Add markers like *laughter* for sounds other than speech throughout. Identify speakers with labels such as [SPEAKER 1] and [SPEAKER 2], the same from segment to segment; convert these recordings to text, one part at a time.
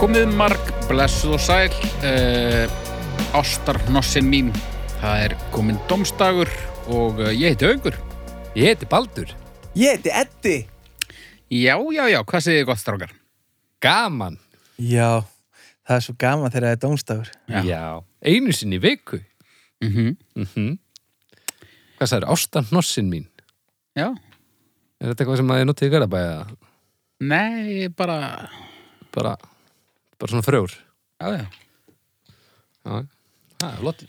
[SPEAKER 1] komið marg, blessuð og sæl uh, Ástar hnossin mín Það er komin domstagur og uh, ég heiti Haugur
[SPEAKER 2] Ég heiti Baldur.
[SPEAKER 3] Ég heiti Eddi.
[SPEAKER 1] Já, já, já, hvað segir þið gott strákar?
[SPEAKER 2] Gaman.
[SPEAKER 3] Já, það er svo gaman þegar það er dómstafur.
[SPEAKER 1] Já.
[SPEAKER 2] Einu sinni í viku.
[SPEAKER 1] Mm
[SPEAKER 2] Mm Hvað sagður? Ástan hnossin mín.
[SPEAKER 1] Já,
[SPEAKER 2] Er þetta eitthvað sem að ég notið í Garabæja?
[SPEAKER 1] nei, ég bara
[SPEAKER 2] Bara, bara svona frjór.
[SPEAKER 1] Já, já
[SPEAKER 2] Já, það er flott.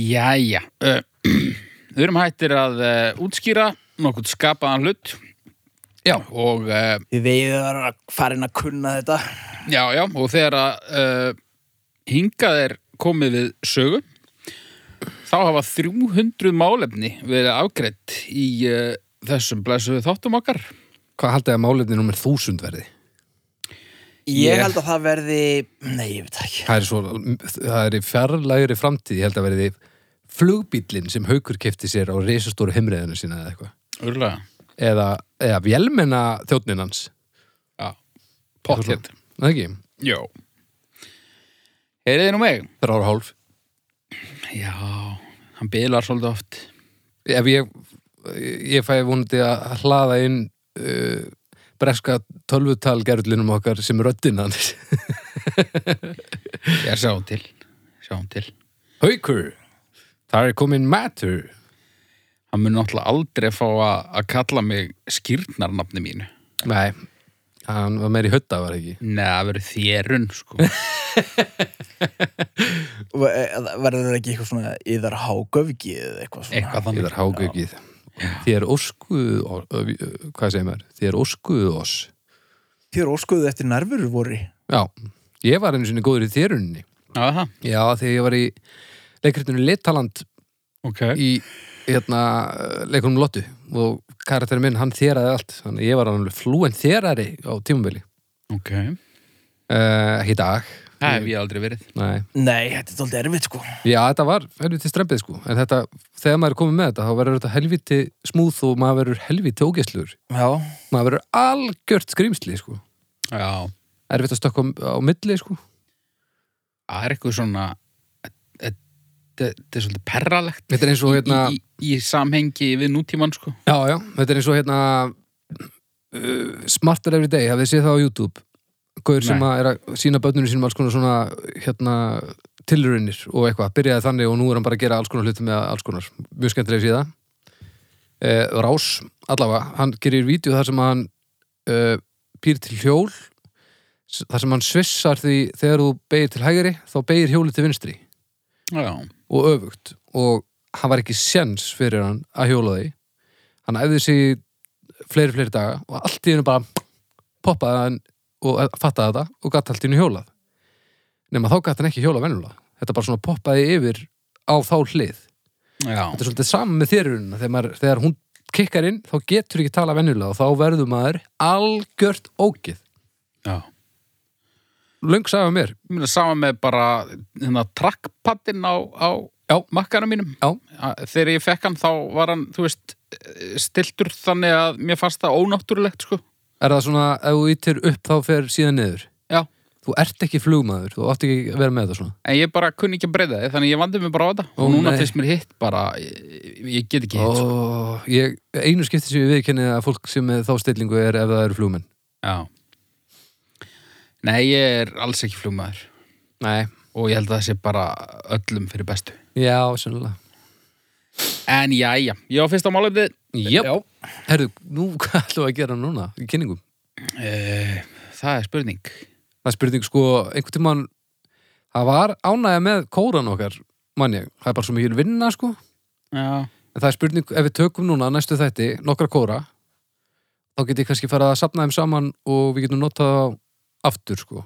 [SPEAKER 1] Jæja, uh, við erum hættir að uh, útskýra nokkuð skapaðan hlut Já, og, uh,
[SPEAKER 3] Við veiðum að vera farin að kunna þetta.
[SPEAKER 1] já, já, og þegar að uh, hingað er komið við sögu þá hafa 300 málefni verið afgreitt í uh, þessum blessuðu þáttum okkar
[SPEAKER 2] Hvað haldið að málefni nummer þúsund verði?
[SPEAKER 3] Ég
[SPEAKER 1] Ég-
[SPEAKER 3] held að það verði, nei, ég veit það ekki.
[SPEAKER 2] Það er svo, það er í fjarlægri framtíð, ég held að verði flugbíllinn sem haukur kefti sér á risastóru heimriðinu sína eða eitthvað.
[SPEAKER 1] Úrlega,
[SPEAKER 2] Eða, eða vélmenna þjónninn hans.
[SPEAKER 1] já, potthett
[SPEAKER 2] Það ekki?
[SPEAKER 1] Já Heyriði nú mig?
[SPEAKER 2] Þrjára hálf.
[SPEAKER 1] Já, hann bilar svolítið oft
[SPEAKER 2] ef ég, ég fæ vonandi að hlaða inn uh, breska tölvutalgerðlinum okkar sem röddinn hans
[SPEAKER 1] Ég sjáum til, sjáum til
[SPEAKER 2] *laughs* Haukur, það er komin matur
[SPEAKER 1] hann mun náttúrulega aldrei fá að, að kalla mig skýrnarnafni mínu.
[SPEAKER 2] Nei, hann var meir í hutta var ekki
[SPEAKER 1] Nei, það verður þérun, sko.
[SPEAKER 3] V- eh, Verður það ekki eitthvað svona yðar hágöfgi eða eitthvað
[SPEAKER 1] *laughs*
[SPEAKER 3] svona?
[SPEAKER 1] Eitthvað
[SPEAKER 2] Ég
[SPEAKER 1] þannig.
[SPEAKER 2] þar hágökið Þér óskuðu o- ö, ö, Hvað segir maður? Þér óskuðu oss
[SPEAKER 3] Þér óskuðu eftir nærfuru voru.
[SPEAKER 2] Já, ég var einu sinni góður í þérunni
[SPEAKER 1] Já, það.
[SPEAKER 2] Já, þegar ég var í leikritinu Litaland
[SPEAKER 1] Ok.
[SPEAKER 2] í hérna, leikunum Lottu og karakterin minn, hann þeraði allt þannig að ég var alveg flúen þerari á tímumvili
[SPEAKER 1] Ok.
[SPEAKER 2] uh, ekki í dag
[SPEAKER 1] Það hef ég aldrei verið.
[SPEAKER 2] Nei.
[SPEAKER 3] Nei, þetta er tóldið erfitt sko.
[SPEAKER 2] já, þetta var helviti strempið sko en þetta, þegar maður er komið með þetta þá verður þetta helviti smúð og maður verður helviti ógeslur
[SPEAKER 3] Já.
[SPEAKER 2] maður verður algjört skrýmsli sko
[SPEAKER 1] Já.
[SPEAKER 2] erfitt að stökka á á milli sko
[SPEAKER 1] Það er eitthvað svona, þetta þetta er svolítið perralegt
[SPEAKER 2] þetta er eins og hérna
[SPEAKER 1] í, í, í samhengi við nútímann, sko.
[SPEAKER 2] Já, já, þetta er eins og hérna uh, Smarter Every Day, hafið þið séð það á YouTube Gaur sem
[SPEAKER 1] Nei.
[SPEAKER 2] að er að sína bönnunum sínum alls konar svona hérna tillurinnir og eitthvað, byrjaði þannig og nú er hann bara að gera alls konar hluti með alls konar mjög skemmtileg síða eh, Rás, allavega, hann gerir vídeo þar sem hann eh, pýr til hjól s- þar sem hann svissar því þegar þú beigir til hægri þá beigir hjóli til vinstri
[SPEAKER 1] Já.
[SPEAKER 2] og öfugt og hann var ekki sens fyrir hann að hjóla því hann æfði sig í fleiri, fleiri daga og allt í hennu bara poppaði hann og fattaði þetta og gatt allt í hennu hjólað nema þá gatt hann ekki hjólað venjulega þetta bara svona poppaði yfir á þá hlið
[SPEAKER 1] Já.
[SPEAKER 2] þetta er svolítið saman með þérunna þegar, maður, þegar hún kikkar inn þá getur ekki tala venjulega og þá verður maður algjört ógið
[SPEAKER 1] Já.
[SPEAKER 2] löng sagði mér
[SPEAKER 1] Ég meina sama með bara hérna trackpaddinn á, á
[SPEAKER 2] Já.
[SPEAKER 1] makkanum mínum.
[SPEAKER 2] Já.
[SPEAKER 1] Að- Þegar ég fekk hann þá var hann, þú veist, eh, stiltur þannig að mér fannst það ónáttúrulegt, sko.
[SPEAKER 2] er það svona ef þú ítir upp þá fer síðan niður
[SPEAKER 1] Já.
[SPEAKER 2] þú ert ekki flugmaður, þú átt ekki að vera með þetta svona
[SPEAKER 1] En ég bara kunni ekki að breyða þið, þannig ég vandi mig bara á þetta.
[SPEAKER 2] Ó,
[SPEAKER 1] og núna
[SPEAKER 2] nei.
[SPEAKER 1] finnst mér hitt bara, ég, ég get ekki hitt. sko.
[SPEAKER 2] Ó, ég, einu skipti sem ég viðkenni að fólk sem er þá stillingu er ef það eru flugmenn
[SPEAKER 1] Já. Nei, ég er alls ekki flugmaður.
[SPEAKER 2] Nei,
[SPEAKER 1] Og ég held að það sé bara öllum fyrir bestu.
[SPEAKER 2] já, sennilega
[SPEAKER 1] En já, já, ég á fyrsta málefnið.
[SPEAKER 2] Jöp, herru, nú *laughs* hvað ætlum við að gera núna í kynningum?
[SPEAKER 1] Eh, það er spurning.
[SPEAKER 2] Það er spurning sko, einhvern tímann það var ánægja með kóran okkar manni, það er bara svo mikil vinna sko en
[SPEAKER 1] Já.
[SPEAKER 2] það er spurning, ef við tökum núna næstu þætti nokkra kóra þá get ég kannski farað að sapna þeim saman og við getum notað á aftur sko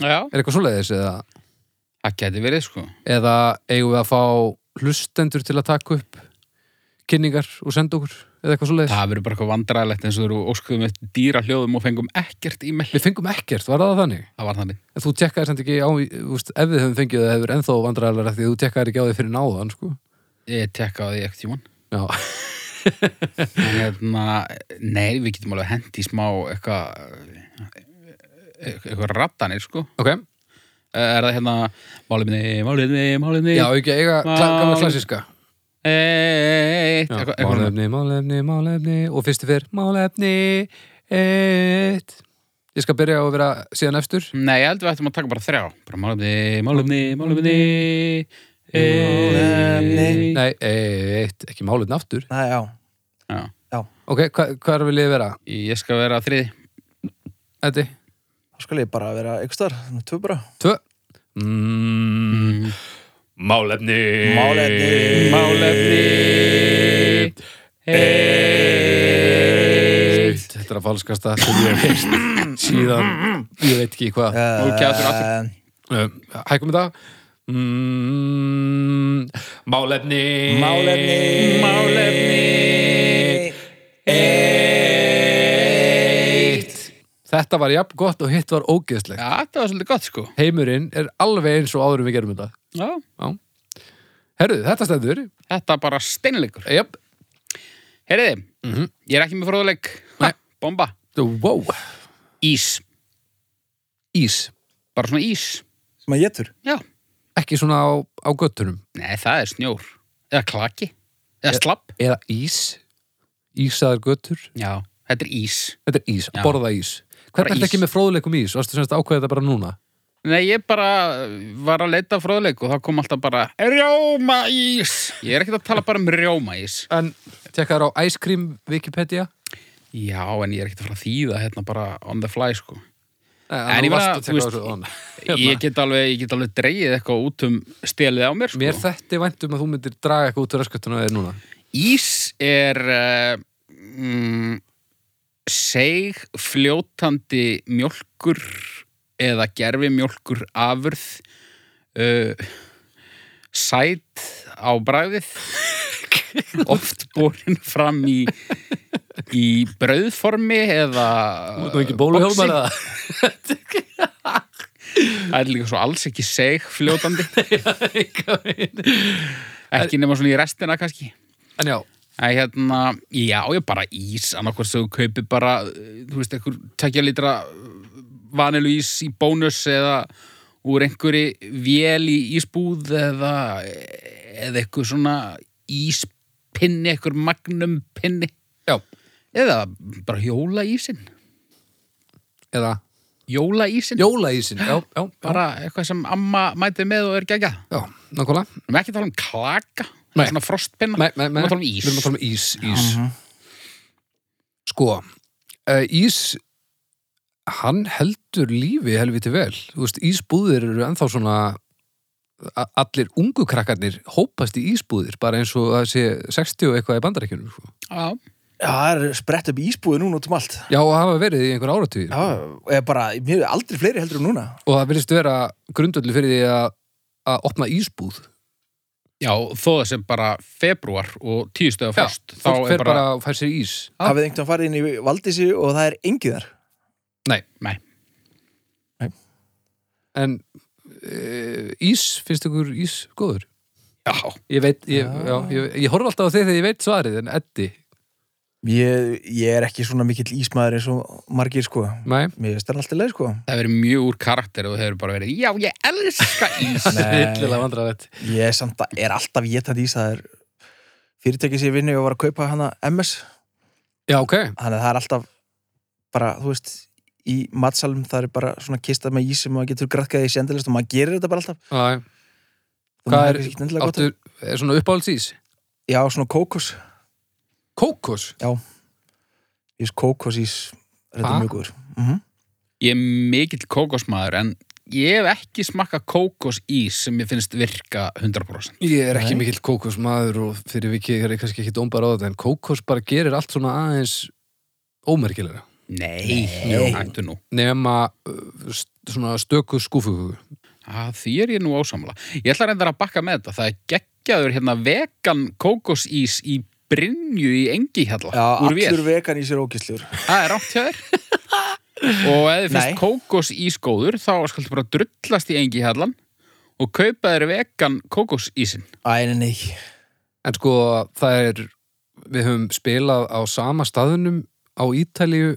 [SPEAKER 1] Já.
[SPEAKER 2] Er eitthvað svoleiðis eða,
[SPEAKER 1] Það geti verið, sko.
[SPEAKER 2] eða eigum við að fá hlustendur til að taka upp kynningar og senda okkur eða eitthvað svoleiðis
[SPEAKER 1] Það verður bara eitthvað vandræðilegt eins og þú eru óskuðum eftir dýra hljóðum og fengum ekkert e-mail.
[SPEAKER 2] Við fengum ekkert, var það þannig?
[SPEAKER 1] Það var þannig.
[SPEAKER 2] En þú tekkaðir samt ekki á, úst, ef við höfum fengið það hefur ennþá vandræðalega því þú tekkaðir ekki á því fyrir náðan, sko.
[SPEAKER 1] Ég tekka á því ekkert tíman.
[SPEAKER 2] Já,
[SPEAKER 1] En hérna, nei, við getum alveg hendi smá eitthvað eitthvað rattanir, sko.
[SPEAKER 2] *laughs* Ok,
[SPEAKER 1] Er það hérna, málefni, málefni, málefni,
[SPEAKER 2] já, ekki eiga
[SPEAKER 1] Mál-
[SPEAKER 2] kla- gamla klassíska
[SPEAKER 1] eitt,
[SPEAKER 2] Já,
[SPEAKER 1] eitthvað, eitthvað.
[SPEAKER 2] Málefni, málefni, málefni og fyrstu fyrr, málefni eitt Ég skal byrja á að vera síðan efstur
[SPEAKER 1] Nei, ég held við ættum að taka bara þrjá. Bara málefni, málefni, málefni,
[SPEAKER 3] Málefni.
[SPEAKER 1] eitt.
[SPEAKER 2] Nei, eitt, ekki málefni aftur
[SPEAKER 3] Næ, já.
[SPEAKER 1] Já,
[SPEAKER 2] Ok, hva, hvað vil ég vera,
[SPEAKER 1] ég skal vera þriði.
[SPEAKER 2] Eddi?
[SPEAKER 3] Þá skal ég bara vera ykkur starf, þannig tvö bara.
[SPEAKER 2] Tvö mm,
[SPEAKER 1] Mm.
[SPEAKER 2] Málefni
[SPEAKER 3] Eh, Málefni.
[SPEAKER 1] Málefni, eitt.
[SPEAKER 2] Þetta er að falskasta sem ég hef heist síðan, ég veit ekki hvað
[SPEAKER 1] Ok, aftur,
[SPEAKER 3] aftur.
[SPEAKER 2] Uh, Hækum þetta mm, Málefni
[SPEAKER 3] Málefni.
[SPEAKER 1] Málefni Eitt
[SPEAKER 2] Þetta var jafn gott og hitt var ógeðslegt
[SPEAKER 1] Já, þetta var svolítið gott sko
[SPEAKER 2] Heimurinn er alveg eins og áður en við gerum þetta
[SPEAKER 1] Já,
[SPEAKER 2] Herðu, þetta stendur
[SPEAKER 1] þetta var bara steinleikur
[SPEAKER 2] Jafn,
[SPEAKER 1] Heyriði,
[SPEAKER 2] Mhm.
[SPEAKER 1] ég er ekki með fróðuleik
[SPEAKER 2] Nei.
[SPEAKER 1] Bomba,
[SPEAKER 2] wow
[SPEAKER 1] ís
[SPEAKER 2] Ís,
[SPEAKER 1] Bara svona ís
[SPEAKER 3] Sem að getur.
[SPEAKER 1] Já,
[SPEAKER 2] ekki svona á, á göttunum
[SPEAKER 1] nei það er snjór Eða klaki, eða slapp
[SPEAKER 2] Eða ís, ísaðar göttur
[SPEAKER 1] Já, þetta er ís
[SPEAKER 2] Þetta er ís,
[SPEAKER 1] Já.
[SPEAKER 2] borða ís
[SPEAKER 1] Bara
[SPEAKER 2] Hvernig er þetta
[SPEAKER 1] ís.
[SPEAKER 2] ekki með fróðleikum ís? Varstu semst að ákveða þetta bara núna?
[SPEAKER 1] Nei, ég bara var að leita að fróðuleik og þá kom alltaf bara Rjómaís Ég er ekkert að tala bara um rjómaís
[SPEAKER 2] En tekka þér á Ice Cream Wikipedia
[SPEAKER 1] Já, en ég er ekkert að fara að þýða hérna bara on the fly sko
[SPEAKER 2] En,
[SPEAKER 1] En
[SPEAKER 2] en
[SPEAKER 1] ég
[SPEAKER 2] ég
[SPEAKER 1] meina,
[SPEAKER 2] varst að
[SPEAKER 1] þú
[SPEAKER 2] tekka á
[SPEAKER 1] veist,
[SPEAKER 2] þessu Hérna. áðan. *laughs*
[SPEAKER 1] Ég get alveg, ég get alveg dreigið eitthvað út um stelið á mér sko.
[SPEAKER 2] Mér þetta er vænt um að þú myndir draga eitthvað út úr raskatunum eða núna.
[SPEAKER 1] Ís er uh, mm, seg fljótandi mjólkur eða gerfi mjólkur afurð uh, sæt á bræðið oft borin fram í í brauðformi eða boxi.
[SPEAKER 2] eða?
[SPEAKER 1] Það er líka svo alls ekki seg fljótandi Ekki nema svona í restina kannski
[SPEAKER 2] En já,
[SPEAKER 1] Það hérna, já, ég bara ís annarkvort sem þú kaupir bara eh, þú veist, einhver tekja litra vanilu ís í bónus eða úr einhverju vél í ísbúð eða eh, eða einhver svona íspinni, einhver magnum pinni
[SPEAKER 2] já,
[SPEAKER 1] eða bara jóla ísin
[SPEAKER 2] eða
[SPEAKER 1] jóla ísin,
[SPEAKER 2] jólaísin, já, já, já,
[SPEAKER 1] bara eitthvað sem amma mæti með og er geggjað
[SPEAKER 2] já, nákvæmlega.
[SPEAKER 1] Við erum ekki að tala um klaka,
[SPEAKER 2] Nei.
[SPEAKER 1] svona frostpinna,
[SPEAKER 2] Nei, nei, nei,
[SPEAKER 1] við erum að tala um ís.
[SPEAKER 2] Við erum að tala um ís, ís. Sko, uh, ís, hann heldur lífi helviti vel. Þú veist, ísbúðir eru ennþá svona, a- allir ungu krakkarnir hópast í ísbúðir, bara eins og það sé 60 og eitthvað í bandarækjunum, sko.
[SPEAKER 1] Já,
[SPEAKER 3] Já, það er sprett upp ísbúið núna út um allt.
[SPEAKER 2] Já, og hafa verið í einhver áratugir.
[SPEAKER 3] Já, ég bara, mér er aldrei fleiri heldur en núna.
[SPEAKER 2] og það virðist vera grundöldu fyrir því að að opna ísbúð
[SPEAKER 1] já þó það sem bara februar og tíu stöða frost, þá
[SPEAKER 2] fólk
[SPEAKER 1] er
[SPEAKER 2] fer
[SPEAKER 1] bara...
[SPEAKER 2] bara og fær sér ís
[SPEAKER 1] Já.
[SPEAKER 3] Hafið einhvern veginn farið inn í Valdísi og það er engið þar.
[SPEAKER 2] nei,
[SPEAKER 1] Nei,
[SPEAKER 2] en e, ís, finnst ykkur ís góður?
[SPEAKER 1] já,
[SPEAKER 2] ég veit, ég, já, ég, ég horf alltaf á þig þegar ég veit svarið en Eddi,
[SPEAKER 3] Ég, ég er ekki svona mikill ísmaður eins og margir, sko.
[SPEAKER 2] nei
[SPEAKER 3] Mér finnst það alltaf leið, sko.
[SPEAKER 1] það verið mjög úr karakter og þau eru bara verið, já, ég elska ís. *laughs*
[SPEAKER 2] *laughs* Yllilega vandræðalegt.
[SPEAKER 3] Ég er samt að er alltaf getandi ís, það er fyrirtækið sem ég vinni og var að kaupa hana MS.
[SPEAKER 2] já, ok,
[SPEAKER 3] Þannig að það er alltaf bara, þú veist, í matsalum það er bara svona kista með ís sem maður getur grætkað í sendilist og maður gerir þetta bara alltaf.
[SPEAKER 2] Æ,
[SPEAKER 3] Og
[SPEAKER 2] hvað
[SPEAKER 3] maður
[SPEAKER 2] er
[SPEAKER 3] kannski ekkert endilega gott
[SPEAKER 2] áttu, er svona uppáhalds ís?
[SPEAKER 3] af- Já, svona kókos.
[SPEAKER 2] kókos,
[SPEAKER 3] Ís kókosís, þetta
[SPEAKER 2] Ha?
[SPEAKER 3] er mjög góður. Mhm.
[SPEAKER 1] Ég er mikill kókosmaður, en ég hef ekki smakka kókosís sem ég finnst virka 100%.
[SPEAKER 2] ég er ekki
[SPEAKER 3] Nei.
[SPEAKER 2] mikill kókos maður og fyrir vikið er ég kannski ekki dómbar á þetta en kókos bara gerir allt svona aðeins ómerkilega
[SPEAKER 1] Nei,
[SPEAKER 3] Nei.
[SPEAKER 1] hættu nú.
[SPEAKER 2] nema uh, st svona stöku skúfugugu
[SPEAKER 1] Að því er ég nú ásamla. Ég ætla reyndar að bakka með þetta. Það er geggjaður hérna vegan kókosís í Brynju í Engihjalla.
[SPEAKER 3] Já,
[SPEAKER 1] úr vél.
[SPEAKER 3] allur vegan ís er ógistljur.
[SPEAKER 1] Það er rátt hjá þér Og ef þið
[SPEAKER 3] Nei.
[SPEAKER 1] finnst kókosís góður þá skaltu bara drullast í engi hallan og kaupa þér vegan kókosísin
[SPEAKER 3] Æ, nei, nei.
[SPEAKER 2] en sko það er við höfum spilað á sama staðunum á Ítalíu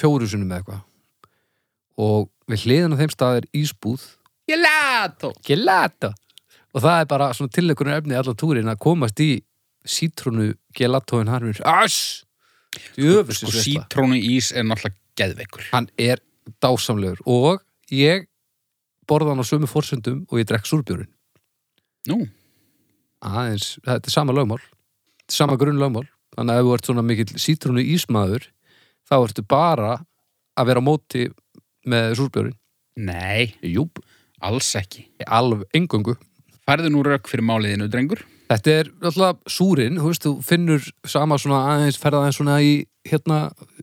[SPEAKER 2] fjórusunum eða eitthvað og við hliðin á þeim stað er ísbúð
[SPEAKER 1] Gelato
[SPEAKER 2] gelato og það er bara svona tilleggurinn efni allan túrin að komast í sítrúnu gelatoin harfur Ass! Djöfus
[SPEAKER 1] Sko sítrónu ís er náttúrulega geðveikur
[SPEAKER 2] Hann er dásamlegur og ég borða hann á sömu forsöndum og ég drekk súrbjörun
[SPEAKER 1] Nú,
[SPEAKER 2] aðeins, þetta er sama lögmál sama grunn lögmál þannig að ef þú ert svona mikill sítrúnu ísmaður þá ertu bara að vera á móti með súrbjörun
[SPEAKER 1] nei,
[SPEAKER 2] Júp,
[SPEAKER 1] alls ekki
[SPEAKER 2] alveg engöngu
[SPEAKER 1] Færðu nú rök fyrir máliðinu, drengur
[SPEAKER 2] Þetta er alltaf súrin, þú veist, þú finnur sama svona aðeins, ferða aðeins svona í hérna,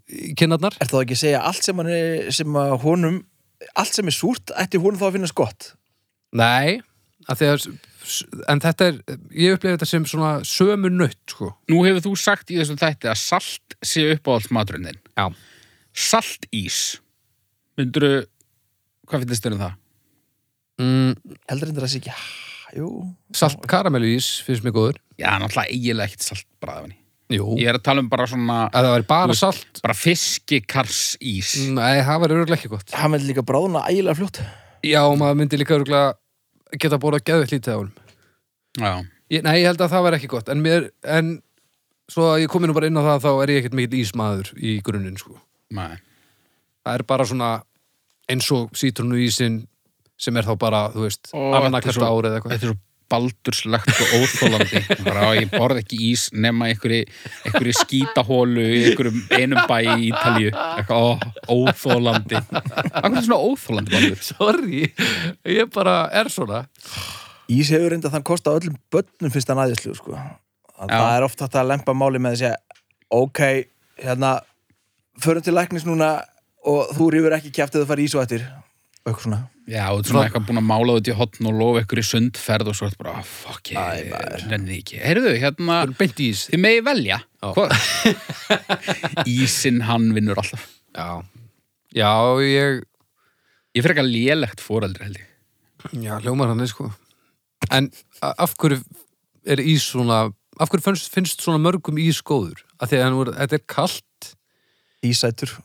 [SPEAKER 2] í kinnarnar
[SPEAKER 3] Er það ekki að segja allt sem, hann er, sem að honum allt sem er súrt, ætti honum þá að finnast gott
[SPEAKER 2] Nei, að því að en þetta er, ég upplifði þetta sem svona sömu nött, sko
[SPEAKER 1] Nú hefur þú sagt í þessum þætti að salt sé uppáhalds maturinn þinn
[SPEAKER 2] Já.
[SPEAKER 1] Saltís Myndurðu, hvað finnst þér um það?
[SPEAKER 2] mm,
[SPEAKER 3] Heldur endur að sé ekki, jú
[SPEAKER 2] Salt karamellís finnst mér góður
[SPEAKER 1] Já, náttúrulega eiginlega ekkert salt bræðið henni
[SPEAKER 2] Jú,
[SPEAKER 1] Ég er að tala um bara svona
[SPEAKER 2] að það væri
[SPEAKER 1] Þú
[SPEAKER 2] bara
[SPEAKER 1] veist-
[SPEAKER 2] salt mm,
[SPEAKER 1] bara fiskikarsís
[SPEAKER 2] Nei, það væri örgulega ekki gott
[SPEAKER 3] Hann vil líka bráðuna ægilega fljótt
[SPEAKER 2] Já, og maður myndi líka örgulega geta bóra geðveitt lítið á honum
[SPEAKER 1] Mm. Já,
[SPEAKER 2] ég, Nei, ég held að það væri ekki gott en, mér, en svo að ég komi nú bara inn á það þá er ég ekkert mikill ísmaður í grunninn, sko
[SPEAKER 1] nei
[SPEAKER 2] það er bara svona eins og sítrunu ísin sem er þá bara, þú veist,
[SPEAKER 1] Ó, þetta er
[SPEAKER 2] annarkast
[SPEAKER 1] svo-
[SPEAKER 2] ári eða eitthvað
[SPEAKER 1] Þetta er svo baldurslegt og óþólandi bara að ég borð ekki ís nema einhverju, einhverju skítahólu í einhverjum einum bæ í Ítalíu eitthvað, ó, óþólandi Akkur er svona óþólandi baldur
[SPEAKER 2] *laughs* Sorry, ég bara er svona
[SPEAKER 3] Ís hefur reynda þann kost á öllum börnum finnst hann aðeinslu sko. Að
[SPEAKER 1] Já.
[SPEAKER 3] Það er oft hægt að lempa máli með að segja ok, hérna förum til læknis núna og þú rýfur ekki kjæft eða fara ís og eftir og eitthvað svona
[SPEAKER 1] Já, og þetta er svona eitthvað búin að mála þetta í hotn og lofa einhverju sundferð og svo er þetta bara, "Ah, fuck,
[SPEAKER 3] Æ,
[SPEAKER 1] ég
[SPEAKER 3] maður.
[SPEAKER 1] nenni því ekki Heyrðu, hérna,
[SPEAKER 2] Beint í ís
[SPEAKER 1] þið megi velja
[SPEAKER 2] Já.
[SPEAKER 1] Hvað? Ísinn hann vinnur alltaf
[SPEAKER 2] Já, já ég
[SPEAKER 1] Ég fyrir eitthvað lélegt fóreldri held ég
[SPEAKER 2] Já, hljómar hann er sko En a- af hverju er ís svona af hverju finnst, finnst svona mörgum ís góður? Af því að hann voru, þetta er kalt
[SPEAKER 3] Ísætur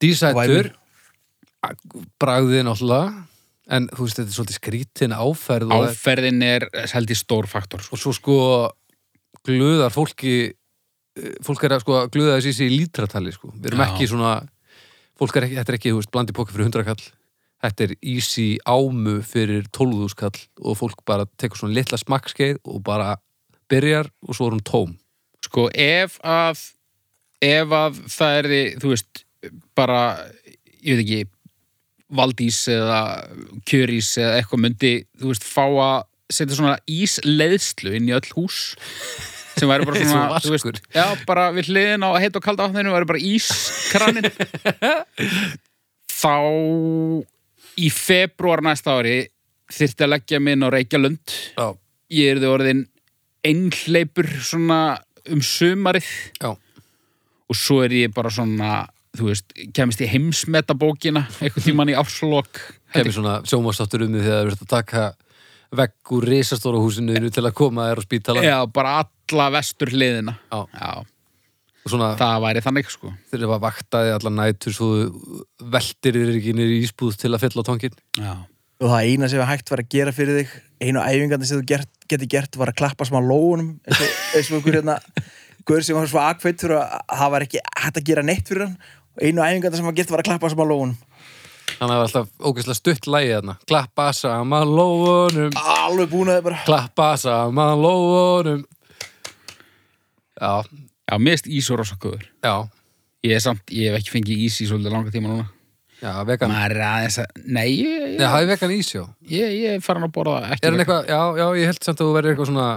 [SPEAKER 2] dísætur bragðið náttúrulega en þú veist, þetta er svolítið skrítin áferð og-
[SPEAKER 1] Áferðin er held ég stór faktor sko.
[SPEAKER 2] og svo sko glöðar fólki eh, fólk er að sko glöða þessi í sig í lítratali sko. við erum
[SPEAKER 1] Já.
[SPEAKER 2] ekki svona fólk er ekki, þetta er ekki, þú veist, blandi póki fyrir 100 kall þetta er ísi ámu fyrir 12.000 kall og fólk bara tekur svona litla smakkskeið og bara byrjar og svo er hún tóm
[SPEAKER 1] sko ef að ef að það er þú veist bara ég veit ekki valdís eða kjörís eða eitthvað myndi þú veist fá að setja svona ísleiðslu inn í öll hús sem væri bara
[SPEAKER 2] *laughs* Eins
[SPEAKER 1] svona
[SPEAKER 2] og
[SPEAKER 1] þú
[SPEAKER 2] vaskur.
[SPEAKER 1] veist, já, bara við hliðin á heitt og kalda vatninu væri bara
[SPEAKER 2] *laughs*
[SPEAKER 1] ískranin þá í februar næsta ári þyrfti að leggja mig inn á Reykjalund
[SPEAKER 2] Já,
[SPEAKER 1] ég er þið orðin einhleipur svona um sumarið
[SPEAKER 2] já,
[SPEAKER 1] og svo er ég bara svona þú veist, kemist í heimsmeta bókina einhvern tímann í árslok
[SPEAKER 2] kemur svona sjómastáttur um því þegar það verður að taka vegg úr risastóra húsinu þínu til að koma þér á spítala
[SPEAKER 1] eða bara alla vestur hliðina
[SPEAKER 2] Já.
[SPEAKER 1] Já,
[SPEAKER 2] og svona
[SPEAKER 1] það væri þannig sko
[SPEAKER 2] þeir eru að vakta þig allan nætur svo þú veltir þér ekki niður í ísbúð til að fylla á tangin
[SPEAKER 1] Já.
[SPEAKER 3] og það eina sem hægt var að gera fyrir þig einu æfingarnir sem þú gert, geti gert var að klappa smá lóunum eins og, *laughs* eins og ykkur hérna guður sem var svo akveitt fyrir að það var ekki hægt að gera neitt fyrir hann og einu æfingarnir sem var gert var að klappa smá lóunum
[SPEAKER 2] Þannig að það var alltaf ógeðslega stutt lægið þarna Klappa saman lóunum
[SPEAKER 3] alveg búin að þið bara
[SPEAKER 2] Klappa saman lóunum Já,
[SPEAKER 1] Já, mér erst ís og rosaköður
[SPEAKER 2] já,
[SPEAKER 1] Ég er samt, ég hef ekki fengið ís í svolítið langa tíma núna
[SPEAKER 2] já, vegan
[SPEAKER 1] Maður er aðeins að, nei ég,
[SPEAKER 2] Nei,
[SPEAKER 1] ég,
[SPEAKER 2] það er vegan ís, já
[SPEAKER 1] ég, ég er farin að borða ekki
[SPEAKER 2] Er hann eitthvað, já, já, ég held samt að þú verður eitthvað svona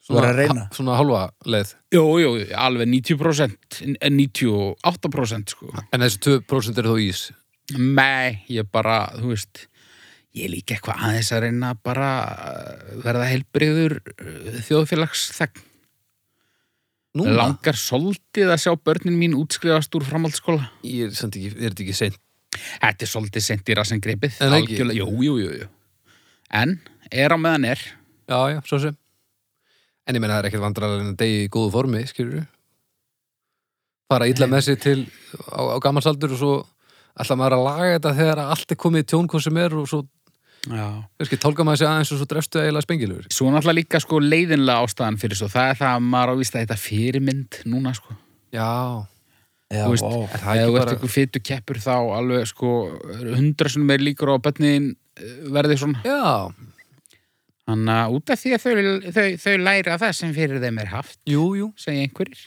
[SPEAKER 3] Þú verður að reyna.
[SPEAKER 2] ha- Svona hálfa leið
[SPEAKER 1] Jú, jú, alveg 90% n- 98% sko
[SPEAKER 2] En þessi 2% eru þó ís
[SPEAKER 1] Nei, ég bara, þú veist ég er líka eitthvað aðeins að reyna að bara uh, verða uh, helbriður þjóðfélags þegn.
[SPEAKER 2] Núna,
[SPEAKER 1] Langar soldið að sjá börnin mín útskrifast úr framhaldsskóla.
[SPEAKER 2] ég er samt ekki, er þetta ekki seint
[SPEAKER 1] Þetta er soldið sent í rassinn gripið.
[SPEAKER 2] En ekki?
[SPEAKER 1] Algjörlega- Jú, jú, jú, jú. En, er á meðan er.
[SPEAKER 2] Já, já, svo sem En ég meina það er ekkert vandræðar en að degi í góðu formi, skilur Fara illa með sig til á, á gammalsaldur og svo Alltaf maður að laga þetta þegar allt er komið í tjón hvað sem er og svo,
[SPEAKER 1] Já.
[SPEAKER 2] veist ekki, tálka maður sig aðeins og svo drefstu eiginlega spengilur.
[SPEAKER 1] Svo náttúrulega líka sko leiðinlega ástæðan fyrir svo. Það er það að maður á víst að þetta fyrirmynd núna sko.
[SPEAKER 2] Já,
[SPEAKER 3] Já,
[SPEAKER 1] Þú veist,
[SPEAKER 3] vá.
[SPEAKER 2] er það
[SPEAKER 1] Ef
[SPEAKER 2] ekki
[SPEAKER 1] þú ert
[SPEAKER 2] bara...
[SPEAKER 1] ykkur fytu keppur þá alveg sko hundra sem er líkur á að bönniðin verði svona.
[SPEAKER 2] Já,
[SPEAKER 1] Þannig að út af því að þau, þau, þau læra það sem fyrir þeim er haft,
[SPEAKER 2] jú, jú,
[SPEAKER 1] segja einhverjir.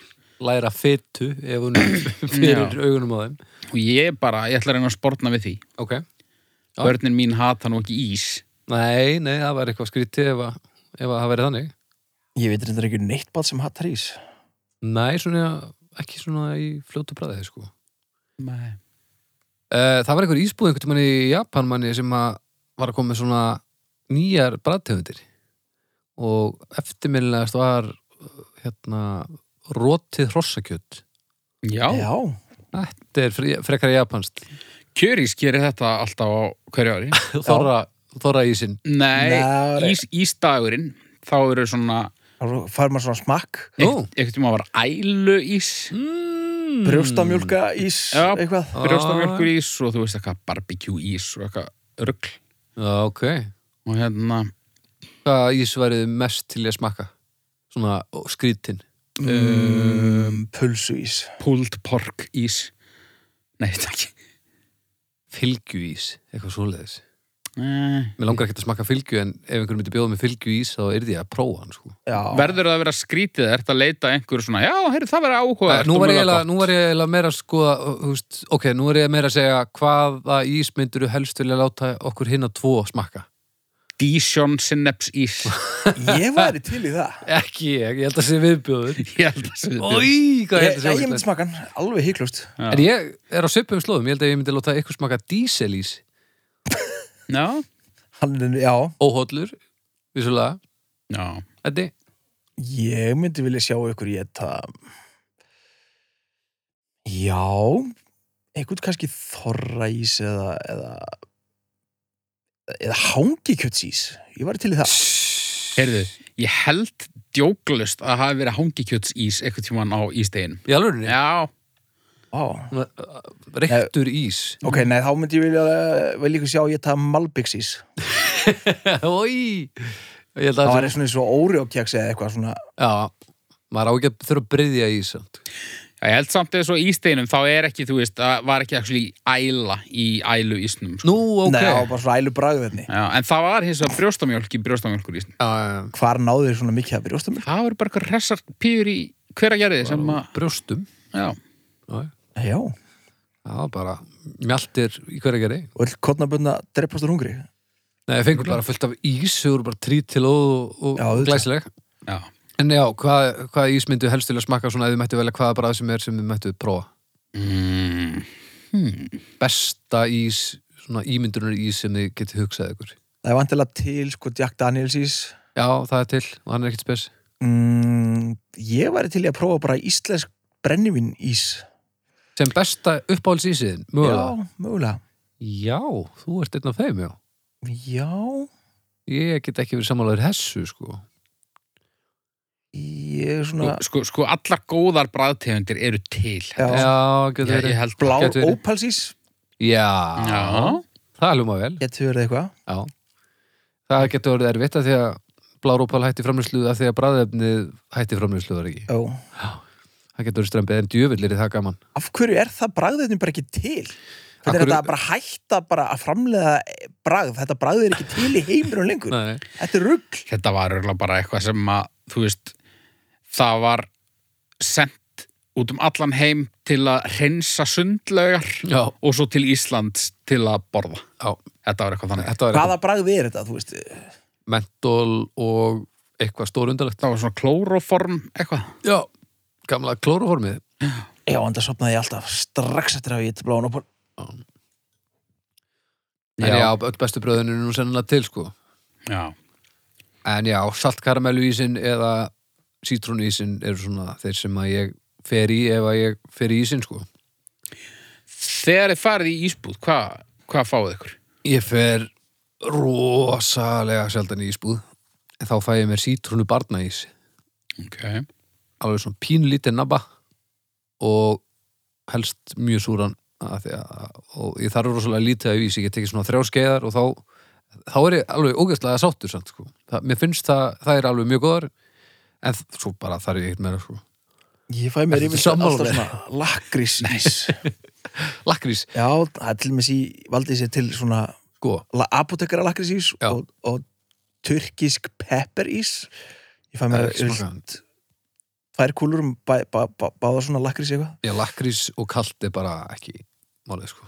[SPEAKER 2] læra fytu ef hún *coughs* er fyrir augunum á þeim.
[SPEAKER 1] Og ég bara, ég ætla að reyna að sportna við því.
[SPEAKER 2] Ok. Já.
[SPEAKER 1] Börnin mín hata nú ekki ís.
[SPEAKER 2] Nei, nei, það væri eitthvað skrítið ef að, ef að það væri þannig.
[SPEAKER 3] Ég veit reyndar ekki neitt bát sem hattar ís
[SPEAKER 2] Nei, svona, ekki svona í fljótu bræðið, sko.
[SPEAKER 1] Nei.
[SPEAKER 2] Uh, það var einhver ísbúð einhvern tímann í Japan manni sem að var að koma með svona nýjar bræðtegundir og eftirminnilegast var uh, hérna rótið hrossakjöt
[SPEAKER 1] Já.
[SPEAKER 3] Já,
[SPEAKER 2] þetta er fre- frekara japanst
[SPEAKER 1] Kjörís gerir þetta alltaf á hverju ári.
[SPEAKER 2] þorra, þorra ísinn
[SPEAKER 1] Nei,
[SPEAKER 3] Nei.
[SPEAKER 1] ís, ísdagurinn, þá eru svona,
[SPEAKER 3] þá fær maður svona smakk
[SPEAKER 2] Nú.
[SPEAKER 1] ekkert um að vera ælu ís,
[SPEAKER 2] mm.
[SPEAKER 3] Brjóstamjólka ís,
[SPEAKER 1] Hmm. Já.
[SPEAKER 3] eitthvað
[SPEAKER 1] brjóstamjölkur ís og þú veist eitthvað barbecue ís og eitthvað rugl.
[SPEAKER 2] Já, ok
[SPEAKER 1] Og hérna,
[SPEAKER 2] Hvað ís værið mest til ég smakka? Svona ó, skrítin
[SPEAKER 3] um, Pulsu ís
[SPEAKER 1] pulled pork ís. Nei, þetta ekki.
[SPEAKER 2] fylgjuís, eitthvað svoleiðis
[SPEAKER 1] Nei.
[SPEAKER 2] Mér langar ekki að smakka fylgju en ef einhver myndi bjóða með fylgjuís þá yrði ég að prófa hann, sko
[SPEAKER 3] Já,
[SPEAKER 1] Verður það að vera skrítið, ert að leita að einhverju svona, já, heyrðu, það verður áhuga.
[SPEAKER 2] Nú var, ég eiginlega- nú var ég eiginlega meira að skoða uh, þú veist, ok, nú er ég meira að segja hvaða ís myndur helst vilja láta okkur hinna tvo smakka
[SPEAKER 1] Dijon Synapse ís.
[SPEAKER 3] ég væri til í það
[SPEAKER 2] ekki ég, ég held að sé viðbjóður
[SPEAKER 1] *laughs*
[SPEAKER 2] *laughs*
[SPEAKER 1] ég held að segja þetta.
[SPEAKER 2] Í, hvað
[SPEAKER 3] Ég,
[SPEAKER 2] ég held að
[SPEAKER 3] ég,
[SPEAKER 2] sé
[SPEAKER 3] ég myndi
[SPEAKER 2] viðbjóður
[SPEAKER 3] smakkan, alveg híklust
[SPEAKER 2] en ég er á söpum slóðum, ég held að ég myndi láta ykkur smakka díselís,
[SPEAKER 1] Já.
[SPEAKER 3] Hann, er- já,
[SPEAKER 2] óhóllur vissulega,
[SPEAKER 1] Já.
[SPEAKER 2] Eddi
[SPEAKER 3] ég myndi vilja sjá ykkur ég það Já eitthvað kannski þorra ís eða eða, eða hangikjötsís Ég væri til í það
[SPEAKER 1] Heyrðu, ég held djóklust að hafi verið hangikjöts ís eitthvað tíman á ístegin.
[SPEAKER 2] í alvörunni, uh,
[SPEAKER 1] Já.
[SPEAKER 3] Vá.
[SPEAKER 2] reyktur ís *laughs*
[SPEAKER 3] Ok, nei, þá myndi ég vilja vel líka sjá ég það malbyggsís
[SPEAKER 2] Í, ég held
[SPEAKER 3] Það
[SPEAKER 2] að
[SPEAKER 3] var svona eins og óriókjaks eða eitthvað svona
[SPEAKER 2] já, maður á ekki að þurfa að breyðja ís samt.
[SPEAKER 1] Já, ég held samt eða svo ísteginum, þá er ekki, þú veist, að var ekki actually æla í ælu ísnum. Sko.
[SPEAKER 2] nú, ok
[SPEAKER 3] Nei, það var bara svona ælu bragðinni
[SPEAKER 1] Já, en það var hins vegar brjóstamjólk í brjóstamjólkur ísnum.
[SPEAKER 2] Já, já, já.
[SPEAKER 3] Hvar náðu þið svona mikið að brjósta mér?
[SPEAKER 1] Það voru bara eitthvað hressar pýr í hverja gerði sem að,
[SPEAKER 2] brjóstum
[SPEAKER 1] já,
[SPEAKER 2] já, já.
[SPEAKER 3] Já, og
[SPEAKER 2] Já, bara mjaltir í hverja geri.
[SPEAKER 3] öll kotnabönda dreipast á hungri
[SPEAKER 2] Nei, ég fengur bara fullt af ís, þau voru bara trít til og, og
[SPEAKER 3] Já, auðvitað.
[SPEAKER 2] glæsileg.
[SPEAKER 1] já.
[SPEAKER 2] En já, hvað, hvað ís myndu helst til að smakka svona ef þið mættu velja hvaða bara sem er sem þið mættu prófa?
[SPEAKER 1] Mm.
[SPEAKER 2] Besta ís, svona ímyndunar ís sem þið getið hugsað ykkur.
[SPEAKER 3] Það er vantilega til sko Jack Daniels ís
[SPEAKER 2] Já, það er til og hann er ekkert spes.
[SPEAKER 3] mm, Ég væri til í að prófa bara íslensk brennivín ís
[SPEAKER 2] Sem besta uppáhalds ísiðin, mögulega.
[SPEAKER 3] Já, mögulega
[SPEAKER 2] Já. þú ert einn af þeim, já.
[SPEAKER 3] Já,
[SPEAKER 2] Ég get ekki verið sammálaður hessu, sko.
[SPEAKER 3] ég er
[SPEAKER 1] Sko,
[SPEAKER 3] svona
[SPEAKER 1] sko, sko, allar góðar bræðtegundir eru til.
[SPEAKER 3] Hérna-
[SPEAKER 1] hérna.
[SPEAKER 3] Já.
[SPEAKER 2] Já, getur
[SPEAKER 1] Ég,
[SPEAKER 2] verið.
[SPEAKER 1] ég held
[SPEAKER 3] blár
[SPEAKER 2] Gæti verið.
[SPEAKER 3] ópalsís
[SPEAKER 2] Já,
[SPEAKER 1] Já.
[SPEAKER 2] það hljóma vel.
[SPEAKER 3] Getur verið eitthvað
[SPEAKER 2] Já, það getur orðið erfitt að því að blárópal hætti framlýslu að því að bræðefnið hætti framlýslu var ekki.
[SPEAKER 3] Ó.
[SPEAKER 2] Það getur orðið strempið en djöfullir er það gaman.
[SPEAKER 3] Af hverju er það bragðinni bara ekki til?
[SPEAKER 2] Af
[SPEAKER 3] Hvernig er
[SPEAKER 2] hverju-
[SPEAKER 3] þetta bara að hætta bara að framlega bragð? Þetta bragð er ekki til í heiminum lengur
[SPEAKER 2] Nei.
[SPEAKER 3] Þetta er rugg
[SPEAKER 1] Þetta var örgulega bara eitthvað sem að, þú veist, það var sendt út um allan heim til að hreinsa sundlaugar
[SPEAKER 2] Já,
[SPEAKER 1] og svo til Íslands til að borða.
[SPEAKER 2] já,
[SPEAKER 1] Þetta var eitthvað þannig.
[SPEAKER 2] þetta var
[SPEAKER 3] Hvaða bragði er þetta, þú veist?
[SPEAKER 2] eitthvað mentól og eitthvað stórundalegt.
[SPEAKER 1] Það var svona klóroform eitthvað.
[SPEAKER 2] Já, gamla klóruformið.
[SPEAKER 3] Já, en það sopnaði ég alltaf strax eftir að ég eitthvað blána upp
[SPEAKER 2] En já, öll bestu bröðinu er nú sennilega til, sko.
[SPEAKER 1] Já.
[SPEAKER 2] En já, saltkaramelluísin eða sítrónuísin eru svona þeir sem að ég fer í ef að ég fer í ísin, sko.
[SPEAKER 1] Þegar þið farið í ísbúð, hvað hva fáið ykkur?
[SPEAKER 2] Ég fer rosalega sjaldan í ísbúð en þá fæ ég mér sítrúnu barnaís
[SPEAKER 1] Ok.
[SPEAKER 2] alveg svona pínlítið nabba og helst mjög súran að því að, og ég þarf rosalega lítið að vísi, ég tekið svona þrjá skeiðar og þá, þá er ég alveg ógeðslega sáttur samt, sko. Það, mér finnst það, það er alveg mjög góðar, en þ- svo bara þarf ég ekkert meira, sko.
[SPEAKER 3] Ég fæ mér
[SPEAKER 2] Ertu
[SPEAKER 3] yfir
[SPEAKER 2] sammála
[SPEAKER 3] alltaf
[SPEAKER 2] mér?
[SPEAKER 3] svona lakrís
[SPEAKER 2] Lakrís,
[SPEAKER 3] Já, það er til með sí valdið sér til svona
[SPEAKER 2] sko,
[SPEAKER 3] apotekara lakrísís
[SPEAKER 2] Já.
[SPEAKER 3] og, og tyrkisk pepperís ég fæ
[SPEAKER 2] Það
[SPEAKER 3] mér
[SPEAKER 2] er ekki smakað.
[SPEAKER 3] yfirleitt tvær kúlur um bæ, bá, bá, báða svona lakrís eitthvað
[SPEAKER 2] já, lakrís og kalt er bara ekki málið, sko.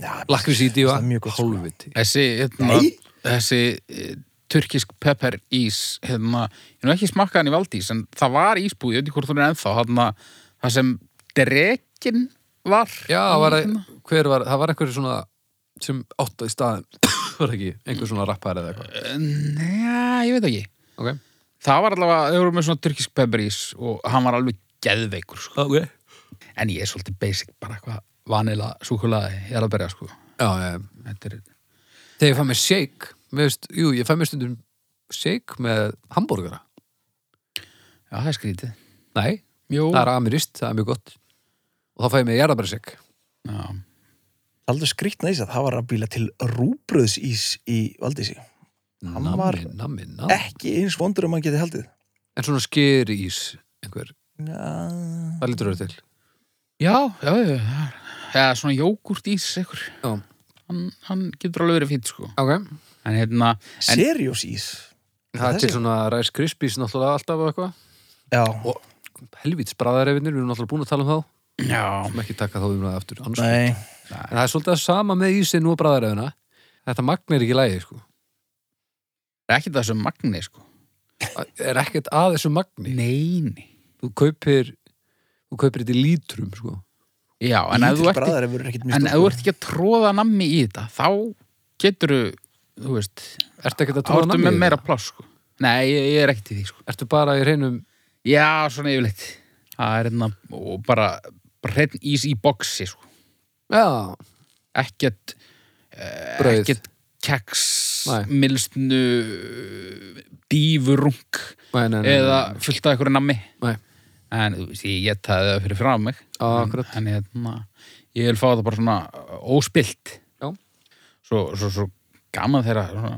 [SPEAKER 3] Já,
[SPEAKER 2] Lakrís í dífa,
[SPEAKER 3] það er mjög gott, sko.
[SPEAKER 2] hálfviti.
[SPEAKER 1] Þessi, hérna,
[SPEAKER 3] Nei.
[SPEAKER 1] þessi eh, turkisk pepper ís, hérna, ég hef nú ekki smakkað hann í valdís, en það var ísbúð, ég veit ekki hvort hún er ennþá, hérna, það sem drekin var.
[SPEAKER 2] Já, það var,
[SPEAKER 1] Hérna.
[SPEAKER 2] hver var, það var einhver svona sem átt í staðin, *coughs* var það ekki, einhver svona rappar eða eitthvað.
[SPEAKER 1] Nei, ég veit ekki.
[SPEAKER 2] Ok,
[SPEAKER 1] Það var allavega, þau voru með svona turkisk pepper ís og hann var alveg geðveikur, sko.
[SPEAKER 2] ok.
[SPEAKER 1] En ég er svolítið basic, bara eitthvað vanila, súkulaði, ég er að berja, sko.
[SPEAKER 2] Já, já, já.
[SPEAKER 1] Þetta er...
[SPEAKER 2] Þegar ég fæ mér shake, mér veist, jú, ég fæ mér stundum shake með hambúrgara.
[SPEAKER 1] Já, það er skrítið.
[SPEAKER 2] Nei,
[SPEAKER 1] Jú.
[SPEAKER 2] það er amirist, það er mjög gott. Og þá fæ ég mér jarðabæra shake.
[SPEAKER 1] Já.
[SPEAKER 3] Það er aldrei skrýtna ís að það var að býla til rúbröðsís í valdísi Hann
[SPEAKER 2] Nammi,
[SPEAKER 3] var-
[SPEAKER 2] nammi, nammi.
[SPEAKER 3] ekki eins vondur um að geti haldið
[SPEAKER 2] En svona skeri ís, einhver,
[SPEAKER 3] Já,
[SPEAKER 2] það lítur það til.
[SPEAKER 1] Já, já, já, já. Eða svona jógurt ís, ekkur.
[SPEAKER 2] Já,
[SPEAKER 1] Hann, hann getur alveg verið fýtt, sko.
[SPEAKER 2] ok.
[SPEAKER 1] En hérna, en,
[SPEAKER 3] seriós ís
[SPEAKER 2] Það er
[SPEAKER 3] Þessi?
[SPEAKER 2] til svona Rice Krispies náttúrulega alltaf og eitthvað.
[SPEAKER 3] Já,
[SPEAKER 2] Helvíts bræðarefinir, við erum náttúrulega búin að tala um þá.
[SPEAKER 1] já,
[SPEAKER 2] Sem ekki taka þá um það aftur. Annars,
[SPEAKER 3] nei
[SPEAKER 2] En það er svolítið að sama með ísinn og bræðarefina. Þetta magn er ekki lægi, sko.
[SPEAKER 1] það er ekki það sem magni, sko.
[SPEAKER 2] Er ekkert að þessu magni.
[SPEAKER 1] Neini.
[SPEAKER 2] Þú kaupir, þú kaupir þetta í lítrum, sko.
[SPEAKER 1] Já, en ef þú
[SPEAKER 3] Lítill
[SPEAKER 1] ert,
[SPEAKER 3] bræðari verður ekkit
[SPEAKER 1] en ef
[SPEAKER 3] mistúlkað.
[SPEAKER 1] þú ert ekki að tróða nammi í þetta, þá getur þú veist,
[SPEAKER 2] Ertu ekkert að tróða
[SPEAKER 1] ártum
[SPEAKER 2] nammi
[SPEAKER 1] með
[SPEAKER 2] í
[SPEAKER 1] meira
[SPEAKER 2] þetta?
[SPEAKER 1] pláss, sko. Nei, ég, ég er ekkert í því, sko.
[SPEAKER 2] Ertu bara í reynum
[SPEAKER 1] Já, svona yfirleitt. Það er hérna, og bara, bara hreinn ís í boksi, sko.
[SPEAKER 2] Já,
[SPEAKER 1] Ekkert,
[SPEAKER 2] brauð
[SPEAKER 1] ekkert keks,
[SPEAKER 2] Nei.
[SPEAKER 1] milsnu, dýfurung
[SPEAKER 2] nei, nei, nei, nei.
[SPEAKER 1] eða fullt af einhverju nammi.
[SPEAKER 2] Nei.
[SPEAKER 1] En þú veist, ég getaði það fyrir frá mig.
[SPEAKER 2] Já, akkurat.
[SPEAKER 1] En, en hérna, ég vil fá það bara svona uh, óspilt.
[SPEAKER 2] Já.
[SPEAKER 1] Svo, svo, svo gaman þegar svona,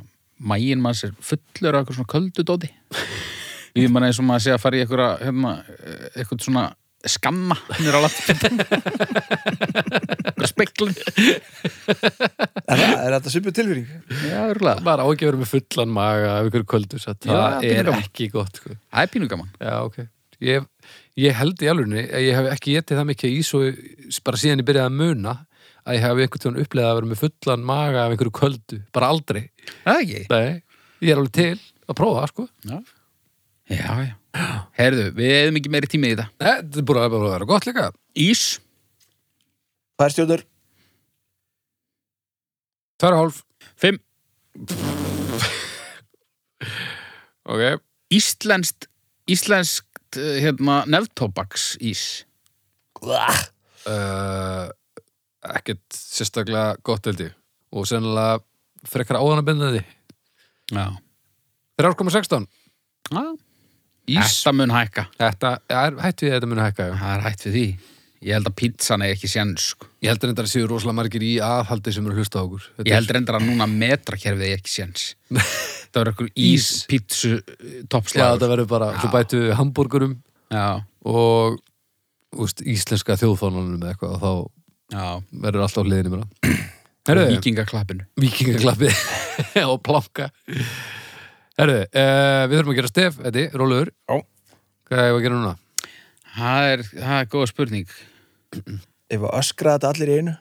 [SPEAKER 1] maginn manns er fullur af eitthvað svona köldu dóti. Við mann eins og maður sé að fara í einhverja, hérna, eh, eitthvað svona skamma nýra á landet. Eitthvað speklun.
[SPEAKER 3] Er það- er þetta svipið tilfyrir?
[SPEAKER 1] Já, örgulega.
[SPEAKER 2] Bara á ekki að vera með fullan maga af ykkur kvöldu, satt.
[SPEAKER 1] Já,
[SPEAKER 2] það
[SPEAKER 1] pínu
[SPEAKER 2] er
[SPEAKER 1] gaman.
[SPEAKER 2] ekki gott, sko.
[SPEAKER 1] Það er pínu gaman.
[SPEAKER 2] Já, ok. Ég, ég held í alvegni að ég hef ekki getið það mikið ís og bara síðan ég byrjaði að muna að ég hef einhvern tíðan upplegað að vera með fullan maga af einhverju kvöldu, bara aldrei.
[SPEAKER 1] Það er ekki.
[SPEAKER 2] Nei, ég er alveg til að prófa, sko.
[SPEAKER 1] Já, já. já. Herðu, við hefum ekki meiri tími í þetta.
[SPEAKER 2] Nei, þetta er bara bara að vera gott líka.
[SPEAKER 1] Ís,
[SPEAKER 3] Það er stjórnur
[SPEAKER 2] Tvær og hálf.
[SPEAKER 1] fimm,
[SPEAKER 2] Ok.
[SPEAKER 1] íslenskt, íslenskt eh, hérna, neftóbaks ís.
[SPEAKER 2] Uh, ekkert sérstaklega gott held ég. Og sennilega frekar áðanabindandi.
[SPEAKER 1] Já.
[SPEAKER 2] 3,16. Ís.
[SPEAKER 1] Þetta mun hækka.
[SPEAKER 2] Þetta, er, hættu ég að þetta muni hækka, já.
[SPEAKER 1] Það er hætt við því. Ég held að pizzan er ekki séns. Sko.
[SPEAKER 2] Ég heldur þetta að séu rosalega margir í aðhaldi sem eru að hlusta á okkur. Þetta
[SPEAKER 1] Ég
[SPEAKER 2] er-
[SPEAKER 1] held reyndar að núna metrakerfið er ekki séns. *laughs* það var einhver ís,
[SPEAKER 2] Ís.
[SPEAKER 1] pizzu,
[SPEAKER 2] Já, þetta
[SPEAKER 1] toppslagur.
[SPEAKER 2] verður bara, svo bætu við hambúrgurum
[SPEAKER 1] Já,
[SPEAKER 2] og úst, íslenska þjóðfánanum eða eitthvað og þá
[SPEAKER 1] já.
[SPEAKER 2] verður alltaf hliðinni
[SPEAKER 1] *clears throat*
[SPEAKER 2] mér að.
[SPEAKER 1] Herðu.
[SPEAKER 2] Herðu,
[SPEAKER 1] Víkingaklappinu.
[SPEAKER 2] vikingaklappi *laughs* og planka. Herðu, uh, við þurfum að gera stef, Eddi, rólegur.
[SPEAKER 3] Já.
[SPEAKER 2] Hvað er að gera núna?
[SPEAKER 1] Það er, það er góða spurning.
[SPEAKER 3] Ef að öskra þetta allir í einu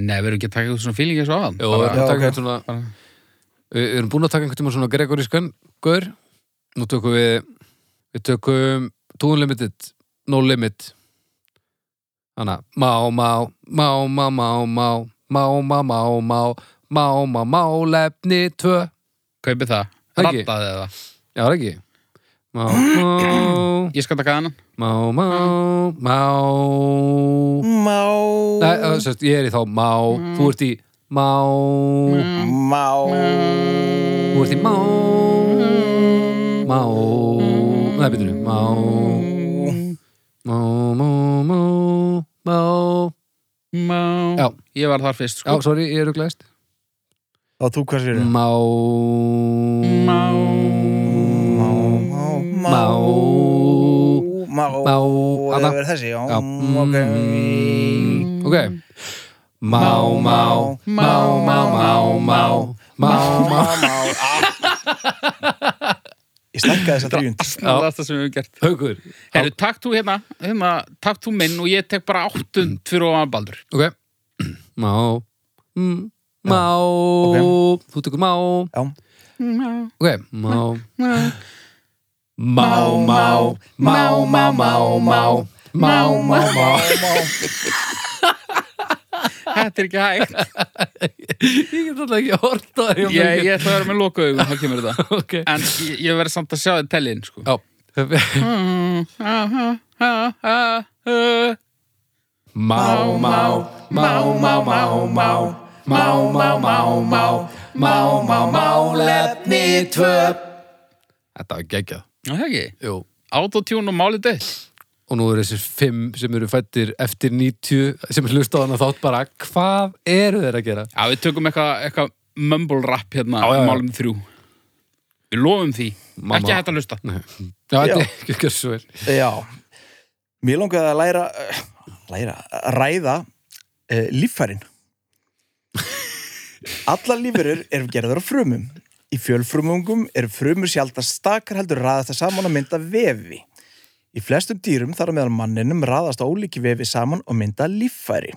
[SPEAKER 1] Nei, við erum ekki að taka út svona fílingi þessu aðan.
[SPEAKER 2] Jó, við
[SPEAKER 1] Bara-
[SPEAKER 2] erum,
[SPEAKER 3] Já,
[SPEAKER 2] að taka
[SPEAKER 3] ok.
[SPEAKER 2] einhvern svona, við við erum búin að taka einhvern tíma svona gregorískan gaur Nú tökum við Við tökum Tún Limited No Limit Þannig að Má, má, má, má, má, má Má, má, má, má Má, má, má, lefni, tvö
[SPEAKER 1] Kaupið það.
[SPEAKER 2] Ekki.
[SPEAKER 1] Rattaði það.
[SPEAKER 2] Já, það er ekki Má, má,
[SPEAKER 1] Ég skal taka annan.
[SPEAKER 2] má, má, má
[SPEAKER 3] Má
[SPEAKER 2] Nei, það er sem sagt, ég er í þá má Þú ert í má
[SPEAKER 3] Má
[SPEAKER 2] Þú ert í má Má Nei, betur við Má Má, má, má Má
[SPEAKER 1] Má, ég var þar fyrst,
[SPEAKER 2] Já,
[SPEAKER 1] sko.
[SPEAKER 2] sorry, ég eru glæst
[SPEAKER 3] Þá þú hvað sér
[SPEAKER 2] Má
[SPEAKER 1] Má.
[SPEAKER 3] Má, má, má
[SPEAKER 2] Má
[SPEAKER 3] Má,
[SPEAKER 2] Má
[SPEAKER 3] og
[SPEAKER 2] Anna
[SPEAKER 3] það verður þessi, já,
[SPEAKER 2] Já. Mm,
[SPEAKER 3] mm, ok
[SPEAKER 2] Ok Má, má, má, má, má, má Má, má
[SPEAKER 3] má ah. Ég stakkaði þess að drífund
[SPEAKER 1] Snarðast það sem við höfum gert.
[SPEAKER 2] Haukur
[SPEAKER 1] Herru, takk þú hérna, hérna, takk þú minn og ég tek bara áttund fyrir ofan baldur.
[SPEAKER 2] Ok *clears throat* Má mm, Má
[SPEAKER 3] ok.
[SPEAKER 2] Þú tekur má
[SPEAKER 3] Já,
[SPEAKER 2] Ok Má Má, má Má, má, má, má Má, má, má
[SPEAKER 1] Þetta er ekki
[SPEAKER 2] *laughs*
[SPEAKER 1] hægt.
[SPEAKER 2] Ég get alltaf ekki hort á
[SPEAKER 1] Ég, ég ætla að vera með lokaugum, þá kemur þetta.
[SPEAKER 2] Ok
[SPEAKER 1] En ég, ég verð samt að sjá þetta tellin, sko.
[SPEAKER 2] Já Má, má, má, má, má, má Má, má, má, má Má, má, málefni tvö Þetta var geggjað
[SPEAKER 1] Já, það ekki.
[SPEAKER 2] Jú
[SPEAKER 1] Autotune og málið deitt.
[SPEAKER 2] Og nú eru þessir fimm sem eru fættir eftir 90 sem er hlusta á hana þátt bara hvað eru þeir að gera?
[SPEAKER 1] Já, við tökum eitthvað eitthva mumble rap hérna
[SPEAKER 2] Já, já, já.
[SPEAKER 1] málum þrjú. Við lofum því.
[SPEAKER 2] Mamma.
[SPEAKER 1] Ekki hægt að hlusta.
[SPEAKER 2] Nei. Já, þetta
[SPEAKER 3] Já.
[SPEAKER 2] er ekki ekki svo vel
[SPEAKER 3] já Mér langaði að læra eh, læra, að ræða uh, líffærin Allar lífverur eru gerður á frumum Í fjölfrumungum eru frumur sjaldast stakar heldur raðast það saman að mynda vefi Í flestum dýrum þar á meðal manninum raðast ólíki vefi saman og mynda líffæri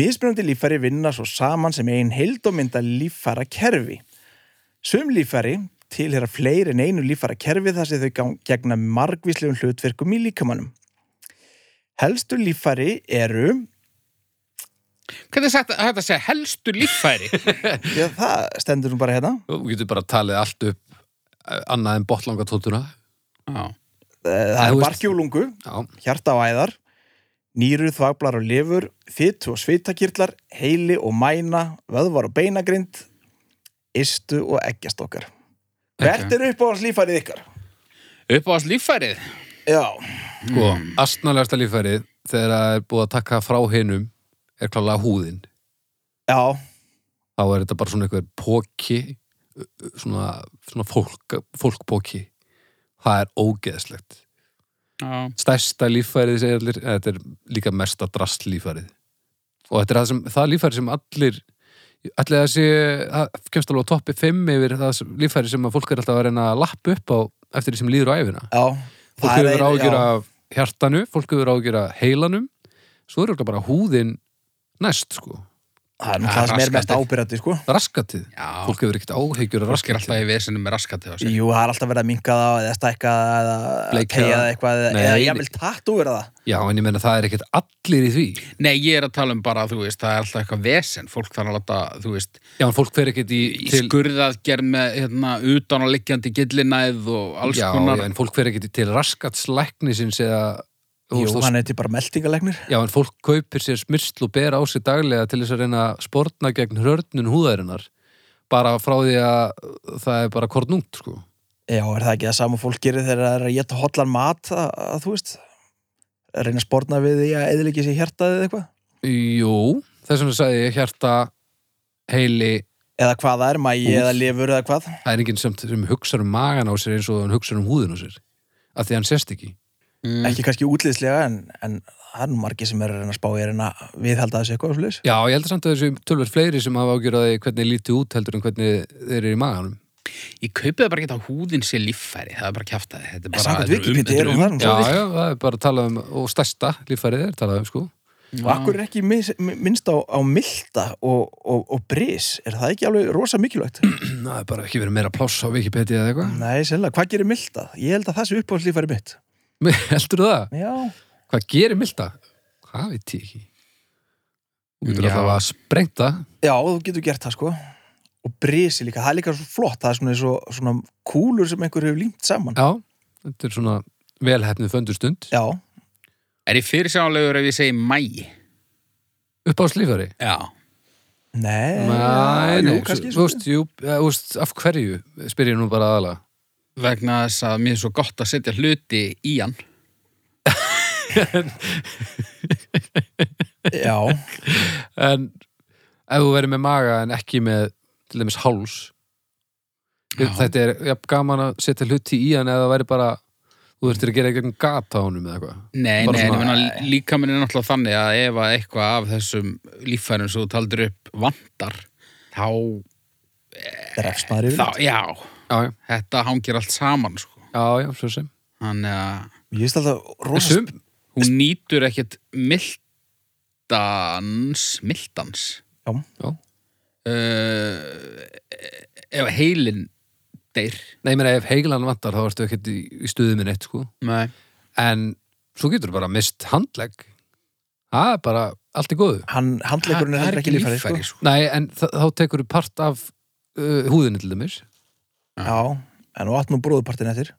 [SPEAKER 3] Mismunandi líffæri vinna svo saman sem ein heild og mynda líffæra kerfi Sum líffæri tilhera fleiri en einu líffæra kerfi þar sem þau gang- gegna margvíslegum hlutverkum í líkamanum. Helstu líffæri eru,
[SPEAKER 1] Hvernig er sagt- hægt að segja helstu líffæri?
[SPEAKER 2] *laughs*
[SPEAKER 3] já það stendur nú bara hérna,
[SPEAKER 2] Þú getur bara talið allt upp eh, annað en botlanga tóttuna
[SPEAKER 1] Já.
[SPEAKER 2] Æ,
[SPEAKER 3] Eh, það
[SPEAKER 2] þú
[SPEAKER 3] er
[SPEAKER 2] veist-
[SPEAKER 3] barkjúlungu,
[SPEAKER 2] Já,
[SPEAKER 3] hjarta og æðar, nýru, þvaglar og lifur, fytu og svitakirtlar, heili og mæna, vöðvar og beinagrind, istu og eggjastokkar. Hvert er uppáhans líffærið ykkar?
[SPEAKER 1] Upp á þess líffærið?
[SPEAKER 3] Já,
[SPEAKER 2] sko, astnalegasta líffærið þegar það er búið að taka frá hinum er klálega húðin
[SPEAKER 3] já,
[SPEAKER 2] þá er þetta bara svona einhver póki ö- ö- svona, svona fólk, fólkpóki það er ógeðslegt
[SPEAKER 1] Já.
[SPEAKER 2] stærsta líffærið segir allir eða þetta er líka mesta drast líffærið og þetta er það, sem, það líffærið sem allir allir það sé, það kemst alveg á toppi 5 yfir það sem- líffærið sem að fólk er alltaf að reyna að lappa upp á eftir því sem líður á æfina
[SPEAKER 3] já.
[SPEAKER 2] fólk
[SPEAKER 3] Það er
[SPEAKER 2] hefur
[SPEAKER 3] ein-
[SPEAKER 2] ágjur
[SPEAKER 3] já.
[SPEAKER 2] af hjartanu fólk hefur ágjur af heilanum svo er örugglega bara húðin næst sko,
[SPEAKER 3] Það er nú
[SPEAKER 1] Það
[SPEAKER 2] Ah,
[SPEAKER 3] það sem er
[SPEAKER 1] raskar
[SPEAKER 3] mest
[SPEAKER 1] þig.
[SPEAKER 3] ábyrjandi, sko.
[SPEAKER 2] raskatið
[SPEAKER 1] Já.
[SPEAKER 2] fólk hefur ekkert áhegjur af
[SPEAKER 1] Rask er
[SPEAKER 2] raskatið
[SPEAKER 1] alltaf í vesinu með raskatið á sig.
[SPEAKER 3] Jú, það er alltaf verið að minka það eða stækka það eða
[SPEAKER 2] Bleikja
[SPEAKER 3] tegja
[SPEAKER 2] það.
[SPEAKER 3] það eitthvað eða-
[SPEAKER 2] Nei,
[SPEAKER 3] eða
[SPEAKER 2] nei.
[SPEAKER 3] ég vil tattúra það
[SPEAKER 2] Já, en ég meina það er ekkert allir í því
[SPEAKER 1] Nei, ég er að tala um bara, þú veist, það er alltaf eitthvað vesen. Fólk þarf að láta, þú veist,
[SPEAKER 2] Já, en fólk fer ekkert í,
[SPEAKER 1] í
[SPEAKER 2] til
[SPEAKER 1] skurðaðgerð með, hérna, utan að liggjandi gillinæð og alls
[SPEAKER 2] já,
[SPEAKER 1] konar.
[SPEAKER 2] já, en fólk fer ekkert í- til raskatslæknisins eða þú
[SPEAKER 3] Jú,
[SPEAKER 2] veist,
[SPEAKER 3] hann er til bara meldingalegnir
[SPEAKER 2] Já, en fólk kaupir sér smyrsl og ber á sér daglega til þess að reyna að sportna gegn hörnun húðarinnar bara frá því að það er bara kornungt, sko
[SPEAKER 3] Já, er það ekki það sama og fólk gerir þegar það er að geta hotlan mat að, að þú veist að reyna að spórna við því að eðliki sér hjartað eða eitthvað
[SPEAKER 2] Jú, þess vegna sagði ég hjarta heili,
[SPEAKER 3] eða hvað það er, mægi
[SPEAKER 2] Úff.
[SPEAKER 3] eða lifur eða hvað
[SPEAKER 2] það er enginn sem, sem hugsar um magan á sér eins og hann hugsar um húðin á sér af því að hann sérst ekki
[SPEAKER 1] Mm.
[SPEAKER 3] ekki kannski útlýðslega en, en það er nú margir sem er að reyna að spá í að reyna að viðhalda þessu eitthvað slis.
[SPEAKER 2] Já, ég held samt að þessu tölver fleiri sem hafa ágjörði hvernig þeir lítið út heldur en hvernig þeir eru í maganum
[SPEAKER 1] Ég kaupið bara ekki að húðin sé líffæri. Það er bara kjaftaði. Þetta er
[SPEAKER 3] En
[SPEAKER 1] bara... þetta
[SPEAKER 3] samkvæmt
[SPEAKER 1] er um- þetta er um-
[SPEAKER 3] Wikipedia eru það nú
[SPEAKER 2] Já,
[SPEAKER 3] svo virk.
[SPEAKER 2] já, það er bara að tala um og stærsta líffærið er talað um sko *clears throat*
[SPEAKER 3] og akkur er ekki mis- minnst á, á milta og, og, og bris er það ekki alveg rosa mikilvægt?
[SPEAKER 2] Það er bara ekki verið meira pláss á Wikipedia eða eitthvað
[SPEAKER 3] Nei, sennilega, hvað gerir milta? Ég held að það sé uppáhaldslífari mitt
[SPEAKER 2] Mér *laughs* heldur það?
[SPEAKER 3] Já,
[SPEAKER 2] Hvað gerir Milda? Hvað veit ég ekki? Þú getur
[SPEAKER 1] Já.
[SPEAKER 2] alltaf að sprengta
[SPEAKER 3] já, þú getur gert það sko og brisi líka, það er líka svo flott það er svona, svo, svona kúlur sem einhver hefur límt saman
[SPEAKER 2] Já, þetta er svona velhæfnið föndustund
[SPEAKER 3] Já,
[SPEAKER 1] Er ég fyrirsjálegur ef ég segi mæ?
[SPEAKER 2] upp á slífari
[SPEAKER 1] Já.
[SPEAKER 3] nei,
[SPEAKER 2] Nei,
[SPEAKER 3] Eh, jú,
[SPEAKER 2] nei,
[SPEAKER 3] kannski
[SPEAKER 2] svo,
[SPEAKER 3] sko. svo,
[SPEAKER 2] úst, jú, eh, þú veist, af hverju spyr ég nú bara aðalega
[SPEAKER 1] Vegna þess að mér er svo gott að setja hluti í hann.
[SPEAKER 3] Já,
[SPEAKER 2] en ef þú verður með maga en ekki með til dæmis háls
[SPEAKER 1] Já.
[SPEAKER 2] þetta er ja, gaman að setja hluti í hann eða það væri bara þú þurftir að gera eitthvað gata á honum eða eitthvað
[SPEAKER 1] Nei,
[SPEAKER 2] Bara
[SPEAKER 1] nei, en ég
[SPEAKER 2] svona-
[SPEAKER 3] eh.
[SPEAKER 1] meina líkaminn er náttúrulega þannig að ef að eitthvað af þessum líffærum sem þú taldir upp vandar, þá,
[SPEAKER 3] það refst maður yfir
[SPEAKER 1] þá, já,
[SPEAKER 2] já, já,
[SPEAKER 1] þetta hangir allt saman, sko.
[SPEAKER 2] já, já, svo sem
[SPEAKER 1] Þannig að
[SPEAKER 3] ég veist alltaf rosa
[SPEAKER 2] Sum,
[SPEAKER 1] hún nýtur ekkert mildans, mildans,
[SPEAKER 3] já,
[SPEAKER 1] uh, ef heilin deyr.
[SPEAKER 2] nei, mér ef heilan vantar þá ertu ekkert í, í stuði minn eitt sko.
[SPEAKER 1] Nei.
[SPEAKER 2] en svo getur bara mist handlegg það er bara allt í góðu
[SPEAKER 3] hann handleikurinn er heldur ekki líffæri sko.
[SPEAKER 1] sko.
[SPEAKER 2] Nei, en þa- þá tekur þú part af uh, húðinni til dæmis.
[SPEAKER 3] já, en og átt nú bróðupartin eftir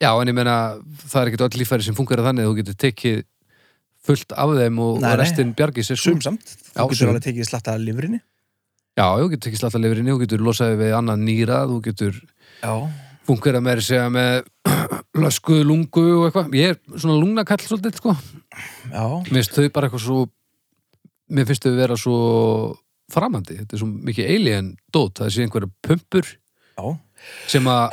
[SPEAKER 2] Já, en ég meina, það er ekkert öll líffæri sem fungerar þannig að þú getur tekið fullt af þeim og,
[SPEAKER 3] Nei,
[SPEAKER 2] og
[SPEAKER 3] nei.
[SPEAKER 2] restin bjargi sér. sko.
[SPEAKER 3] sumsamt,
[SPEAKER 2] Já,
[SPEAKER 3] þú
[SPEAKER 2] sum.
[SPEAKER 3] getur alveg tekið slatta af lifrinni
[SPEAKER 2] Já, þú getur tekið slatta lifurinni, þú getur losaði við annað nýra, þú getur
[SPEAKER 3] já,
[SPEAKER 2] fungerað meira að segja með *clears throat* löskuðu lungu og eitthvað. Ég er svona lungnakall svolítið, sko.
[SPEAKER 3] já,
[SPEAKER 2] Mér finnst þau bara eitthvað svo, mér finnst þau vera svo framandi. Þetta er svo mikið alien dót, það sé einhverja pumpur
[SPEAKER 3] já
[SPEAKER 2] sem að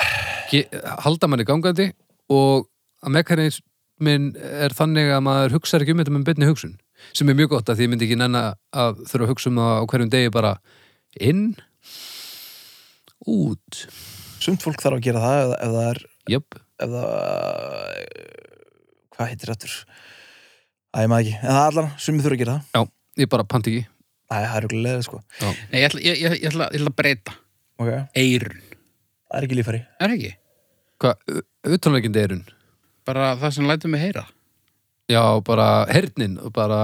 [SPEAKER 2] ge- halda manni gangandi og að mekanismin er þannig að maður hugsar ekki um þetta með beinni hugsun sem er mjög gott að því ég myndi ekki nenn að þurfa að hugsa um það á hverjum degi bara inn út
[SPEAKER 3] sumt fólk þarf að gera það ef, ef það er
[SPEAKER 2] jöp,
[SPEAKER 3] ef það hvað heitir þetta Æ, ég maður ekki, en það er allan, sumi þurfa að gera það
[SPEAKER 2] já, ég bara pant ekki
[SPEAKER 3] Æ, það er okkur leðið sko
[SPEAKER 1] Nei, ég ætla, ég, ég, ég ætla, ég ætla að breyta.
[SPEAKER 3] Ok. það
[SPEAKER 1] Eirun,
[SPEAKER 3] er ekki líffæri
[SPEAKER 1] er ekki?
[SPEAKER 2] hvað, utanleikindi erun
[SPEAKER 1] Bara það sem lætur mig heyra.
[SPEAKER 2] já, bara hernin og bara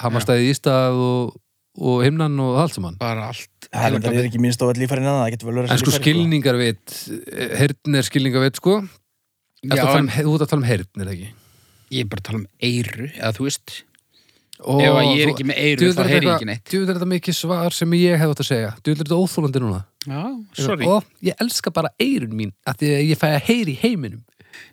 [SPEAKER 2] hamastæði í stað og, og himnan og allt saman
[SPEAKER 1] Bara allt.
[SPEAKER 3] það er, það
[SPEAKER 1] heilagafið.
[SPEAKER 3] er ekki minnst á all líffærin en það getur vel verið
[SPEAKER 2] en sko skilningarvit hernin er skilningarvit sko Ertu
[SPEAKER 1] Já,
[SPEAKER 2] að tala
[SPEAKER 1] en-
[SPEAKER 2] um, he- þú ert að tala um hernin, er það ekki?
[SPEAKER 1] Ég er bara að tala um eiru, eða þú veist
[SPEAKER 2] Ó,
[SPEAKER 1] Ef að ég er ekki með eyru, þá heyri ég ekki neitt.
[SPEAKER 2] Djúður er þetta mikið svar sem ég hef átt að segja Djúður er þetta óþólandi núna
[SPEAKER 1] Já,
[SPEAKER 2] Ég-
[SPEAKER 1] sorry
[SPEAKER 2] Ó, ég elska bara eirun mín af því að ég fæ að heyri í heiminum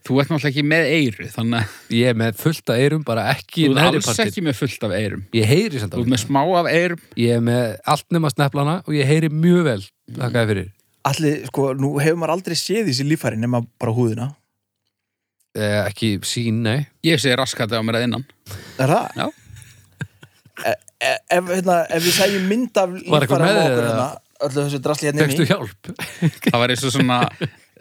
[SPEAKER 1] Þú ert náttúrulega ekki með eiru, þannig að
[SPEAKER 2] Ég er með fullta eirum, bara ekki
[SPEAKER 1] þú ert
[SPEAKER 2] neðri
[SPEAKER 1] alls
[SPEAKER 2] partinn.
[SPEAKER 1] ekki með fullt af eirum
[SPEAKER 2] Ég heyri samt
[SPEAKER 1] Þú
[SPEAKER 2] af
[SPEAKER 1] ert með Mm. smá af eirum
[SPEAKER 2] Ég er með allt nema sneplana og ég heyri mjög vel Þakkaði fyrir
[SPEAKER 3] allir, sko, nú hefur maður aldrei séð þessi líffæri nema bara húðina
[SPEAKER 2] eh, Ekki sín, nei
[SPEAKER 1] Ég sé raskat á mér að innan
[SPEAKER 3] er það?
[SPEAKER 1] Já.
[SPEAKER 3] E- e- ef, hérna, ef við segjum mynd af
[SPEAKER 2] Var eitthvað
[SPEAKER 3] líffæri
[SPEAKER 2] með
[SPEAKER 3] á
[SPEAKER 2] þér,
[SPEAKER 3] okkur
[SPEAKER 2] eða?
[SPEAKER 3] hérna, öllu þessu drasli hérna
[SPEAKER 2] Tekstu
[SPEAKER 3] inni
[SPEAKER 2] hjálp *laughs*
[SPEAKER 1] Það var eins og svona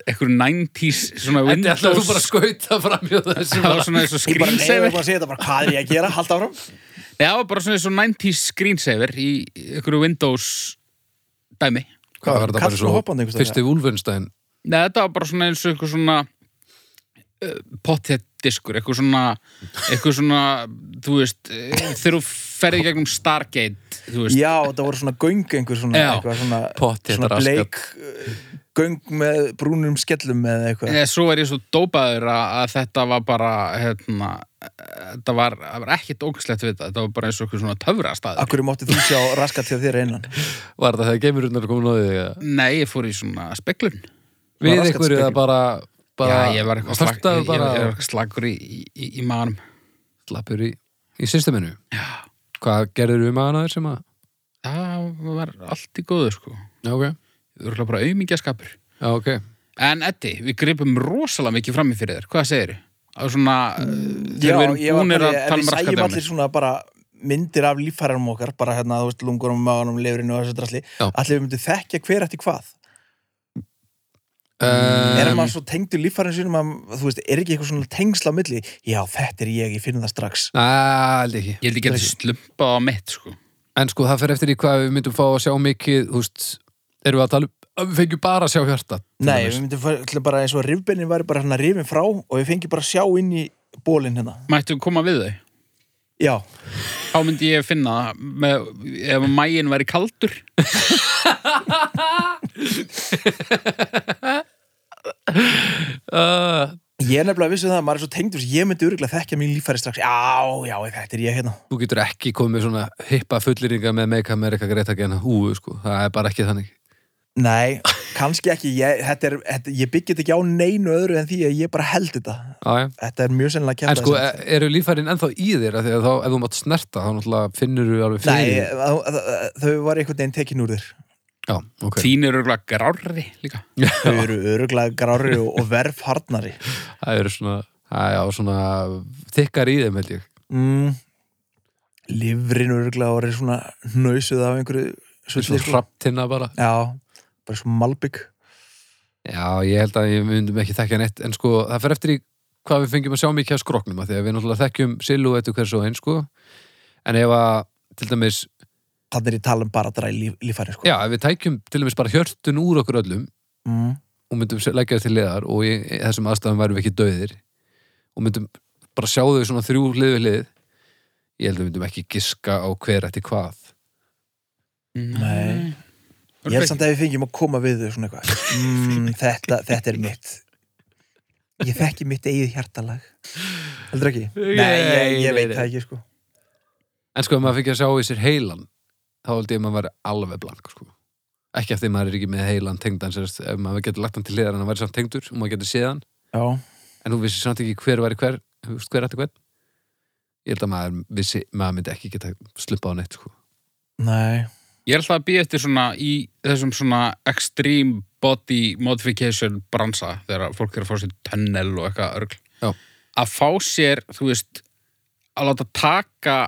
[SPEAKER 1] einhver 90s svona
[SPEAKER 2] Þetta ætlaði þú bara
[SPEAKER 1] Windows
[SPEAKER 2] að skauta fram hjá þessu
[SPEAKER 1] Það var svona eins og
[SPEAKER 3] ég bara neyður
[SPEAKER 1] screensaver
[SPEAKER 3] að segja þetta, bara hvað er ég að gera, halda áfram
[SPEAKER 1] Nei, það var bara svona eins og 90s screensaver í einhverju Windows dæmi
[SPEAKER 2] Hvað var þetta bara
[SPEAKER 3] Kall og hoppandi
[SPEAKER 2] svo
[SPEAKER 3] einhvers staðar?
[SPEAKER 2] Fyrsti Wolfenstein
[SPEAKER 1] Nei, þetta var bara svona eins og einhver svona uh, potthett diskur, eitthvað svona, eitthvað svona, þú veist, eh, þegar þú ferði gegnum Stargate, þú veist,
[SPEAKER 3] já, það voru svona göng einhver svona,
[SPEAKER 1] Já.
[SPEAKER 3] eitthvað svona,
[SPEAKER 2] Pottþétt
[SPEAKER 3] svona
[SPEAKER 2] raskat.
[SPEAKER 3] bleik uh, göng með brúnum skellum eða eitthvað
[SPEAKER 1] Nei, Eh, svo er ég svo dópaður að, að þetta var bara hérna, eh, þetta var, það var ekkit ógæslegt við þetta, þetta var bara eins og einhver svona töfrastæður
[SPEAKER 3] Akkur mátti þú sjá raskat til þér einan
[SPEAKER 2] Var þetta þegar geimurinn er komin á því eða?
[SPEAKER 1] Nei, ég fór í svona speklun
[SPEAKER 2] Við
[SPEAKER 3] raskatspegil.
[SPEAKER 2] einhverju eða bara, bara
[SPEAKER 1] Já, ég var eitthvað slag,
[SPEAKER 2] Föstaðu
[SPEAKER 1] ég, ég,
[SPEAKER 2] bara
[SPEAKER 1] ég var eitthvað slagur í, í, í, í manum
[SPEAKER 2] slappur í, í systeminu Já Hvað gerður um aðeins sem að
[SPEAKER 1] Það var allt í góðu sko
[SPEAKER 2] Já, ok
[SPEAKER 1] Þú eru bara auðmingjaskapur
[SPEAKER 2] Já, ok
[SPEAKER 1] En Eddi, við gripum rosalega mikið frammi fyrir þér Hvað segir þér? Að svona, uh, þegar við erum
[SPEAKER 3] Mm, ég var
[SPEAKER 1] búnir
[SPEAKER 3] bara-
[SPEAKER 1] að
[SPEAKER 3] ef
[SPEAKER 1] tala
[SPEAKER 3] við
[SPEAKER 1] um
[SPEAKER 3] sæjum allir
[SPEAKER 1] raskatæmi
[SPEAKER 3] svona bara myndir af líffæranum okkar bara hérna, þú veist, lungunum, maganum, lifrinu og þessu drasli
[SPEAKER 2] Já.
[SPEAKER 3] allir við myndum þekkja hver eftir hvað er
[SPEAKER 2] um,
[SPEAKER 3] maður svo tengdur líffærin sínum að, þú veist, er ekki eitthvað svona tengsla á milli já, þetta er ég, ég finn það strax
[SPEAKER 2] Allt ekki
[SPEAKER 1] Ég held ekki að þetta slumpað á mitt sko
[SPEAKER 2] En sko, það fer eftir í hvað við myndum fá að sjá mikið Þú veist, erum við að tala um að Við fengjum bara að sjá hjarta til
[SPEAKER 3] nei,
[SPEAKER 2] dæmis.
[SPEAKER 3] við myndum fara- ætla bara eins og að rifbennin væri bara hérna rifin frá og við fengi bara að sjá inn í bólinn hérna
[SPEAKER 1] Mættu koma við þau?
[SPEAKER 3] já,
[SPEAKER 1] Þá myndi ég finna það með, ef mægin væri kaldur
[SPEAKER 2] uh,
[SPEAKER 3] ég er nefnilega vissu það að maður er svo tengdur ég myndi örgulega þekkja mín líffæri strax já, já, þetta er ég hérna
[SPEAKER 2] Þú getur ekki komið með svona hippa fullýringar með Make America Great Again húu, sko Það er bara ekki þannig
[SPEAKER 3] nei, *laughs* kannski ekki, ég, þetta er, þetta, ég byggi þetta ekki á neinu öðru en því að ég bara held þetta
[SPEAKER 2] Já, já.
[SPEAKER 3] þetta er mjög sennilega
[SPEAKER 2] En
[SPEAKER 3] kjæft
[SPEAKER 2] sko, e- eru líffærin ennþá í þér? Af því að Þá, ef þú mátt snerta, þá náttúrulega finnur þú alveg
[SPEAKER 3] Nei, eh,
[SPEAKER 2] fyrir.
[SPEAKER 3] þau- þau- þau var einhvern veginn tekin *laughs* úr þér
[SPEAKER 2] Já, ok.
[SPEAKER 1] Þín eru örugglega grárri líka.
[SPEAKER 3] þau eru öruglega grári og, og verfharnari
[SPEAKER 2] Það eru svona, að, já, svona þykkar í þeim, held ég.
[SPEAKER 3] mm, livrin öruglega var svona nöysuð af einhverju
[SPEAKER 2] Svona
[SPEAKER 3] svitli, sko.
[SPEAKER 2] hraptina bara.
[SPEAKER 3] já, bara svo malbygg
[SPEAKER 2] Já, ég held að ég myndum ekki þekkja neitt en sko, það fer eftir í hvað við fengjum að sjá mikið af skroknum að því að við náttúrulega þekkjum silu eittu hvers og eins sko en ef að, til dæmis,
[SPEAKER 3] þannig er ég tala um bara að draga lífæri sko.
[SPEAKER 2] já, ef við tækjum til dæmis bara hjörtun úr okkur öllum
[SPEAKER 3] mm,
[SPEAKER 2] og myndum se- leggja þau til liðar og í í þessum aðstæðum værum við ekki dauðir og myndum bara sjá þau svona þrjú hlið við hlið ég held að við myndum ekki giska á hver eftir hvað
[SPEAKER 1] Mm.
[SPEAKER 3] Nei. ég held samt að við fengjum að koma við þau svona eitthvað mm, þetta, þetta er mitt ég þekki mitt eigið hjartalag heldur ekki?
[SPEAKER 2] Nei,
[SPEAKER 3] nei, ég, ég
[SPEAKER 2] nei,
[SPEAKER 3] veit
[SPEAKER 2] nei.
[SPEAKER 3] það ekki sko
[SPEAKER 2] en sko, ef maður fengi að sjá í sér heilan þá held ég að maður væri alveg blank sko. ekki eftir maður er ekki með heilan tengdan sér, ef maður getur lagt hann til hliðar en hann væri samt tengdur og maður getur séð hann
[SPEAKER 3] já,
[SPEAKER 2] en þú vissi samt ekki hver væri hver þú veist, hver eftir hvern ég held að maður, vissi, maður myndi ekki geta slumpað á neitt sko.
[SPEAKER 3] nei
[SPEAKER 1] Ég er alltaf að býja eftir svona í þessum svona extreme body modification bransa þegar fólk er að fá sér tunnel og eitthvað örgl.
[SPEAKER 2] Já.
[SPEAKER 1] Að fá sér, þú veist, að láta taka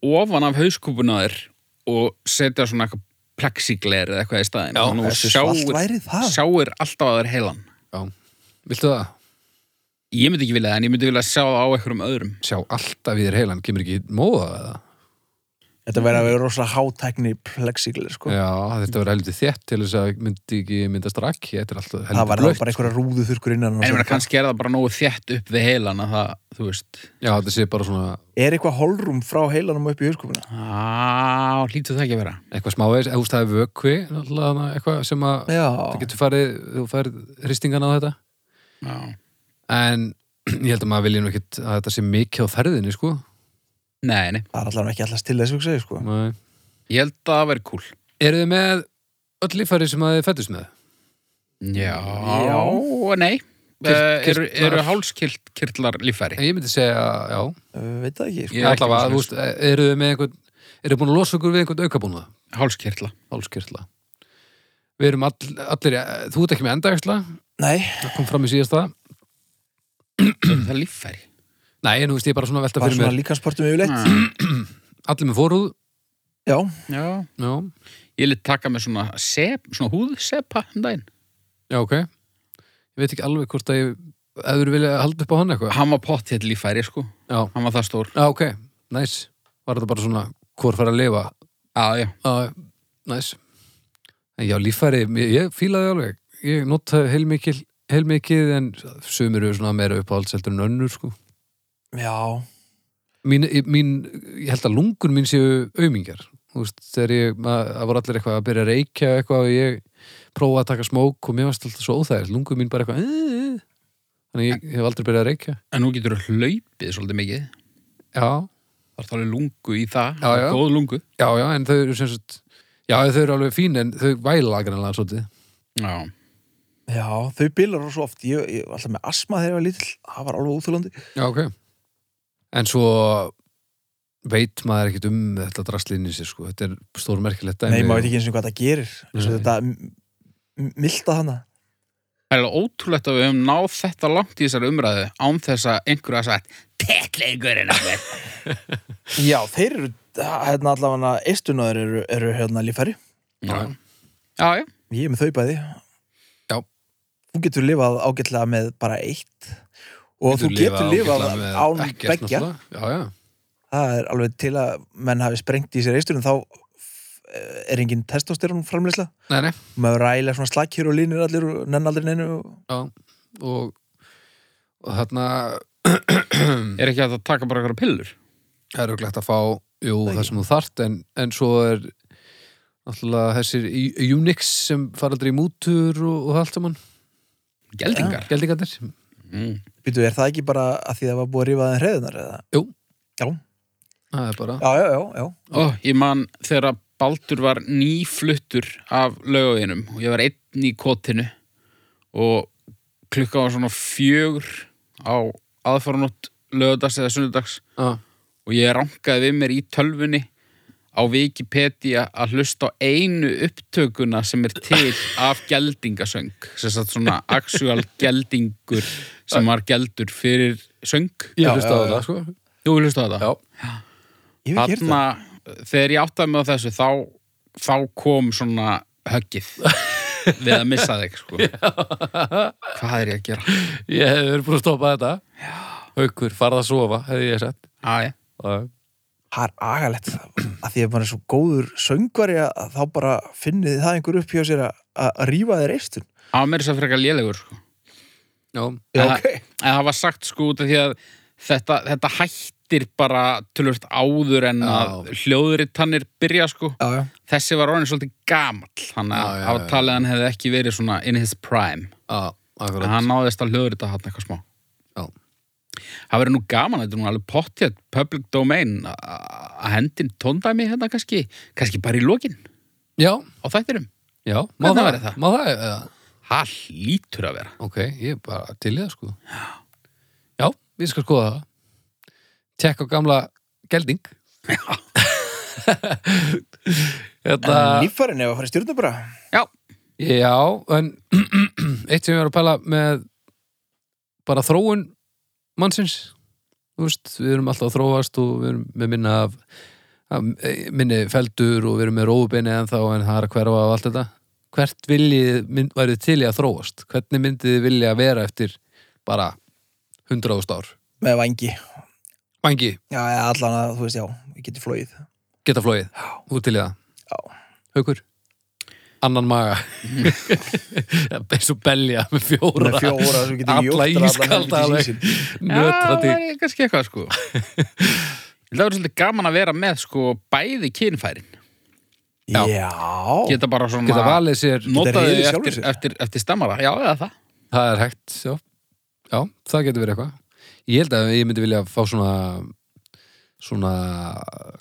[SPEAKER 1] ofan af hauskúpuna þér og setja svona eitthvað plexigler eða eitthvað í staðin.
[SPEAKER 2] Já,
[SPEAKER 1] Þannig
[SPEAKER 3] Hversu
[SPEAKER 1] að
[SPEAKER 3] svalt
[SPEAKER 1] þú sjáir,
[SPEAKER 3] væri það?
[SPEAKER 1] sjáir alltaf að það er heilan.
[SPEAKER 2] viltu það?
[SPEAKER 1] Ég myndi ekki vilja það, en ég myndi vilja sjá það á einhverjum öðrum.
[SPEAKER 2] sjá alltaf í þér heilan, kemur ekki móða eða?
[SPEAKER 3] Þetta verður að vera rosalega hátækni plexiglir sko.
[SPEAKER 2] já, þetta var heldur þétt til þess að myndi ekki myndast rakki, þetta er alltaf
[SPEAKER 3] það
[SPEAKER 2] heldur
[SPEAKER 3] var bara einhverja rúðu þurrkur innan
[SPEAKER 1] En ég
[SPEAKER 3] og
[SPEAKER 1] meina
[SPEAKER 3] svona.
[SPEAKER 1] kannski er það bara nógu þétt upp við heilan að það, þú veist,
[SPEAKER 2] já, þetta sé bara svona
[SPEAKER 3] Er eitthvað holrúm frá heilanum upp í hauskúpuna?
[SPEAKER 1] á, hlýtur það ekki að vera.
[SPEAKER 2] eitthvað smávegis, eða þú veist það er vökvi náttúrulega, þarna, eitthvað sem að
[SPEAKER 3] Já,
[SPEAKER 2] það getur farið, þú færð hristingana á þetta
[SPEAKER 1] Já.
[SPEAKER 2] en ég held að maður vilja nú ekkit að þetta sé mikið á ferðinni sko
[SPEAKER 1] Nei, nei,
[SPEAKER 3] það er allavega ekki allast til þess að segja sko.
[SPEAKER 2] Nei.
[SPEAKER 1] ég held að það veri cool.
[SPEAKER 2] eru þið með öll líffæri sem að þið fættist með
[SPEAKER 1] Já,
[SPEAKER 3] Já.
[SPEAKER 1] og nei
[SPEAKER 2] Kyrt-
[SPEAKER 1] Eh, eru,
[SPEAKER 2] kyrtlar.
[SPEAKER 1] eru hálskirtlar líffæri
[SPEAKER 2] en ég myndi segja, já,
[SPEAKER 3] Uh, Veit það ekki sko.
[SPEAKER 1] Ég er ekki
[SPEAKER 2] allavega
[SPEAKER 1] með
[SPEAKER 2] þú veist, eru þið með einhvern eru þið búin að losa okkur við einhvern aukabúna
[SPEAKER 1] hálskirtla
[SPEAKER 2] hálskirtla við erum all, allir, þú ert ekki með endæksla
[SPEAKER 3] Nei,
[SPEAKER 2] það kom fram í síðasta
[SPEAKER 1] það er líffæri
[SPEAKER 2] nei, en þú veist, ég er bara svona að velta
[SPEAKER 3] bara
[SPEAKER 2] fyrir
[SPEAKER 3] svona
[SPEAKER 2] mér
[SPEAKER 3] líkansportum yfirleitt
[SPEAKER 1] Ah.
[SPEAKER 2] allir með fórhúð,
[SPEAKER 3] Já,
[SPEAKER 1] Já.
[SPEAKER 2] já,
[SPEAKER 1] ég lit taka með svona, sep, svona húðsepa um daginn.
[SPEAKER 2] já, ok ég veit ekki alveg hvort að ég ef þú vilja halda upp á hann eitthvað
[SPEAKER 1] hann var pott hér líffæri sko
[SPEAKER 2] já,
[SPEAKER 1] hann var það stór
[SPEAKER 2] Já, ok, næs Var þetta bara svona, hvor fær að lifa
[SPEAKER 1] já, já.
[SPEAKER 2] Já, næs En já, líffæri, ég, ég fílaði alveg Ég nota heilmikið heilmikið en sumir eru svona meira uppáhaldseldur en önnur sko
[SPEAKER 3] já
[SPEAKER 2] mín, ég- mín, ég held að lungun mín séu aumingar Þú veist, þegar ég, maður, það voru allir eitthvað að byrja að reykja og eitthvað og ég prófa að taka smók og mér varst alltaf svo óþægilegt, lungun mín bara eitthvað "Eh, eh, eh." þannig ég, ég hef aldrei byrjað að reykja
[SPEAKER 1] en nú getur þú hlaupið svolítið mikið
[SPEAKER 2] Já,
[SPEAKER 1] það er alveg lungu í það
[SPEAKER 2] Já, já.
[SPEAKER 1] góð lungu
[SPEAKER 2] já, já, en þau eru sem sagt já, þau eru alveg fín en þau væla grannlega svolítið
[SPEAKER 1] já.
[SPEAKER 3] Já, þau bilar rosa oft Ég, ég var alltaf með asma þegar ég var lítill Það var alveg úþjólandi
[SPEAKER 2] Já, ok. En svo veit maður ekkert um þetta drastlinni sér, sko. Þetta er stórmerkilegt dæmi.
[SPEAKER 3] Nei, maður veit ekki eins og hvað það gerir eins og
[SPEAKER 2] Nei.
[SPEAKER 3] Þetta m- m- milda hana
[SPEAKER 1] það er alveg ótrúlegt að við höfum náð þetta langt í þessari umræðu án þess að einhverju að sagt tettleggurinn að vera
[SPEAKER 3] Já, þeir eru hérna allavega eistunaður eru, eru hérna lífæri
[SPEAKER 1] já, já, já.
[SPEAKER 3] Ég er með þau bæði
[SPEAKER 2] Já.
[SPEAKER 3] Þú getur lifað ágætlega með bara eitt og þú getur
[SPEAKER 2] lifað
[SPEAKER 3] lifað
[SPEAKER 2] ágætlega með
[SPEAKER 3] án
[SPEAKER 2] ekkert,
[SPEAKER 3] beggja
[SPEAKER 2] náttúrulega. Já, já.
[SPEAKER 3] Það er alveg til að menn hafi sprengt í sér eistunum þá f- er engin testosterun framleysla
[SPEAKER 2] Nei, nei.
[SPEAKER 3] maður ræðilega svona slakir og línir allir og nenn aldrei neinu og...
[SPEAKER 2] Og, og þarna
[SPEAKER 1] er ekki hægt að taka bara eitthvað pillur
[SPEAKER 2] það er auðvitað að fá jú,
[SPEAKER 3] Það
[SPEAKER 2] það
[SPEAKER 3] ekki.
[SPEAKER 2] sem þú þart, en, en svo er alltaf þessir í- Unix sem fara aldrei í mútur og, og allt saman.
[SPEAKER 1] geldingar
[SPEAKER 2] Geldingarnir.
[SPEAKER 1] mm.
[SPEAKER 3] býtu, er það ekki bara að því það var búið að rífa þeim hreðunar eða?
[SPEAKER 2] Jú.
[SPEAKER 3] Já,
[SPEAKER 2] Það er bara...
[SPEAKER 3] já, já, já, já.
[SPEAKER 1] Ó, ég man þegar að Baldur var nýfluttur af laugavinum og ég var einn í kotinu og klukka var svona fjögur á aðfaranótt lögadags eða sunnudags
[SPEAKER 2] Já.
[SPEAKER 1] og ég rankaði við mér í tölvunni á Wikipedia að hlusta á einu upptökuna sem er til af geldingasöng sem satt svona actual geldingur sem var geldur fyrir söng
[SPEAKER 2] Ég hlusta á þetta, sko.
[SPEAKER 1] Jú, ég hlusta á þetta
[SPEAKER 2] Já.
[SPEAKER 3] Ég hef ekki heyrt
[SPEAKER 1] Þarna, þegar ég áttaði mig á þessu þá, þá kom svona höggið við að missa þig
[SPEAKER 2] *laughs*
[SPEAKER 1] sko. hvað er ég að gera
[SPEAKER 2] Ég hef verið búin að stoppa þetta. Haukur, farð að sofa, hefði ég sett.
[SPEAKER 1] Æ,
[SPEAKER 2] Já.
[SPEAKER 3] Það er agalegt að því að maður er svo góður söngvari að- að þá bara finnið það einhver upp hjá sér að, að rífa þér eistun.
[SPEAKER 1] það var meira svo frekar lélegur sko.
[SPEAKER 2] Já.
[SPEAKER 3] Já,
[SPEAKER 1] En það-
[SPEAKER 3] ok.
[SPEAKER 1] en það var sagt sko út af því að þetta, þetta hættir bara tölvöld áður en að hljóðuritannir byrja sko
[SPEAKER 3] Já, já.
[SPEAKER 1] þessi var orðin svolítið gamall hann
[SPEAKER 2] Já,
[SPEAKER 1] að
[SPEAKER 2] já,
[SPEAKER 1] hafa
[SPEAKER 2] já.
[SPEAKER 1] talið að hann hefði ekki verið svona in his prime
[SPEAKER 2] Já, akkurat.
[SPEAKER 1] en hann náðist að hljóðurita hann eitthvað smá
[SPEAKER 2] Já.
[SPEAKER 1] Það verður nú gaman, þetta er nú alveg pottjætt public domain a- að hendin tóndæmi hérna kannski, kannski bara í lokin
[SPEAKER 2] Já,
[SPEAKER 1] á þættinum.
[SPEAKER 2] já. Má
[SPEAKER 1] Hvernig væri það?
[SPEAKER 2] Má það, eða?
[SPEAKER 1] Það lítur að vera.
[SPEAKER 2] Ok, ég er bara til í það, sko. Já. Já, við skal skoða það. Tjekk á gamla gelding. *laughs* Hérna- Já.
[SPEAKER 3] En
[SPEAKER 2] Þetta...
[SPEAKER 3] líffarin ef að fara í stjórnum bara.
[SPEAKER 1] Já,
[SPEAKER 2] Já, en *clears throat* eitt sem ég var að pæla með bara þróun mannsins þú veist, við erum alltaf að þróast og við erum með minna af, af eh, minni feldur og við erum með rófubeini en þá en það er að hverfa af allt þetta hvert viljið mynd, værið til í að þróast hvernig myndið þið vilja vera eftir bara 100.000 ár
[SPEAKER 3] Með vangi.
[SPEAKER 2] Vangi,
[SPEAKER 3] Já, já, allan að þú veist, já, ég geti flóið.
[SPEAKER 2] geta flóið, út til í það
[SPEAKER 3] Já.
[SPEAKER 2] Haukur, annan maga eins og belja með fjóra
[SPEAKER 3] Hún er fjóra sem getur
[SPEAKER 2] Alla ískalda alveg.
[SPEAKER 3] ísinn.
[SPEAKER 1] já það
[SPEAKER 2] nötrandi
[SPEAKER 1] er kannski eitthvað sko. Ég held að *laughs* Það verður svolítið gaman að vera með sko bæði kynfærin.
[SPEAKER 3] Já.
[SPEAKER 2] Já.
[SPEAKER 1] Geta bara svona...
[SPEAKER 2] geta valið sér
[SPEAKER 1] Notaði
[SPEAKER 3] réðið sjálfur
[SPEAKER 1] eftir,
[SPEAKER 3] sér.
[SPEAKER 1] eftir, eftir stammara, já eða það.
[SPEAKER 2] það er hægt, já, já það getur verið eitthvað ég held að ég myndi vilja fá svona svona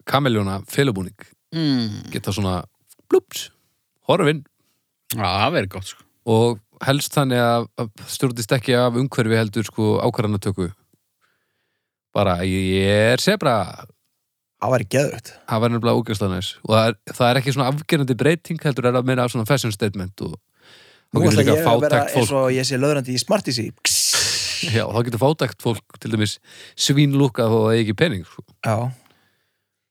[SPEAKER 2] kameljóna felubúning,
[SPEAKER 1] Mm.
[SPEAKER 2] geta svona blúps, horfinn
[SPEAKER 1] Já, það verður gott sko.
[SPEAKER 2] og helst þannig að að stjórnist ekki af umhverfi heldur sko ákvarðanatöku bara ég er sebra
[SPEAKER 3] Það væri geðvögt.
[SPEAKER 2] það var nefnilega ógæslega næs og það er, það er ekki svona afgerandi breyting heldur er að meira af svona fashion statement og þá
[SPEAKER 3] Nú
[SPEAKER 2] getur
[SPEAKER 3] ætla
[SPEAKER 2] líka
[SPEAKER 3] ég að vera
[SPEAKER 2] fátækt
[SPEAKER 3] eins
[SPEAKER 2] fólk
[SPEAKER 3] og ég sé löðrandi í smartísi.
[SPEAKER 2] já, þá getur fátækt fólk til dæmis svínlúkað þó að það eigi ekki pening sko.
[SPEAKER 3] Já.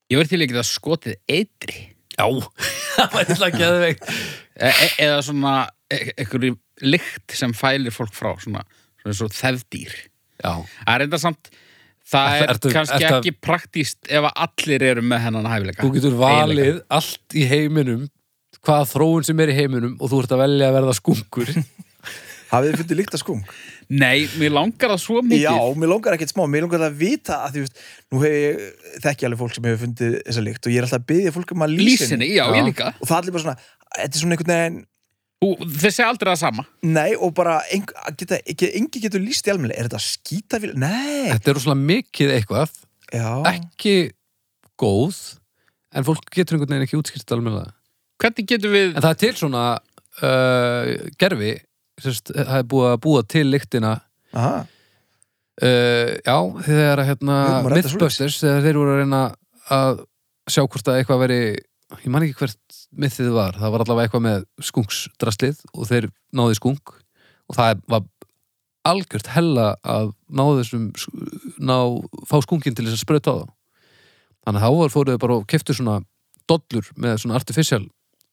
[SPEAKER 1] Ég verður til að geta skotið eitri.
[SPEAKER 2] Já, *laughs* það var eitthvað geðveikt
[SPEAKER 1] E e eða svona e einhverju lykt sem fælir fólk frá, svona, svona, svona þevdýr.
[SPEAKER 2] Já,
[SPEAKER 1] Það er enda samt Það er
[SPEAKER 2] Ertu-
[SPEAKER 1] kannski
[SPEAKER 2] ertu-
[SPEAKER 1] ekki praktíst ef að allir eru með hennan hæfileika
[SPEAKER 2] þú getur valið allt í heiminum hvaða þróun sem er í heiminum og þú ert að velja að verða skunkur
[SPEAKER 3] Hafið þið fundið líkt að skung?
[SPEAKER 1] Nei, mér langar það svo mikið
[SPEAKER 3] Já, mér langar ekkert smá, mér langar að vita að því, veist, nú hef ég þekki alveg fólk sem hefur fundið þessa líkt og ég er alltaf að byggja fólk um að
[SPEAKER 1] Lýsinni,
[SPEAKER 3] lýsinni
[SPEAKER 1] já,
[SPEAKER 2] Já.
[SPEAKER 1] ég líka
[SPEAKER 3] og það er allir bara svona, þetta er svona einhvern veginn
[SPEAKER 1] Ú, Þeir segja aldrei það sama
[SPEAKER 3] nei og bara, eng, að geta, ekki, engi getur lýst í almennilega, er þetta skítafíl? Nei,
[SPEAKER 2] Þetta er rosalega mikið eitthvað
[SPEAKER 3] já,
[SPEAKER 2] ekki góð en fólk getur einhvern veginn ekki útskýrt alveg
[SPEAKER 1] Hvernig getum við
[SPEAKER 2] En það er til svona uh, gerfi sérst, það er búið að búa til lyktina
[SPEAKER 3] aha,
[SPEAKER 2] uh, já, þegar að hérna
[SPEAKER 3] Við erum að redda
[SPEAKER 2] Mythbusters, þegar þeir voru að reyna að sjá hvort að eitthvað veri ég man ekki hvert mythið var það var allavega eitthvað með skunksdraslið og þeir náði skunk og það var algjört hella að ná þessum ná, fá skunkinn til þess að sprauta á þá þannig að þá var fóruðu bara og keftu svona dollur með svona artificial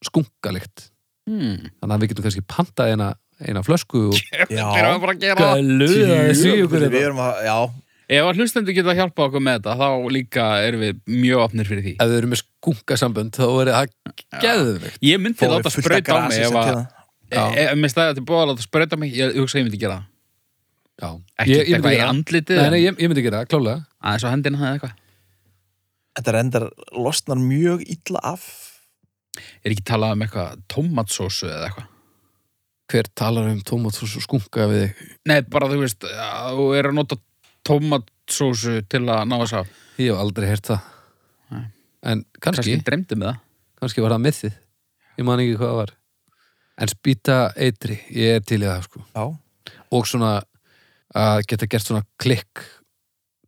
[SPEAKER 2] skunkalikt
[SPEAKER 1] hmm,
[SPEAKER 2] þannig að við getum kannski pantað eina, eina flösku og
[SPEAKER 1] Þeir eru
[SPEAKER 3] já
[SPEAKER 1] bara að gera það
[SPEAKER 2] gæluð að þessu ykkur hérna.
[SPEAKER 3] við
[SPEAKER 2] þetta
[SPEAKER 3] erum að, já,
[SPEAKER 1] Ef að hlustendur geta að hjálpa okkur með þetta þá líka erum við mjög opnir fyrir því
[SPEAKER 2] ef þau eru með skunkasambönd þá verður það geðveikt
[SPEAKER 1] Ég myndi
[SPEAKER 3] fórum
[SPEAKER 1] láta
[SPEAKER 3] við fullt að
[SPEAKER 1] sprauta á mig
[SPEAKER 3] grasi
[SPEAKER 1] ef
[SPEAKER 3] sem
[SPEAKER 1] að
[SPEAKER 3] til
[SPEAKER 2] Já.
[SPEAKER 1] e- ef mér stæði til bóða að láta sprauta á mig ég ég hugsa að ég myndi gera það
[SPEAKER 2] Já,
[SPEAKER 1] Ekki
[SPEAKER 2] ég, ég myndi
[SPEAKER 1] eitthvað í
[SPEAKER 2] gera það.
[SPEAKER 1] andlitið
[SPEAKER 2] Nei, nei, ég, ég myndi gera það, klálega
[SPEAKER 1] aðeins á hendina eða eitthvað
[SPEAKER 3] þetta rendar losnar mjög illa af
[SPEAKER 1] Er ekki talað um eitthvað tomatsósu eða eitthvað
[SPEAKER 2] Hver talar um tómatsós og skunka við þig?
[SPEAKER 1] Nei, bara þú veist, að þú er að nota tomatsósu til að ná þess að
[SPEAKER 2] Ég hef aldrei heyrt það
[SPEAKER 1] Nei.
[SPEAKER 2] En kannski,
[SPEAKER 1] kannski dreymdi með það.
[SPEAKER 2] kannski var það með þið ég man ekki hvað það var en spýta eitri, ég er til í það sko.
[SPEAKER 3] já,
[SPEAKER 2] og svona að geta gert svona klikk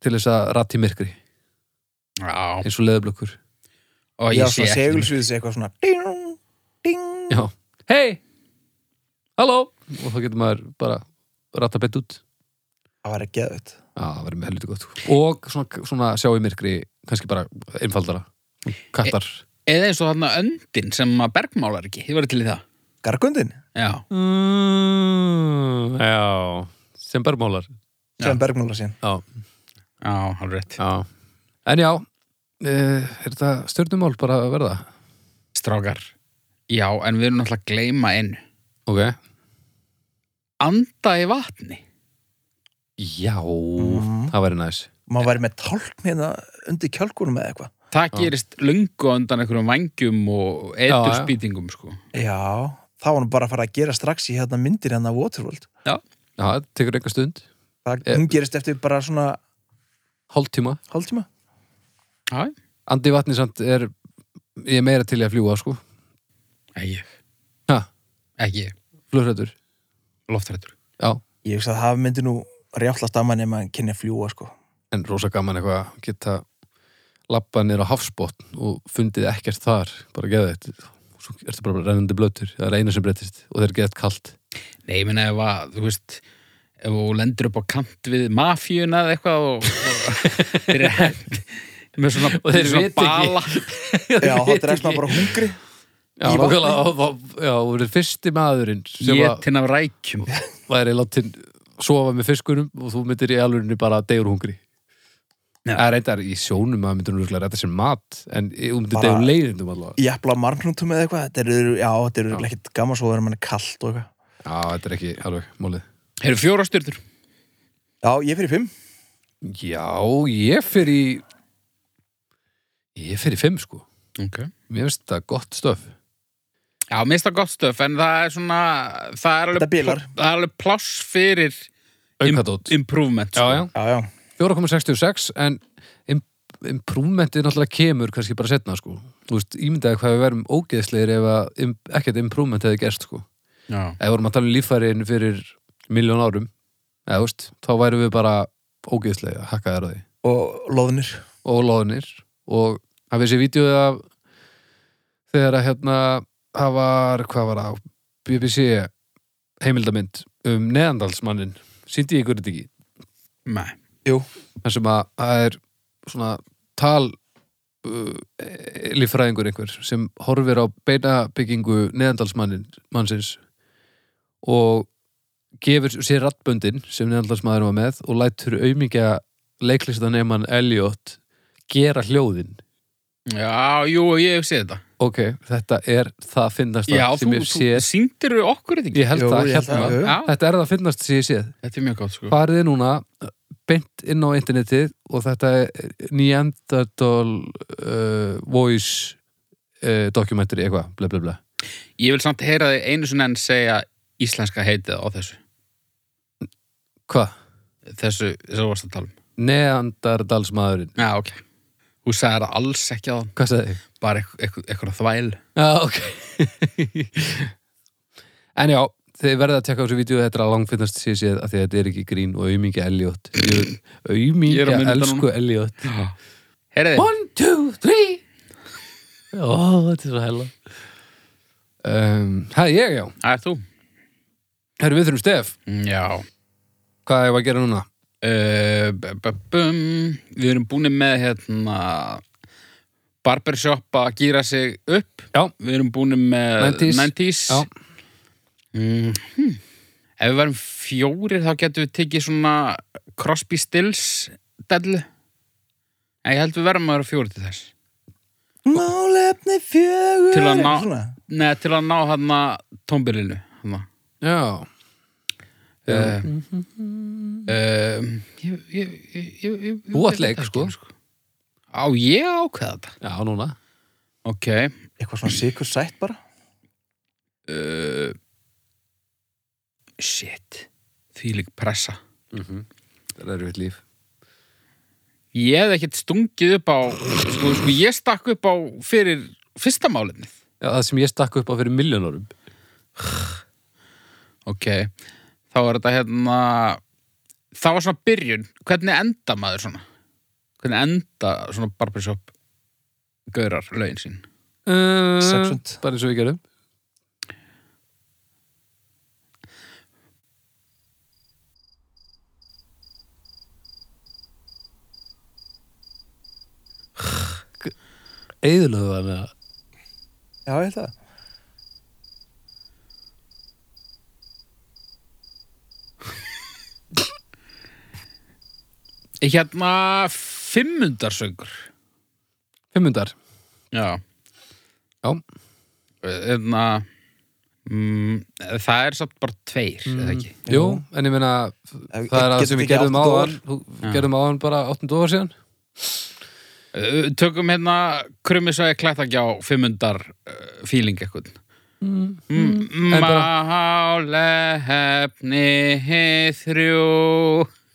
[SPEAKER 2] til þess að ratti myrkri
[SPEAKER 1] Já,
[SPEAKER 2] eins og leðublökkur
[SPEAKER 1] og
[SPEAKER 3] já
[SPEAKER 1] ég sé
[SPEAKER 3] svona
[SPEAKER 1] ekki
[SPEAKER 3] segulsviðs eitthvað svona ding, ding
[SPEAKER 2] já, hei, halló og þá getur maður bara ratta bett út
[SPEAKER 3] það var ekki geðvægt
[SPEAKER 2] já, það verður með helviti gott sko. og svona, svona sjá í myrkri kannski bara einfaldara kattar
[SPEAKER 1] Eða eins og þarna öndin sem að bergmálar ekki Ég var til í það
[SPEAKER 3] Gargundin,
[SPEAKER 1] Já,
[SPEAKER 2] mm, já, sem bara málar
[SPEAKER 1] Já.
[SPEAKER 3] sem Bergmála sín
[SPEAKER 2] já,
[SPEAKER 1] já, hann rétt
[SPEAKER 2] já en já, eh, er þetta stjörnumál bara að verða?
[SPEAKER 1] Strákar Já, en við erum náttúrulega að gleyma einu
[SPEAKER 2] ok,
[SPEAKER 1] Anda í vatni
[SPEAKER 2] já
[SPEAKER 3] Mhm.
[SPEAKER 2] það væri næs
[SPEAKER 3] maður væri með tálk hérna undir kjálkunum eða eitthvað
[SPEAKER 1] Það gerist löngu á undan einhverjum vangjum og eiturspýtingum sko.
[SPEAKER 3] já, þá var hann bara að fara að gera strax í hérna myndir hérna Waterworld
[SPEAKER 2] já, það tekur einhver stund,
[SPEAKER 3] það,
[SPEAKER 2] Eh,
[SPEAKER 3] hún gerist eftir bara svona
[SPEAKER 2] hálftíma
[SPEAKER 3] hálftíma
[SPEAKER 1] Já,
[SPEAKER 2] andi í vatni samt er ég er meira til í að fljúa sko
[SPEAKER 1] ekki
[SPEAKER 2] ha,
[SPEAKER 1] Ekki,
[SPEAKER 2] flugrættur,
[SPEAKER 1] loftrættur
[SPEAKER 2] já
[SPEAKER 3] ég hugsa að það myndi nú rjállast að mann ef maður kynni að fljúa sko
[SPEAKER 2] en rosa gaman eitthvað að geta lappa nýra á hafsbotn og fundið ekkert þar, bara geða þetta og svo ertu bara rennandi blötur, það er eina sem breytist og það er geðt kalt
[SPEAKER 1] Nei, ég meina ef að, þú veist ef þú lendur upp á kant við mafíuna eða eitthvað og, og þeir eru hend með svona,
[SPEAKER 2] Og þeir
[SPEAKER 1] svona
[SPEAKER 2] vita ekki.
[SPEAKER 3] já, þá drefst maður bara hungri
[SPEAKER 2] Já,
[SPEAKER 3] Í vatni.
[SPEAKER 2] nákvæmlega, og þá- já, og verið fyrsti maðurinn sem
[SPEAKER 1] ég
[SPEAKER 2] að
[SPEAKER 1] til af rækjum
[SPEAKER 2] væri látin sofa með fiskunum og þú myndir í alurinni bara degur hungri
[SPEAKER 1] Já.
[SPEAKER 2] Það er reyndar í sjónum að myndir hún rétta sér mat en þú myndir
[SPEAKER 3] Bara-
[SPEAKER 2] degur leiðindum allavega
[SPEAKER 3] í epla margnútum eða eitthvað þetta eru, já, þetta eru
[SPEAKER 2] Já.
[SPEAKER 3] ekkert gaman svo þegar mann er kalt og eitthvað
[SPEAKER 2] Já, þetta er ekki alveg málið
[SPEAKER 1] Þeir eru fjóra styrtur
[SPEAKER 3] já, ég fyrir fimm
[SPEAKER 2] Já, ég fer í ég fer í fimm sko
[SPEAKER 1] okay.
[SPEAKER 2] Mér finnst þetta gott stöf
[SPEAKER 1] Já, mér finnst það gott stöf en það er svona það er
[SPEAKER 3] Þetta
[SPEAKER 1] alveg,
[SPEAKER 3] bilar.
[SPEAKER 1] pl- það er alveg pláss fyrir
[SPEAKER 2] Aukadótt
[SPEAKER 1] improvement sko.
[SPEAKER 2] Já, já,
[SPEAKER 3] já, já,
[SPEAKER 2] 4,66 en im- improvementið náttúrulega kemur kannski bara setna sko Þú veist, ímyndaði hvað við verðum ógeðslegir ef að im- ekkert improvementið hefði gerst sko
[SPEAKER 1] já.
[SPEAKER 2] ef við vorum að tala um líffærin fyrir miljón árum eða, þú veist, þá værum við bara ógeðslega hakkaðar á því
[SPEAKER 3] og loðnir
[SPEAKER 2] og loðnir og hafið þessi vídeo af þegar að hérna það var, hvað var það BBC heimildamind um neðandalsmannin síndi ég ykkur þetta ekki
[SPEAKER 1] Nei,
[SPEAKER 3] jú,
[SPEAKER 2] þar sem að það er svona tal uh, líffræðingur einhver sem horfir á beinabyggingu neðandalsmannin mannsins og gefur sér rattböndin sem neðandalsmaður var með og lætur aumingja leiklistanemann Elliot gera hljóðin
[SPEAKER 1] já, jú, ég hef séð þetta
[SPEAKER 2] ok, þetta er það finnast
[SPEAKER 1] Já, þú,
[SPEAKER 2] sem ég
[SPEAKER 1] þú
[SPEAKER 2] séð
[SPEAKER 1] sýndir okkur þetta ekki
[SPEAKER 2] ég held
[SPEAKER 3] Jú,
[SPEAKER 2] það
[SPEAKER 3] ég held
[SPEAKER 2] hérna
[SPEAKER 3] það, jú.
[SPEAKER 1] Já,
[SPEAKER 2] þetta er það finnast sem ég séð
[SPEAKER 1] þetta er mjög gott sko
[SPEAKER 2] farið núna beint inn á internetið og þetta er Neanderthal uh, voice uh, dokumentari eitthvað, bla bla bla
[SPEAKER 1] Ég vil samt heyra þig einu sinni enn segja íslenska heitið á þessu
[SPEAKER 2] hvað?
[SPEAKER 1] þessu, þessu varst að tala um
[SPEAKER 2] Neandertalsmaðurinn,
[SPEAKER 1] Já, ok. Þú sagði það alls ekki að hann,
[SPEAKER 2] hvað sagði ég?
[SPEAKER 1] bara eitth- eitthvað eitthvað þvæl.
[SPEAKER 2] Já, ok *laughs* en já, þið verða að tekka á þessu vídeo þetta er að langfinnast sér séð af því að þetta er ekki grín og auðmingja Elliot Ég-
[SPEAKER 1] Ég er að
[SPEAKER 2] auðmingja
[SPEAKER 1] muna þetta
[SPEAKER 2] elsku Elliot
[SPEAKER 1] Herriði,
[SPEAKER 2] one, two, three ó, þetta er svo hella um, það er ég, já
[SPEAKER 1] það er þú.
[SPEAKER 2] herru, við þurfum stef
[SPEAKER 1] Mm, Já.
[SPEAKER 2] Hvað hefur að gera núna?
[SPEAKER 1] Uh, b- b- bum. við erum búin með hérna barbershop að gýra sig upp.
[SPEAKER 2] Já.
[SPEAKER 1] Við erum búin með
[SPEAKER 2] 90s.
[SPEAKER 1] 90s.
[SPEAKER 2] Já.
[SPEAKER 1] Mm, hmm. Ef við verðum fjórir þá getum við tekið svona Crosby Stills dellu. En ég held við verðum að vera fjórir til þess.
[SPEAKER 3] málefni fjögur
[SPEAKER 1] Til að ná-
[SPEAKER 3] Svona.
[SPEAKER 1] Nei, til að ná hérna tómbilinu. Hérna.
[SPEAKER 2] Já,
[SPEAKER 1] uh, uh, ég, ég, ég, ég, ég
[SPEAKER 2] Þú átt
[SPEAKER 1] veit
[SPEAKER 2] leik,
[SPEAKER 1] ekki,
[SPEAKER 2] sko.
[SPEAKER 1] Á, ég ákveða þetta
[SPEAKER 2] já, núna
[SPEAKER 1] Ok
[SPEAKER 3] eitthvað svona sikur sætt bara
[SPEAKER 1] uh, Shit Þvílík pressa
[SPEAKER 2] Mhm. Það er við líf
[SPEAKER 1] Ég hefði ekkert stungið upp á sko, sko, Ég stakk upp á fyrir fyrsta málefnið.
[SPEAKER 2] Já, það sem ég stakk upp á fyrir miljónarum.
[SPEAKER 1] Ok, þá var þetta hérna, það var svona byrjun, hvernig enda maður svona? Hvernig enda svona barbershop gaurar lögin sín?
[SPEAKER 2] Uh,
[SPEAKER 3] 600.
[SPEAKER 2] Bara eins og við gerum. Eðlöðu hann eða?
[SPEAKER 3] Já, ég held að
[SPEAKER 1] Hérna, fimmundarsöngur.
[SPEAKER 2] Fimmundar.
[SPEAKER 1] Já.
[SPEAKER 2] Já.
[SPEAKER 1] Hérna, mm, það er samt bara tveir, eða ekki?
[SPEAKER 2] Jú, en ég meina það er að
[SPEAKER 3] Getur
[SPEAKER 2] sem við
[SPEAKER 3] tekið
[SPEAKER 2] gerðum
[SPEAKER 3] átta
[SPEAKER 2] áðan þú-
[SPEAKER 1] Já.
[SPEAKER 2] gerðum áðan bara 8 dólar síðan
[SPEAKER 1] Uh, Tökum hérna, krummisæði klættagjá fimmundar uh, fíling eitthvað. Mm.
[SPEAKER 2] en bara-
[SPEAKER 1] Málefni þrjú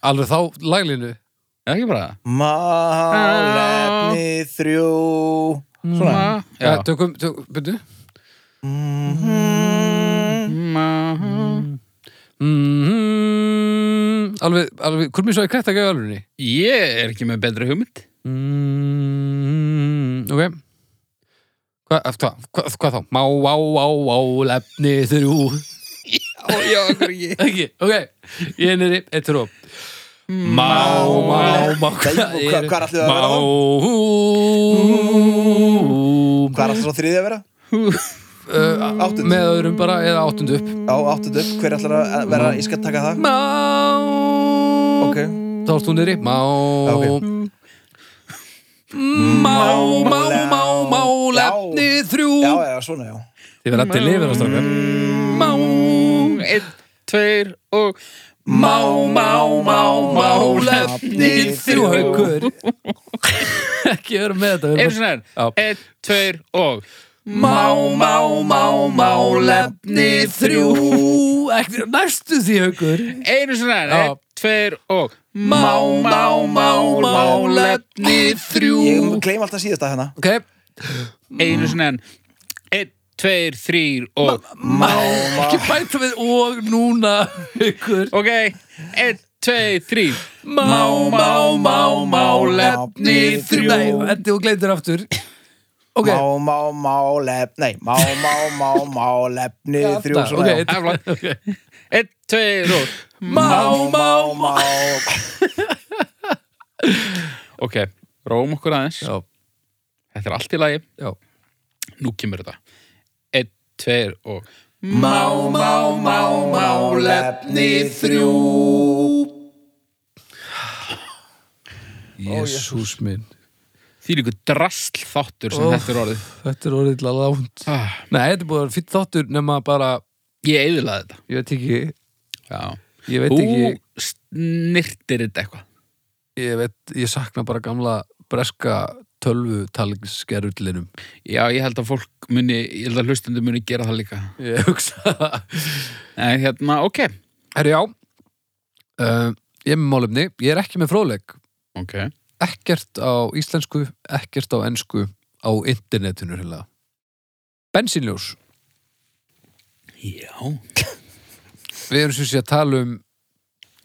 [SPEAKER 2] alveg þá laglínu
[SPEAKER 1] Já, ekki bara það?
[SPEAKER 3] Málefni þrjú
[SPEAKER 1] Mm.
[SPEAKER 3] Svona
[SPEAKER 1] Já.
[SPEAKER 2] ja, Eh, tökum, tökum, byrju
[SPEAKER 1] Ma-
[SPEAKER 2] mm, Mhm. alveg, alveg, hvort mér svo er kretta ekki alveg
[SPEAKER 1] Ég er ekki með betri hugmynd
[SPEAKER 2] mm, ok Hva, hva, hva, hvað þá? Má, á, á, á, lefni þrjú
[SPEAKER 1] Ó, já, okkur ekki
[SPEAKER 2] ekki, ok, ég er niðri, eitt þrjú Má, má, má
[SPEAKER 3] Hvað-
[SPEAKER 2] er-
[SPEAKER 3] hvað er allir að vera þá?
[SPEAKER 2] Má
[SPEAKER 3] Hvað er alltaf svo þriðið að vera? Mm.
[SPEAKER 2] uh, með öðrum bara eða áttundu upp
[SPEAKER 3] Já, áttundu upp, hver ætlar að vera, ég skal taka það
[SPEAKER 2] Má
[SPEAKER 3] Ok,
[SPEAKER 2] Þá erst hún niðri Má
[SPEAKER 3] ok.
[SPEAKER 2] Má, má, má, má
[SPEAKER 3] Já.
[SPEAKER 2] Lefni þrjú
[SPEAKER 3] já, já, svona, já
[SPEAKER 2] Þið verða til lifir á strákar Má
[SPEAKER 1] Einn, tveir og
[SPEAKER 2] Má, má, má, má Lefni þrjú Haukur *laughs* Ekki vera með þetta við
[SPEAKER 1] Einu
[SPEAKER 2] erum
[SPEAKER 1] sinni enn
[SPEAKER 2] Já.
[SPEAKER 1] Einn, tveir og
[SPEAKER 2] Má, má, má, má Lefni þrjú Ekki, Næstu því Haukur
[SPEAKER 1] Einu sinni enn
[SPEAKER 2] Já.
[SPEAKER 1] Einn, tveir og
[SPEAKER 2] Má, má, má, má Lefni
[SPEAKER 3] Ég
[SPEAKER 2] þrjú
[SPEAKER 3] gleym alltaf síðast að hérna
[SPEAKER 2] Ok
[SPEAKER 1] Einu sinni enn Einn, tveir, þrýr og
[SPEAKER 2] Má, ekki bæta við og núna ykkur
[SPEAKER 1] Ok, einn, tveir, þrýr
[SPEAKER 2] Má, má, má, má Lefni þrjú Nei, endi og gleyndir aftur Ok,
[SPEAKER 3] Má, má, má, lefn, nei, má, má, má, má, lefni
[SPEAKER 2] Já,
[SPEAKER 3] þrjú
[SPEAKER 2] það,
[SPEAKER 3] svona,
[SPEAKER 2] ok.
[SPEAKER 3] já.
[SPEAKER 1] Efla
[SPEAKER 2] okay.
[SPEAKER 1] Einn, tveir og
[SPEAKER 2] Má, má, má
[SPEAKER 3] má
[SPEAKER 1] Ok, róm okkur aðeins
[SPEAKER 2] Já,
[SPEAKER 1] Þetta er allt í lagi
[SPEAKER 2] já
[SPEAKER 1] Nú kemur þetta Einn, tveir og
[SPEAKER 2] Má, má, má, má Lefni þrjú Jésús minn
[SPEAKER 1] Því líku drasl þáttur sem
[SPEAKER 2] Ó.
[SPEAKER 1] þetta er orðið
[SPEAKER 2] Þetta er orðið lánt
[SPEAKER 1] ah,
[SPEAKER 2] Nei, þetta er búið að vera fýtt þáttur nema bara,
[SPEAKER 1] Ég eiðlaði þetta
[SPEAKER 2] ég veit ekki
[SPEAKER 1] Já.
[SPEAKER 2] Ég veit
[SPEAKER 1] Þú
[SPEAKER 2] ekki,
[SPEAKER 1] snirtir þetta eitthvað
[SPEAKER 2] ég veit, ég sakna bara gamla breska tölvutalskerullinum
[SPEAKER 1] Já, ég held að fólk muni, ég held að hlustundu muni gera það líka
[SPEAKER 2] Ég hugsa *laughs* það
[SPEAKER 1] En hérna, ok
[SPEAKER 2] Herri, já uh, Ég er með málefni, ég er ekki með fróðleik
[SPEAKER 1] Ok,
[SPEAKER 2] Ekkert á íslensku, ekkert á ensku Á internetinu hérna Bensínljós
[SPEAKER 1] já
[SPEAKER 2] Við erum sem sé að tala um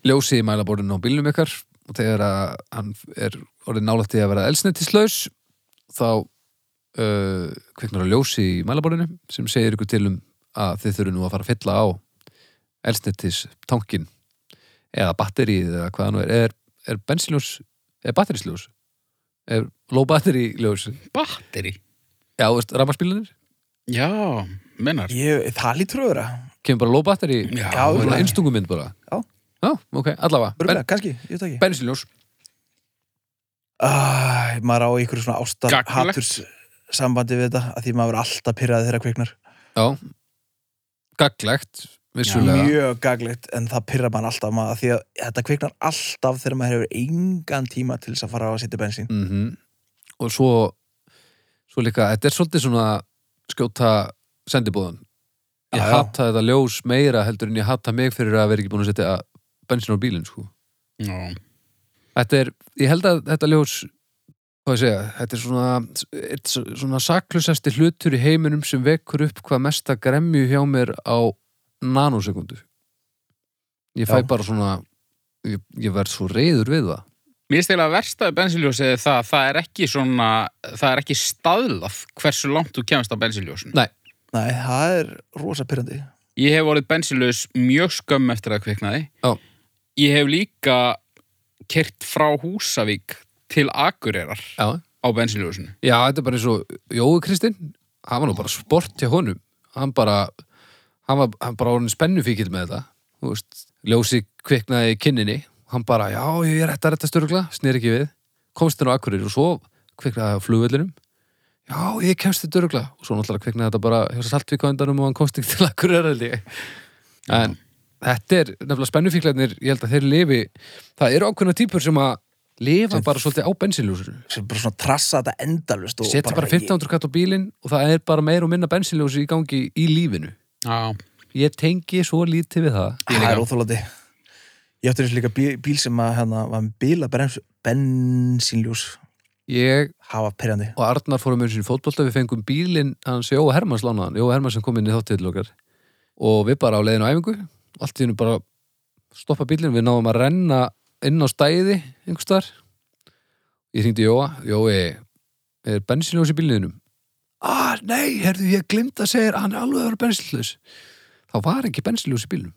[SPEAKER 2] ljósið í mælaborðinu á bílnum ykkar og þegar að hann er orðið nálægt í að vera elsnetislaus þá uh, kviknar að ljósi í mælaborðinu sem segir ykkur til um að þið þurfum nú að fara að fylla á elsnetistankin eða batterið eða hvað hann er er, er bensinljós, er batterisljós er low battery ljós já,
[SPEAKER 1] Batteri
[SPEAKER 2] veist, rafmarsbílanir
[SPEAKER 1] Já, mennar
[SPEAKER 3] Ég, það lítur að vera
[SPEAKER 2] kemur bara low battery,
[SPEAKER 1] Já,
[SPEAKER 2] bara
[SPEAKER 3] örugglega.
[SPEAKER 2] einstungum mynd bara
[SPEAKER 3] Já.
[SPEAKER 2] já, ok, allavega ben,
[SPEAKER 3] Örgulega, kannski, ég veit það ekki
[SPEAKER 2] bensinljós
[SPEAKER 3] Æ, maður á ykkur svona ástar
[SPEAKER 1] Gagnlegt.
[SPEAKER 3] haturs sambandi við þetta að því maður er alltaf pyrraði þeirra kviknar
[SPEAKER 2] Já, gaglegt vissulega,
[SPEAKER 3] mjög gaglegt en það pyrra mann alltaf maður af því að þetta kviknar alltaf þegar maður hefur engan tíma til þess að fara að setja bensín
[SPEAKER 2] mm og svo svo líka, þetta er svolítið svona skjóta sendibúðan ég
[SPEAKER 3] Já, já.
[SPEAKER 2] hata þetta ljós meira heldur en ég hata mig fyrir að vera ekki búin að setja bensin á bílinn sko.
[SPEAKER 1] Já,
[SPEAKER 2] þetta er, ég held að þetta ljós hvað ég segja, þetta er svona, eitt s- svona saklusasti hlutur í heiminum sem vekur upp hvað mesta gremju hjá mér á nanosekundu. Ég fæ
[SPEAKER 3] Já.
[SPEAKER 2] bara svona, ég, ég verð svo reyður við það.
[SPEAKER 1] Mér stil að versta bensinljósið er það að það er ekki svona, það er ekki staðlað hversu langt þú kemst á bensinljósin.
[SPEAKER 2] Nei.
[SPEAKER 3] Nei, það er rosa pyrrandi
[SPEAKER 1] Ég hef orðið bensinljós mjög skömm eftir að það kviknaði.
[SPEAKER 2] Já.
[SPEAKER 1] Ég hef líka kert frá Húsavík til Akureyrar
[SPEAKER 2] Já.
[SPEAKER 1] á bensinljósinu.
[SPEAKER 2] Já, þetta er bara eins og Jói Kristinn, hann var nú bara sport hjá honum. Hann bara, hann var hann bara orðin spennufíkil með þetta. Þú veist, ljósi kviknaði í kinninni. Hann bara, já, ég er þetta þetta störgla, snýr ekki við. Komst þér á Akureyri og svo kviknaði á flugvellinum. Já, ég kemst þetta örgla. Og svo náttúrulega kviknaði þetta bara hjá Saltvík á endanum og hann komst ekki til Akureyri held ég. En þetta er nefnilega spennufíklarnir, ég held að þeir lifi, það eru ákveðna típur sem að lifa bara svolítið á bensinljósinu
[SPEAKER 3] sem bara svona trassa þetta endalust og
[SPEAKER 2] setja bara 1500 katt á bílinn og það er bara meira og minna bensinljósi í gangi í lífinu
[SPEAKER 1] Já.
[SPEAKER 2] ég tengi svo lítið við það
[SPEAKER 3] Það er óþólandi Ég átti þessu líka bíl, bíl sem að hérna var með bíla bensínljós
[SPEAKER 2] ég
[SPEAKER 3] hafa pyrrandi
[SPEAKER 2] og Arnar fórum einu sinni í fótbolta við fengum bílinn hans Jóa Hermanns lánaðan Jóa Hermanns sem kom inn í þáttiðlokkar og við bara á leiðinu á æfingu allt í hennu bara stoppa bílinn við náðum að renna inn á stæði einhvers staðar ég hringdi í Jóa Jói, er bensinljós í bílinnum ah, nei, herðu, ég glimt að segja þér að hann er alveg að vera bensinljós þá var ekki bensinljós í bílinnum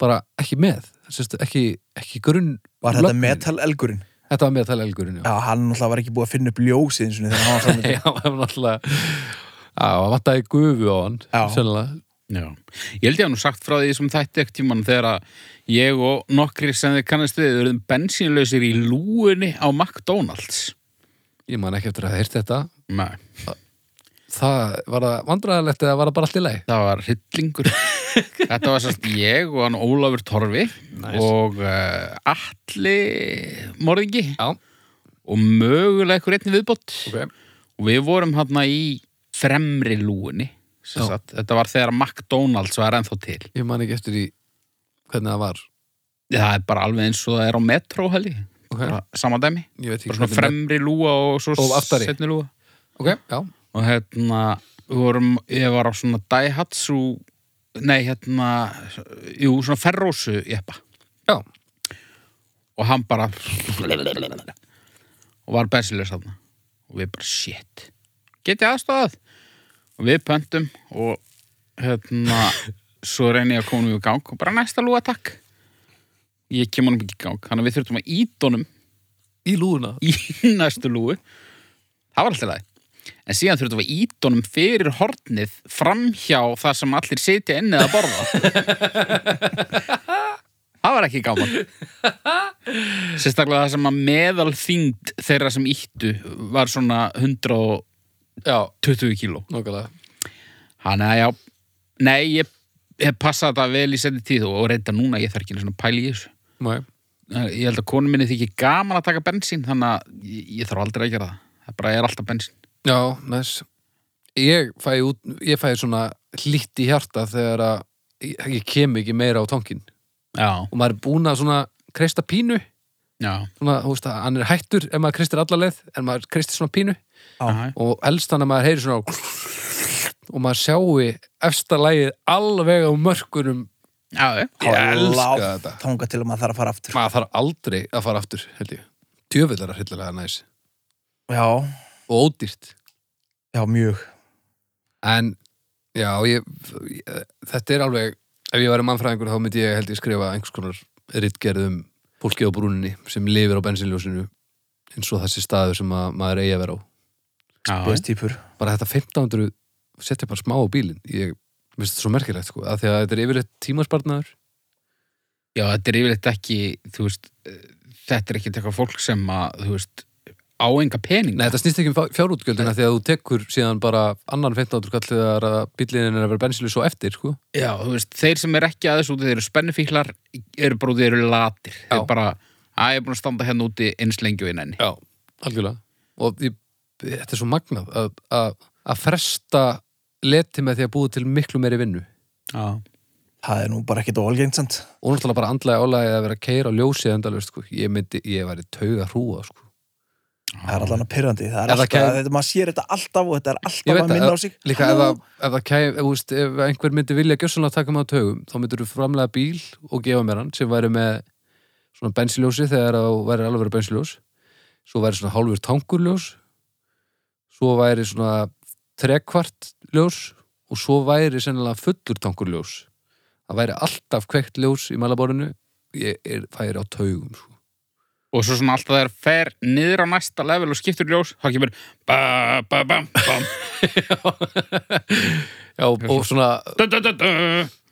[SPEAKER 2] bara ekki með Sest, ekki, ekki grunn
[SPEAKER 3] Var þetta
[SPEAKER 2] lögnin.
[SPEAKER 3] metal-elgurinn?
[SPEAKER 2] þetta var metal elgurinn, já
[SPEAKER 3] Já, hann náttúrulega var ekki búið að finna upp ljósið eins og þegar
[SPEAKER 2] *laughs* Já, það
[SPEAKER 3] hann var saman
[SPEAKER 2] var náttúrulega Já, það vantaði gufu á hann
[SPEAKER 3] Já.
[SPEAKER 2] Sennilega
[SPEAKER 1] Já. Ég held ég að nú sagt frá því sem þætti ekkert tíman þegar að ég og nokkri sem þið kannast við erum bensinljósir í lúunni á McDonalds.
[SPEAKER 2] Ég man ekki eftir að heyrta þetta
[SPEAKER 1] Nei,
[SPEAKER 2] Það var það vandræðalegt eða var það bara allt í leið
[SPEAKER 1] það var
[SPEAKER 2] *laughs*
[SPEAKER 1] hryllingur. Þetta var sérst ég og hann Ólafur Torfi
[SPEAKER 2] Nice.
[SPEAKER 1] og uh, Alli Morðingi
[SPEAKER 2] Já,
[SPEAKER 1] og mögulega ykkur einni viðbót.
[SPEAKER 2] ok
[SPEAKER 1] Og við vorum hann í fremri lúunni. sem
[SPEAKER 2] Já.
[SPEAKER 1] sagt. Þetta var þegar McDonalds var ennþá til.
[SPEAKER 2] Ég man ekki eftir í hvernig það var
[SPEAKER 1] Það er bara alveg eins og það er á metro, held ég.
[SPEAKER 2] Ok,
[SPEAKER 1] Bara Sama dæmi.
[SPEAKER 2] ég veit ekki
[SPEAKER 1] bara svona fremri lúa og svo
[SPEAKER 2] Og aftari.
[SPEAKER 1] seinni lúa
[SPEAKER 2] Ok, já,
[SPEAKER 1] og hérna við vorum, ég var á svona Daihatsu nei hérna jú, svona ferrósu jeppa
[SPEAKER 2] já,
[SPEAKER 1] og hann bara og var bensinlega þarna og við bara shit get ég aðstofað og við pöntum og hérna svo reyni ég að koma við í gang og bara næsta lúa takk ég kem honum ekki í gang þannig að við þurftum að ít honum
[SPEAKER 2] í lúðuna
[SPEAKER 1] í *laughs* næstu lúu það var alltaf leið en síðan þurftum við ídónum fyrir hornið framhjá það sem allir sitja inni að borða það var ekki gaman sérstaklega það sem að meðal þyngd þeirra sem íttu var svona 120
[SPEAKER 2] Já,
[SPEAKER 1] kíló
[SPEAKER 2] nokkulega
[SPEAKER 1] hann að já, nei ég hef passað þetta vel í setni tíð og reynda núna ég þarf ekki einu sinni að pæla í þessu
[SPEAKER 2] Nei,
[SPEAKER 1] ég held að konu minni þykir gaman að taka bensín þannig að ég, ég þarf aldrei að gera það það bara er alltaf bensín
[SPEAKER 2] já, næs Ég fæ, út, ég fæ svona hlýtt í hjarta þegar að ég, ég kem ekki meira á tankin
[SPEAKER 1] já,
[SPEAKER 2] og maður er búin að svona kreista pínu
[SPEAKER 1] já,
[SPEAKER 2] svona, þú veist að hann er hættur ef maður kristir alla leið, en maður kristir svona pínu
[SPEAKER 1] já.
[SPEAKER 2] og helst hann að maður heyri svona og maður sjáu efsta lagið alveg á mörkunum
[SPEAKER 1] já, já.
[SPEAKER 2] Ég elska þetta.
[SPEAKER 3] Tónga til að maður þarf að fara aftur
[SPEAKER 2] maður þarf aldrei að fara aftur held ég, tjöfellara hryllilega næs
[SPEAKER 3] Já,
[SPEAKER 2] og ódýrt
[SPEAKER 3] já, mjög
[SPEAKER 2] en já, ég, ég, þetta er alveg ef ég væri mannfræðingur þá myndi ég held ég skrifa einhvers konar rittgerðum fólki á brúninni sem lifir á bensinljósinu eins og þessi staður sem að, maður eigi að vera á
[SPEAKER 1] já.
[SPEAKER 3] best típur
[SPEAKER 2] bara þetta 1500 setja bara smá á bílinn ég finnst þetta svo merkilegt sko að því að þetta er yfirleitt tímaspartnaður
[SPEAKER 1] já þetta er yfirleitt ekki þú veist, eh, þetta er ekki eitthvað fólk sem að, þú veist, á enga pening
[SPEAKER 2] Nei, þetta snýst ekki um fjár- fjárútgjöldina því að þú tekur síðan bara annan 1500 kall þegar að bílinn er að vera bensinlu svo eftir sko
[SPEAKER 1] já, þú veist, þeir sem er ekki aðeins úti þeir eru spennifíklar, eru bara úti þeir eru latir, þeir
[SPEAKER 2] Já.
[SPEAKER 1] bara að ég er búin að standa hérna úti eins lengi og innenni
[SPEAKER 2] Já, algjörlega og ég, þetta er svo magnað að, að, að fresta leti með því að búið til miklu meiri vinnu
[SPEAKER 1] já,
[SPEAKER 3] Það er nú bara ekkit óalgengsamt
[SPEAKER 2] og náttúrulega bara andlega álægið að vera að keira og ljósið endalaust sko ég myndi, ég væri tauga hrúa sko
[SPEAKER 1] já,
[SPEAKER 3] það er alltaf pyrrandi það er
[SPEAKER 2] Ef það
[SPEAKER 3] alltaf,
[SPEAKER 2] kæm-
[SPEAKER 3] þetta, maður sér þetta alltaf og þetta er
[SPEAKER 2] Ég
[SPEAKER 3] alltaf
[SPEAKER 2] veit
[SPEAKER 3] að minna á
[SPEAKER 2] það,
[SPEAKER 3] sig
[SPEAKER 2] líka ef, að, ef, að kæm, ef, úst, ef einhver myndi vilja gjössanlega taka mig á taugum, þá myndir þú framlega bíl og gefa mér hann sem væri með svona bensiljósi þegar þá væri alveg verið bensiljós svo væri svona hálfur tangurljós svo væri svona trekvart ljós og svo væri sennilega fullur tangurljós það væri alltaf kveikt ljós í malaborinu ég er, væri á taugum sko.
[SPEAKER 1] og svo svona alltaf þegar fer niður á næsta level og skiptur ljós, þá kemur ba, ba, bam, *laughs* bam,
[SPEAKER 2] Já, og, og svona
[SPEAKER 1] da, da, da, da.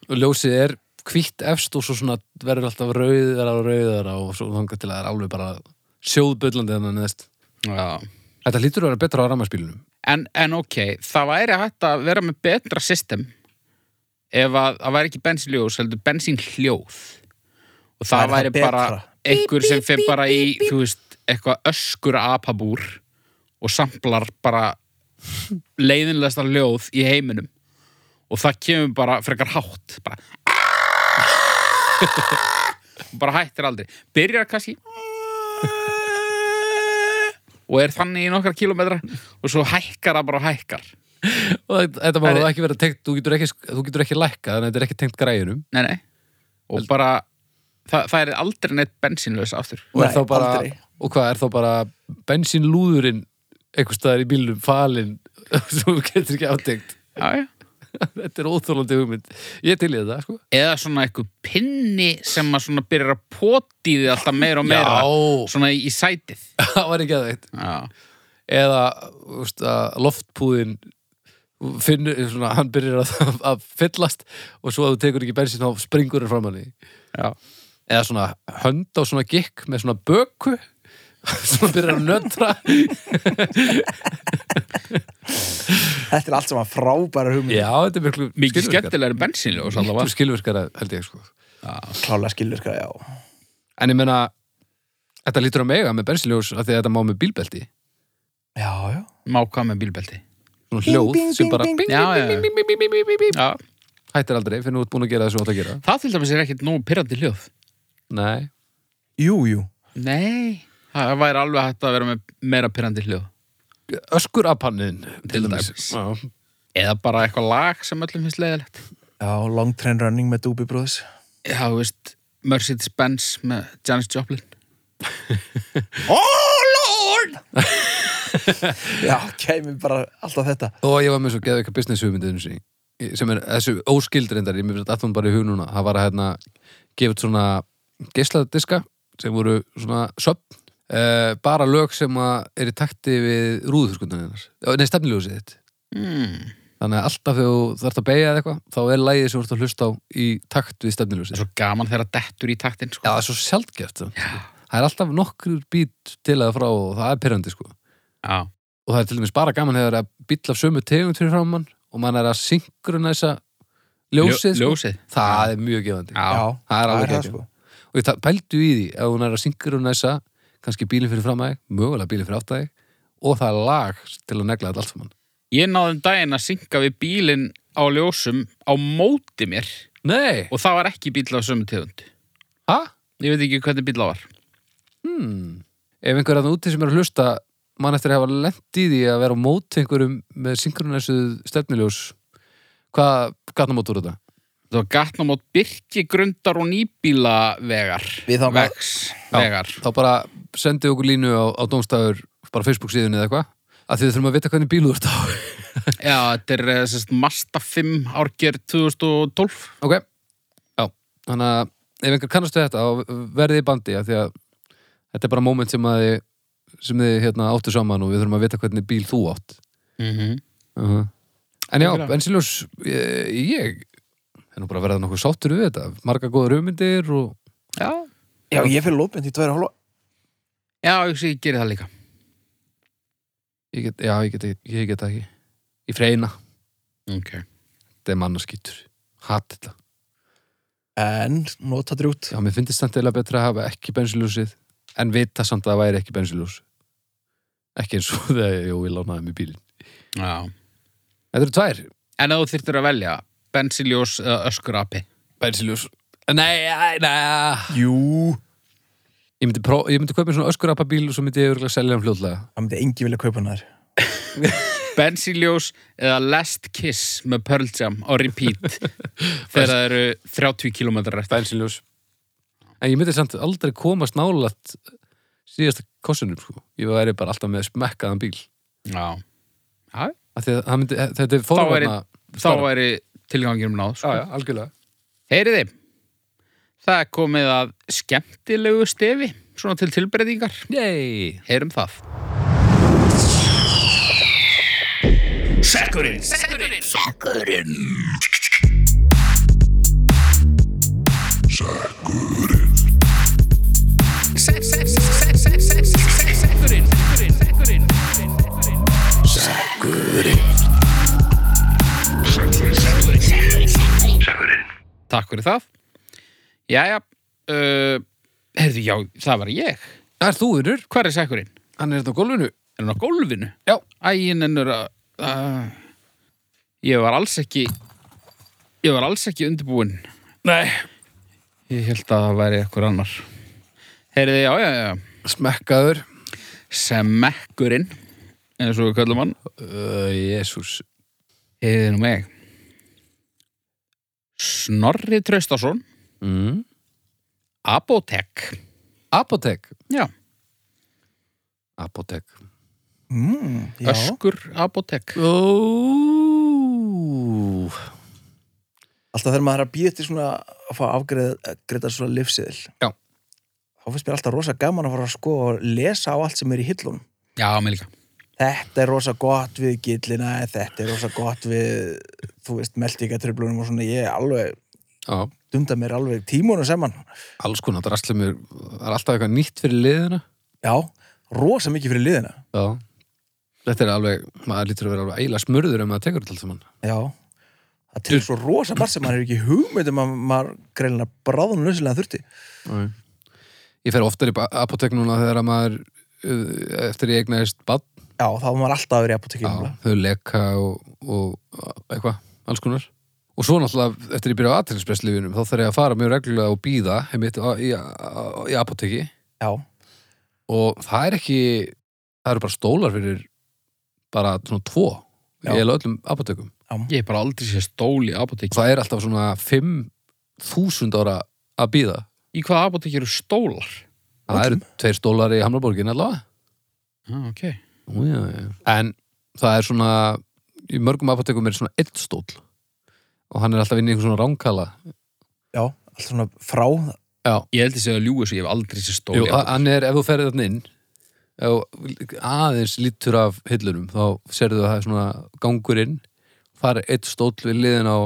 [SPEAKER 2] og ljósið er hvitt efst og svo svona verður alltaf rauðara og rauðara og svo þangar til að það er alveg bara sjóðböllandi þannig neðst.
[SPEAKER 1] Já.
[SPEAKER 2] Þetta lítur að vera betra á rammarspílunum.
[SPEAKER 1] En, en ok, það væri hægt að vera með betra system ef að það væri ekki bensinljós, heldur bensinhljóð og það
[SPEAKER 3] Væri það
[SPEAKER 1] væri bara
[SPEAKER 3] betra?
[SPEAKER 1] einhver sem fyrir bara í þú veist, eitthvað öskur apabúr og samplar bara leiðinlegasta ljóð í heiminum og það kemur bara frekar hátt bara *laughs* og bara hættir aldrei byrjar kannski og er þannig í nokkar kilometra og svo hækkar það bara og hækkar
[SPEAKER 2] Og þetta- þetta má
[SPEAKER 1] Það er-
[SPEAKER 2] ekki vera tengt, þú getur ekki, þú getur ekki lækka þannig að þetta er ekki tengt græjunum.
[SPEAKER 1] Nei, nei. Og bara, það, það er aldrei neitt bensínlaus aftur.
[SPEAKER 2] Og, er
[SPEAKER 3] Nei,
[SPEAKER 2] þá bara,
[SPEAKER 3] aldrei.
[SPEAKER 2] og hvað er þá bara bensínlúðurinn einhver staðar í bílnum falinn *laughs* sem þú getur ekki átengt.
[SPEAKER 1] Já, já.
[SPEAKER 2] þetta er óþólandi hugmynd. Ég til í þetta, sko.
[SPEAKER 1] Eða svona eitthvað pinni sem að svona byrjar að poti þið alltaf meira og meira.
[SPEAKER 2] Já, *laughs*
[SPEAKER 1] Svona í, í sætið.
[SPEAKER 2] það var ekki aðeitt.
[SPEAKER 1] Já.
[SPEAKER 2] eða úst, að loftpúðin finnur, svona, hann byrjar að, að fyllast og svo að þú tekur ekki bensin þá springur hann fram hann í
[SPEAKER 1] Já.
[SPEAKER 2] eða svona hönd á svona gikk með svona böku *laughs* svona byrjar að nöndra
[SPEAKER 3] þetta er allt saman frábæra hugmynd
[SPEAKER 2] já, þetta er miklu
[SPEAKER 1] Mikið
[SPEAKER 2] skilvirkara.
[SPEAKER 1] skemmtilegri bensínlaus alltaf.
[SPEAKER 2] miklu skilvirkara held ég sko
[SPEAKER 3] klálega skilvirkara, já
[SPEAKER 2] en ég meina, þetta lítur að mega með bensinljós af því að þetta má með bílbelti
[SPEAKER 3] já, já,
[SPEAKER 1] Má hvað með bílbelti.
[SPEAKER 2] svona hljóð
[SPEAKER 3] bing,
[SPEAKER 2] sem
[SPEAKER 3] bing,
[SPEAKER 2] bara
[SPEAKER 3] bing,
[SPEAKER 2] bing,
[SPEAKER 1] Já, já.
[SPEAKER 2] bing, bing, bing, bing, bing, bing, bing.
[SPEAKER 1] Já.
[SPEAKER 2] hættir aldrei, finnur þú ert búin að gera það sem þú átt að gera
[SPEAKER 1] Það til dæmis er ekkert nógu pyrrandi hljóð.
[SPEAKER 2] nei,
[SPEAKER 3] jú, jú
[SPEAKER 1] Nei. Það væri alveg hægt að vera með meira pyrrandi hljóð.
[SPEAKER 2] öskur að pannin til
[SPEAKER 1] Til
[SPEAKER 2] dæmis
[SPEAKER 1] dæmis.
[SPEAKER 2] Já.
[SPEAKER 1] Eða bara eitthvað lag sem öllum finnst leiðilegt.
[SPEAKER 3] já, long train running með Doobie Brothers
[SPEAKER 1] Já, þú veist, Mercedes-Benz með Janis Joplin.
[SPEAKER 3] oh lord *laughs* já, kemur bara alltaf þetta
[SPEAKER 2] og ég var með svo geða eitthvað business hugmyndinu sinni sem er þessu óskildrindar ég mér finnst alltaf bara í hug núna það var að hérna gefa út svona geisladiska sem voru svona söpn eh, bara lög sem að er í takti við rúðurskundaninnar nei, stefniljósið þitt
[SPEAKER 1] Mm.
[SPEAKER 2] þannig að alltaf þegar þú þarft að beigja eða eitthvað þá er lægið sem þú ert að hlusta á í takt við
[SPEAKER 1] Það
[SPEAKER 2] stefniljósið
[SPEAKER 1] er svo gaman þegar að dettur í taktin, sko.
[SPEAKER 2] Já, það er svo sjaldgeft samt. það er alltaf nokkur bít til að frá og það er pyrrandi sko
[SPEAKER 1] Já.
[SPEAKER 2] og það er til dæmis bara gaman þegar það er bíll af sömu tegund fyrir framann og mann er að synkronæsa ljósið,
[SPEAKER 1] Ljó,
[SPEAKER 2] sko.
[SPEAKER 1] ljósið.
[SPEAKER 2] það er mjög gefandi
[SPEAKER 1] Já.
[SPEAKER 2] það er alveg
[SPEAKER 3] það,
[SPEAKER 2] gefandi
[SPEAKER 3] sko.
[SPEAKER 2] og ég ta- pældu í því ef hún er að synkronæsa kannski bílinn fyrir framæg, mögulega bílinn fyrir áttæg og það er lag til að negla þetta allt saman
[SPEAKER 1] Ég náði um daginn að synga við bílinn á ljósum á móti mér
[SPEAKER 2] Nei,
[SPEAKER 1] og það var ekki bíl af sömu tegund.
[SPEAKER 2] ha?
[SPEAKER 1] Ég veit ekki hvernig bíl það var.
[SPEAKER 2] Hmm. ef einhver að úti sem er að hlusta mann eftir að hafa lent í því að vera á móti einhverjum með synkronæsuð stefniljós hvað gatnamótur þetta?
[SPEAKER 1] Það var gatnum át byrkigrundar og nýbílavegar.
[SPEAKER 3] Við þangað.
[SPEAKER 1] Vegs, vegar.
[SPEAKER 2] þá bara sendið okkur línu á, á Dómstafur, bara Facebook síðunni eða eitthvað að því við þurfum að vita hvernig bíl þú ert á *laughs*
[SPEAKER 1] Já, þetta er eh, sérst Mazda 5 árger 2012.
[SPEAKER 2] ok, já, þannig að ef einhver kannastu þetta, þá verðið í bandi af því að þetta er bara moment sem að þið, sem þið hérna, áttu saman og við þurfum að vita hvernig bíl þú átt
[SPEAKER 1] Mm
[SPEAKER 3] Mhm.
[SPEAKER 2] uh -huh. en já,
[SPEAKER 1] Algjörlega.
[SPEAKER 2] Bensiljós ég, ég er nú bara að verða nokkuð sáttur við þetta, marga góða raumindir og
[SPEAKER 1] Já.
[SPEAKER 3] já, ég fyrir lópend í tværi hálfa
[SPEAKER 1] Já, ég sé, ég geri það líka.
[SPEAKER 2] ég get, já, ég get, ég, ég get það ekki ég freina,
[SPEAKER 1] Ok.
[SPEAKER 2] þetta er mannaskýtur hatt þetta
[SPEAKER 3] en nota drjút
[SPEAKER 2] Já, mér finnst samt eða betra að hafa ekki bensinljósið en vita samt að það væri ekki bensinljós ekki eins og *laughs* þegar ég, jú, ég lánaði mér bílinn
[SPEAKER 1] Já.
[SPEAKER 2] Þetta eru tvær
[SPEAKER 1] En ef þú þyrftir að velja bensinljós eða öskurapi.
[SPEAKER 2] bensinljós Nei, nei, nei
[SPEAKER 3] jú,
[SPEAKER 2] Ég myndi, pró, ég myndi kaupa mér svona öskurapabíl og svo myndi ég örgulega selja hann fljótlega.
[SPEAKER 3] það myndi engi vilja kaupa hann þar
[SPEAKER 1] Bensiljós eða Last Kiss með Pearl Jam á repeat þegar það eru 30 km eftir
[SPEAKER 2] Bensinljós. En ég myndi samt aldrei komast nálaðt síðasta kossunum, sko. Ég væri bara alltaf með smekkaðan bíl.
[SPEAKER 1] Já, já
[SPEAKER 2] Af því að það myndi, þetta er fórvarna...
[SPEAKER 1] þá væri tilganginum náð
[SPEAKER 2] Já,
[SPEAKER 1] sko.
[SPEAKER 2] já, algjörlega.
[SPEAKER 1] Heyriði, það er komið að skemmtilegu stefi svona til tilbreytingar
[SPEAKER 2] Yey!
[SPEAKER 1] Heyrum það Takk fyrir það Jæja, uh, heyrðu, já, það var ég
[SPEAKER 2] Það er þú, Unur.
[SPEAKER 1] Hvar er sekkurinn?
[SPEAKER 2] Hann er þetta á gólfinu.
[SPEAKER 1] Er hann á gólfinu?
[SPEAKER 2] Já.
[SPEAKER 1] Æ, ég nennur að... að- Ég var alls ekki... Ég var alls ekki undirbúinn.
[SPEAKER 2] Nei.
[SPEAKER 1] Ég held að það væri ekkur annar. Heyrðu, já, já, já.
[SPEAKER 2] Smekkaður.
[SPEAKER 1] Semekkurinn, eins og við kallum hann.
[SPEAKER 2] Uh, Jésús.
[SPEAKER 1] Heyrðu nú mig. Snorri Traustason,
[SPEAKER 2] Mm.
[SPEAKER 1] Apotek.
[SPEAKER 2] Apotek.
[SPEAKER 1] Já,
[SPEAKER 2] Apotek.
[SPEAKER 3] mm, já.
[SPEAKER 1] Öskur Apotek.
[SPEAKER 2] Ó.
[SPEAKER 3] alltaf þegar maður er að býja eftir svona að fá afgreita svona lifsiðil
[SPEAKER 2] Já.
[SPEAKER 3] þá finnst mér alltaf rosa gaman að fara að sko og lesa á allt sem er í hillunum
[SPEAKER 1] Já, mér líka.
[SPEAKER 3] þetta er rosa gott við gillina þetta er rosa gott við þú veist, meldingatröflunum og svona ég er alveg,
[SPEAKER 2] Já.
[SPEAKER 3] dunda mér alveg tímunum saman
[SPEAKER 2] Alls konar drastlum er, er alltaf eitthvað nýtt fyrir liðina.
[SPEAKER 3] já, rosa mikið fyrir liðina
[SPEAKER 2] Já. Þetta er alveg, maður lítur að vera alveg eila smörður ef maður tekur þetta allt saman.
[SPEAKER 3] já, það til svo rosa margt sem maður er ekki hugmynd um að maður greinlega bráðum nöðsynlega þurfti
[SPEAKER 2] Nei. Ég fer oftar í ba- apotek núna þegar að maður uh, eftir ég eignaðist bann
[SPEAKER 3] já, þá var maður alltaf að vera í apotekinu
[SPEAKER 2] þau leka og, og eitthvað, alls konar og svo náttúrulega eftir ég byrja á aðtilspresslifinum þá þarf ég að fara mjög reglulega og býða heimitt á, í, á, í apoteki
[SPEAKER 3] já,
[SPEAKER 2] og það er ekki það eru bara stólar fyrir bara svona tvo
[SPEAKER 3] Já.
[SPEAKER 2] í eiginlega öllum apotekum
[SPEAKER 1] Ég hef bara aldrei sé stól í apotek.
[SPEAKER 2] það er alltaf svona 5.000 ára að býða
[SPEAKER 1] Í hvaða apotek eru stólar?
[SPEAKER 2] það eru tveir stólar í Hamlaborgin allavega
[SPEAKER 1] Já, Ah, ok.
[SPEAKER 2] Ó, já, já. en það er svona í mörgum apotekum er svona einn stól og hann er alltaf inn í einhver svona ránkala
[SPEAKER 3] já, allt svona frá
[SPEAKER 2] já
[SPEAKER 1] Ég held að segja að ljúga svo, ég hef aldrei sé stól
[SPEAKER 2] Jú,
[SPEAKER 1] í
[SPEAKER 2] a-
[SPEAKER 1] apotek.
[SPEAKER 2] hann er, ef þú ferði þarna inn ef þú aðeins lítur af hillunum, þá serðu að það er svona gangur inn, fara eitt stóll við liðin á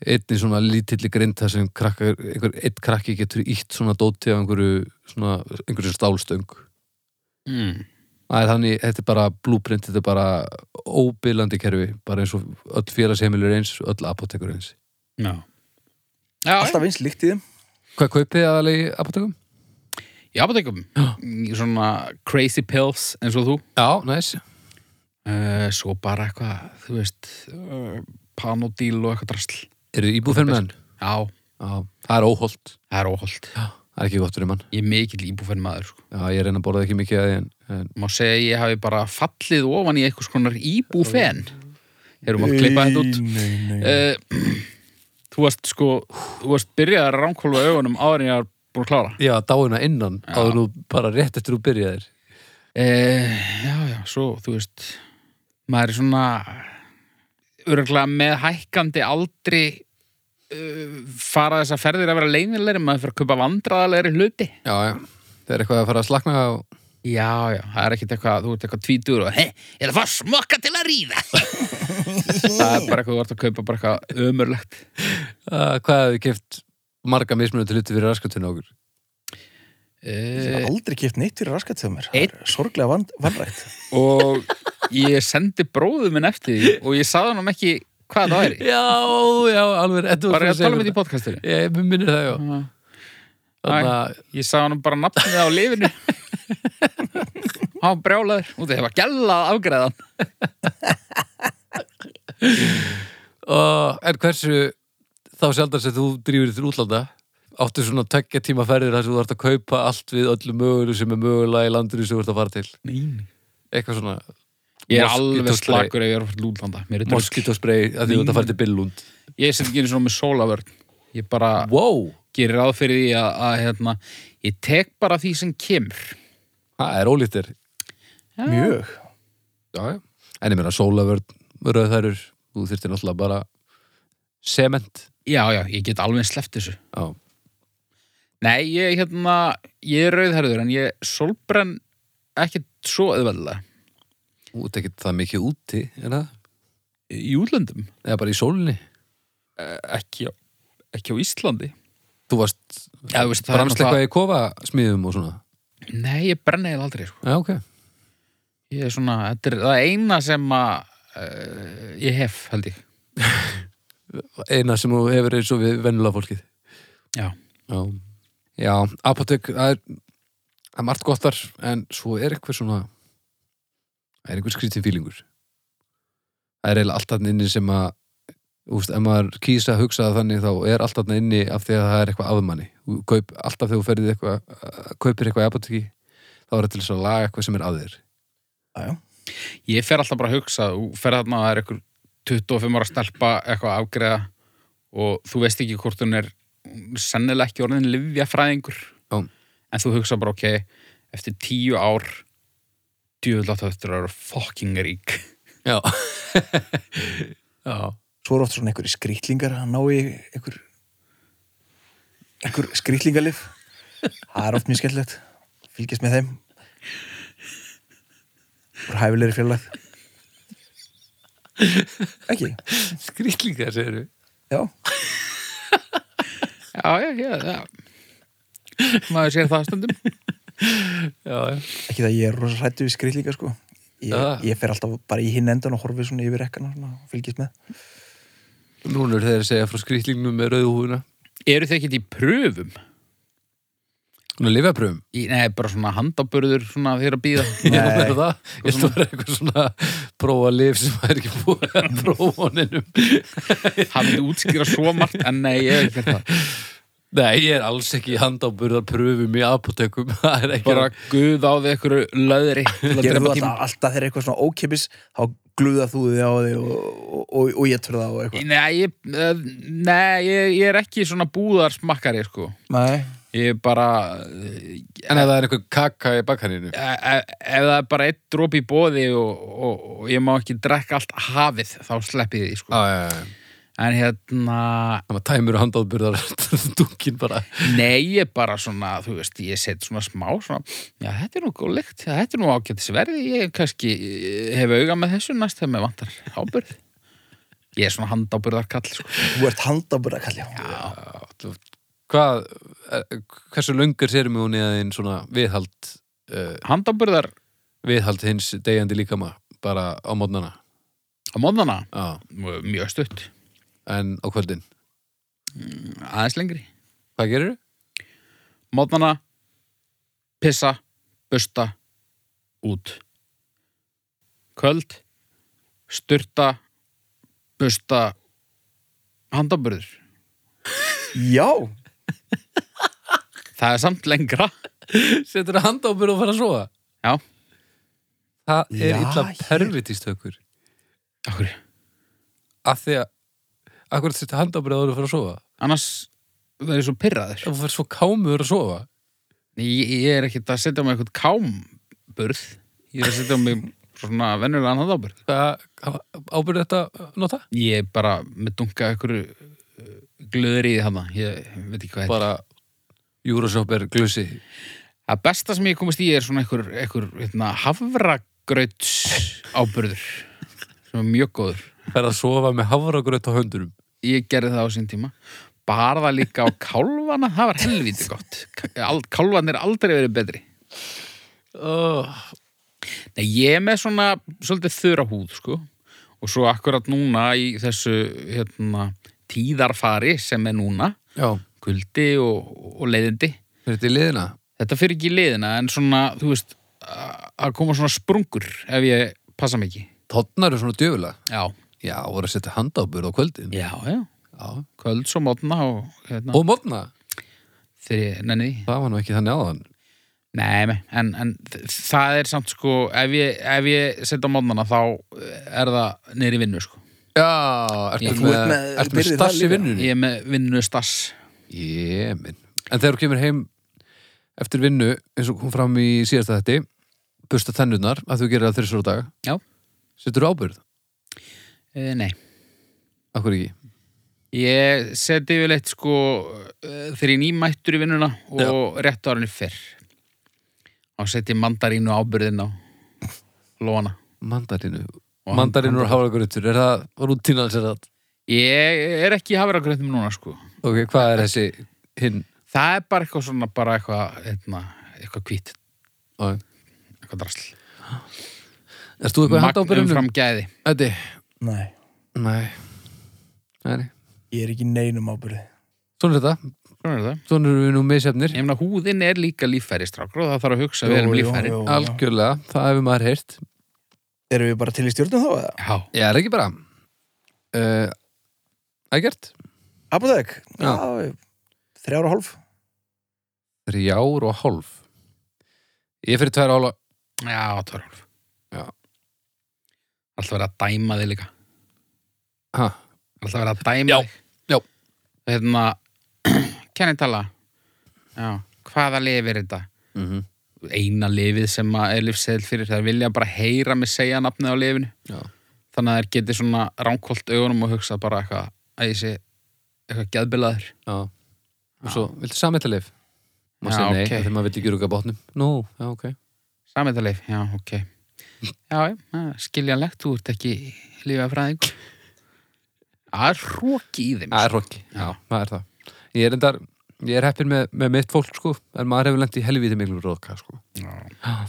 [SPEAKER 2] einni svona lítilli grind þar sem krakkar, einhver, eitt krakki getur ítt svona dóti af einhverju, svona, einhverju stálstöng
[SPEAKER 1] Mm.
[SPEAKER 2] það er þannig, þetta er bara blúprint þetta er bara óbillandi kerfi bara eins og öll félagsheimilur eins öll apotekur eins.
[SPEAKER 1] Já. Já, já.
[SPEAKER 3] alltaf eins líkt í þeim
[SPEAKER 2] Hvað kaupið þið aðalegi apotekum?
[SPEAKER 1] í apotekum Í svona crazy pills eins og þú
[SPEAKER 2] Já, næs
[SPEAKER 1] uh, svo bara eitthvað, þú veist uh, panodíl og eitthvað drasl
[SPEAKER 2] Er þið íbúferð með hann?
[SPEAKER 1] já,
[SPEAKER 2] Já, það er óholt
[SPEAKER 1] það er óholt
[SPEAKER 2] Það er ekki gott fyrir mann
[SPEAKER 1] ég er mikill íbúfenn maður sko.
[SPEAKER 2] Já, ég reyna að borða ekki mikið að því en, en
[SPEAKER 1] má segja að ég hafi bara fallið ofan í eitthvað skonar íbúfenn erum að klippa þetta út
[SPEAKER 3] nei, nei.
[SPEAKER 1] uh, *clears throat* þú varst sko þú varst byrjað að ránkólfa augunum áður en ég var búin að klára
[SPEAKER 2] já, dáina innan áður nú bara rétt eftir þú byrjaðir
[SPEAKER 1] uh, já, já, svo, þú veist maður er svona örgulega með hækkandi aldri uh, fara þess að ferðir að vera leynilegri maður fyrir að kaupa vandræðalegri hluti
[SPEAKER 2] Já, já, það er eitthvað að fara að slakna á
[SPEAKER 1] já, já, það er ekkert eitthvað þú ert eitthvað tvítur og hei, ég er að fara að smokka til að *laughs* ríða það er bara eitthvað þú ert að kaupa bara eitthvað ömurlegt
[SPEAKER 2] uh, Hvað hefur keft marga mismunandi hluti fyrir raskatuna okkur?
[SPEAKER 3] Ég hef
[SPEAKER 1] uh,
[SPEAKER 3] aldrei kipt neitt fyrir raskat þegar mér Það
[SPEAKER 1] Einn.
[SPEAKER 3] er sorglega van, vanrækt
[SPEAKER 1] og ég sendi bróðu minn eftir því og ég sagði hann ekki hvað það væri
[SPEAKER 2] Já, já, alveg þetta var
[SPEAKER 1] bara ég að
[SPEAKER 2] fyrir
[SPEAKER 1] tala
[SPEAKER 2] segja
[SPEAKER 1] með því podcastinu
[SPEAKER 2] þetta. Ég mér minnir það, já Þannig að,
[SPEAKER 1] Ég sagði hann bara nafnið á lifinu *laughs* Hann brjálaður og það var gællað afgræðan
[SPEAKER 2] uh, en hversu þá sjaldan sem þú drýfur til útlanda áttu svona tekja tíma ferðir þar sem þú ert að kaupa allt við öllu mögulu sem er mögulega í landinu sem þú ert að fara til
[SPEAKER 1] Nei.
[SPEAKER 2] eitthvað svona
[SPEAKER 1] Ég er
[SPEAKER 2] Moskítóspray.
[SPEAKER 1] alveg slakur ef ég er að fara til útlanda Mér er drögg
[SPEAKER 2] moskítósprey að því þú ert að fara til Billund
[SPEAKER 1] Ég sem ekki einu svona með sólavörn Ég bara
[SPEAKER 2] wow,
[SPEAKER 1] gerir ráð fyrir því að, að hérna, ég tek bara því sem kemur
[SPEAKER 2] það er ólítir
[SPEAKER 1] *laughs* Já.
[SPEAKER 3] mjög
[SPEAKER 2] já, já. en ég meina sólavörn, rauðhærur þú þyrftir náttúrulega bara sement
[SPEAKER 1] Já, já, ég get alveg sleppt þessu
[SPEAKER 2] já,
[SPEAKER 1] Nei, ég, hérna, ég er rauðherður en ég sólbrenn ekkert svo auðveldlega
[SPEAKER 2] þú ert ekki það mikið úti er það?
[SPEAKER 1] Í útlöndum?
[SPEAKER 2] eða bara í sólinni
[SPEAKER 1] Ekki á, ekki á Íslandi
[SPEAKER 2] þú varst,
[SPEAKER 1] Já, þú veist, það er
[SPEAKER 2] brannst
[SPEAKER 1] náttúrulega-
[SPEAKER 2] eitthvað í kofasmíðum og svona
[SPEAKER 1] Nei, ég brenni eða aldrei sko.
[SPEAKER 2] já, ok,
[SPEAKER 1] Ég er svona, þetta er það eina sem að uh, ég hef, held ég
[SPEAKER 2] eina sem þú hefur eins og við vennulega fólkið
[SPEAKER 1] Já,
[SPEAKER 2] já, já apotek, það er, það er margt gott þar en svo er eitthvað svona það er einhver skrítin fílingur það er eiginlega allt þarna inni sem að Úst, ef maður kýsa að hugsa það þannig þá er allt þarna inni af því að það er eitthvað aðmanni Kaup, alltaf þegar þú ferðið eitthvað að- kaupir eitthvað í apoteki þá er það til þess að laga eitthvað sem er að þér
[SPEAKER 3] Æjá.
[SPEAKER 1] ég fer alltaf bara að hugsa þú fer þarna að það er einhver 25 ára stelpa eitthvað að afgreða og þú veist ekki hvort hún er hún er sennilega ekki orðin livjafræðingur
[SPEAKER 2] Já.
[SPEAKER 1] en þú hugsa bara ok eftir 10 ár djöðlátt höftur að vera fucking rík
[SPEAKER 2] já *laughs* já
[SPEAKER 3] svo eru oft svona einhverjir skrýtlingar að ná í einhver einhver skrýtlingalif það er oft mjög skemmtilegt fylgjast með þeim úr hæfilegri fjarlæð ekki,
[SPEAKER 2] skrýtlingar segir við
[SPEAKER 3] já
[SPEAKER 1] já, já, já, já. maður sér það stundum
[SPEAKER 2] já, já.
[SPEAKER 3] ekki það ég er rosa hrættu við skrýtlingar sko ég,
[SPEAKER 2] Ja.
[SPEAKER 1] Ah.
[SPEAKER 3] ég fer alltaf bara í hinn endan og horfi svona yfir ekkana svona, og fylgjast með
[SPEAKER 2] núna er þeir að segja frá skrýtlingnum með rauðu húfuna
[SPEAKER 1] eru þið ekkert í pröfum?
[SPEAKER 2] hún er lifapröfum
[SPEAKER 1] Í, nei, bara svona handaburður svona þegar að býða
[SPEAKER 2] Ég er að
[SPEAKER 3] Nei.
[SPEAKER 2] vera það, ég ætla að vera eitthvað svona prófa lif sem maður er ekki búið að *laughs* prófa honinum.
[SPEAKER 1] hann myndi útskýra svo margt en nei, ég hef ekki gert það
[SPEAKER 2] Nei, ég er alls ekki í handáburðar pröfum í apotekum, *laughs* það er ekki
[SPEAKER 1] bara guð á því einhverju löðri til að
[SPEAKER 3] gerðu
[SPEAKER 1] drepa
[SPEAKER 3] þetta
[SPEAKER 1] tíma
[SPEAKER 3] alltaf þegar eitthvað svona ókipis þá glúða þú þig á því og, og, og, og ég það og eitthvað
[SPEAKER 1] Nei, ég, eh, nei ég, ég er ekki svona búðarsmakkari sko.
[SPEAKER 3] Nei.
[SPEAKER 1] Ég er bara eh,
[SPEAKER 2] En ef það er eitthvað kaka í bakkaninu
[SPEAKER 1] e- e- ef það er bara eitt drop í bóði og, og, og ég má ekki drekka allt hafið þá slepp ég því sko.
[SPEAKER 2] Það
[SPEAKER 1] En hérna
[SPEAKER 2] maður tæmur og handáburðar *laughs* dunkin bara
[SPEAKER 1] nei, ég er bara svona þú veist, ég set svona smá svona, já, þetta er nú góð lykt, já, þetta er nú ágætis verði ég kannski eh, hef auga með þessu næst þegar mér vantar ábyrð Ég er svona handábyrðarkall sko.
[SPEAKER 3] Þú ert handabura kalli
[SPEAKER 2] Hvað, eh, hversu löngar sérum við hún í aðeins svona viðhald uh,
[SPEAKER 1] Handábyrðar
[SPEAKER 2] viðhald hins degjandi líkama bara á mótnana
[SPEAKER 1] á móðana
[SPEAKER 2] Já,
[SPEAKER 1] mjög stutt,
[SPEAKER 2] en á kvöldin
[SPEAKER 1] aðeins lengri
[SPEAKER 2] Hvað gerirðu?
[SPEAKER 1] mótnana, pissa, busta, út. Köld, styrta, busta, handaburður.
[SPEAKER 3] Já,
[SPEAKER 1] Það er samt lengra.
[SPEAKER 2] Setur að handáburð og fara að sofa
[SPEAKER 1] Já,
[SPEAKER 2] Það er
[SPEAKER 3] Já,
[SPEAKER 2] illa
[SPEAKER 3] ég-
[SPEAKER 2] pervitist hökur
[SPEAKER 1] okkur.
[SPEAKER 2] af því að akkur þetta handabrið áður að fara að sofa
[SPEAKER 1] Annars, það er svo pyrraður.
[SPEAKER 2] ef þú fyrir svo kámur að sofa
[SPEAKER 1] Ég, ég er ekkert að setja á mig eitthvað kámburð. Ég er að setja á mig svona vennulegan handaburð.
[SPEAKER 2] hvað ábyrði þetta að nota?
[SPEAKER 1] Ég er bara með dunga einhverju glöður í þarna. Ég veit ekki hvað þetta er.
[SPEAKER 2] bara Euroshop er glusi
[SPEAKER 1] Það besta sem ég komist í er svona einhver, einhver hérna, hafragrauts ábyrður sem er mjög góður.
[SPEAKER 2] fer að sofa með hafragröð á höndunum
[SPEAKER 1] Ég gerði það á sín tíma. Bara það líka *laughs* á kálvana, það var helvítið gott. Al- Kálvan er aldrei verið betri.
[SPEAKER 2] oh.
[SPEAKER 1] Nei, ég er með svona svolítið þurra húð, sko. Og svo akkurat núna í þessu hérna, tíðarfari sem er núna,
[SPEAKER 2] já,
[SPEAKER 1] kuldi og, og leiðindi.
[SPEAKER 2] er þetta í liðina?
[SPEAKER 1] Þetta fyrir ekki í liðina, en svona, þú veist, a- að koma svona sprungur ef ég passa mig ekki.
[SPEAKER 2] tónnar er svona djöfulega
[SPEAKER 1] Já,
[SPEAKER 2] já, voru að setja handabrið á kvöldin
[SPEAKER 1] Já, já,
[SPEAKER 2] já.
[SPEAKER 1] kvölds og mótna og hérna.
[SPEAKER 2] og mótna
[SPEAKER 1] þegar ég nenni því.
[SPEAKER 2] það var nú ekki þannig áðan
[SPEAKER 1] Nei, nei, en, en þ- það er samt sko, ef ég, ef ég setja á mótnana þá er það niður í vinnu sko.
[SPEAKER 2] Já, ertu
[SPEAKER 1] Ég-
[SPEAKER 2] með,
[SPEAKER 1] Þú
[SPEAKER 3] ert með-
[SPEAKER 2] ertu með
[SPEAKER 3] byrðið það
[SPEAKER 2] stass í
[SPEAKER 3] líka.
[SPEAKER 2] vinnunni?
[SPEAKER 1] Ég er með vinnu stass.
[SPEAKER 2] Ég minn. En þegar þú kemur heim eftir vinnu, eins og kom fram í síðasta þetti, busta tennurnar, að þú gerir það þrissur á dag,
[SPEAKER 1] Já,
[SPEAKER 2] setur þú ábyrð?
[SPEAKER 1] e, nei.
[SPEAKER 2] Akkur ekki?
[SPEAKER 1] Ég seti yfirleitt sko eh, þegar ég nýmættur í vinnuna og rétt á henni fyrr. Þá seti ég mandarínu ábyrðin á lóana.
[SPEAKER 2] Mandarinu.
[SPEAKER 1] Og hann-
[SPEAKER 2] Mandarinu og hálaguruttur, er það rútínan sér það?
[SPEAKER 1] Ég er ekki í vera gröndum núna sko.
[SPEAKER 2] Ok, hvað er þessi hinn?
[SPEAKER 1] Það er bara eitthvað svona, bara eitthvað, eitthvað, eitthvað hvít,
[SPEAKER 2] Ó,
[SPEAKER 1] eitthvað drasl.
[SPEAKER 2] Erst þú eitthvað handa ábyrðinu?
[SPEAKER 1] fram gæði.
[SPEAKER 2] Þetta?
[SPEAKER 3] Nei,
[SPEAKER 2] Nei. Nei, nei.
[SPEAKER 3] ég er ekki í neinum ábyrði
[SPEAKER 2] Svona er þetta.
[SPEAKER 1] Hvað er það?
[SPEAKER 2] Svona erum við nú misjafnir.
[SPEAKER 1] Ég meina, húðin er líka líffæri strákur og það þarf að hugsa vel um líffæri.
[SPEAKER 3] Algjör
[SPEAKER 2] Algjörlega, það hefur maður heyrt.
[SPEAKER 3] Erum við bara til í stjórnum þá eða?
[SPEAKER 1] Já.
[SPEAKER 2] Ég er ekki bara. Uh, Ægert?
[SPEAKER 3] Apotek?
[SPEAKER 2] Já.
[SPEAKER 3] Já, já Þrjára og hálf?
[SPEAKER 2] Þrjár og hálf. Ég er fyrir tvær og hálfa.
[SPEAKER 1] Já, Torfálf.
[SPEAKER 2] Já.
[SPEAKER 1] Alltaf verið að dæma þig líka.
[SPEAKER 2] Ha,
[SPEAKER 1] Alltaf verið að dæma
[SPEAKER 2] Já,
[SPEAKER 1] þig.
[SPEAKER 2] já.
[SPEAKER 1] Hérna, *clears throat* kenni tala. Já. Hvaða lifi er þetta?
[SPEAKER 2] mm -hmm.
[SPEAKER 1] Eina lifið sem að er lifseðil fyrir. Það vilja bara heyra mig segja nafnið á lifinu.
[SPEAKER 2] Já.
[SPEAKER 1] Þannig að þær geti svona ránkólt augunum og hugsa bara eitthvað að ég sé eitthvað geðbilaður.
[SPEAKER 2] já. Og svo, viltu samhættalif? Má
[SPEAKER 1] Já,
[SPEAKER 2] segja nei,
[SPEAKER 1] ok.
[SPEAKER 2] okay. þegar maður vill ekki ruga bátnum. Nú, já, ok.
[SPEAKER 1] Samhættalif, já, ok. Já, já, það er skiljanlegt, þú ert ekki lífafræðing. Það er hróki í þeim. sko.
[SPEAKER 2] Það er rokki.
[SPEAKER 1] Já.
[SPEAKER 2] Það er það. Ég er endar, ég er heppin með, með mitt fólk, sko. En maður hefur lengt í helviti miklu roka, sko.
[SPEAKER 1] Já,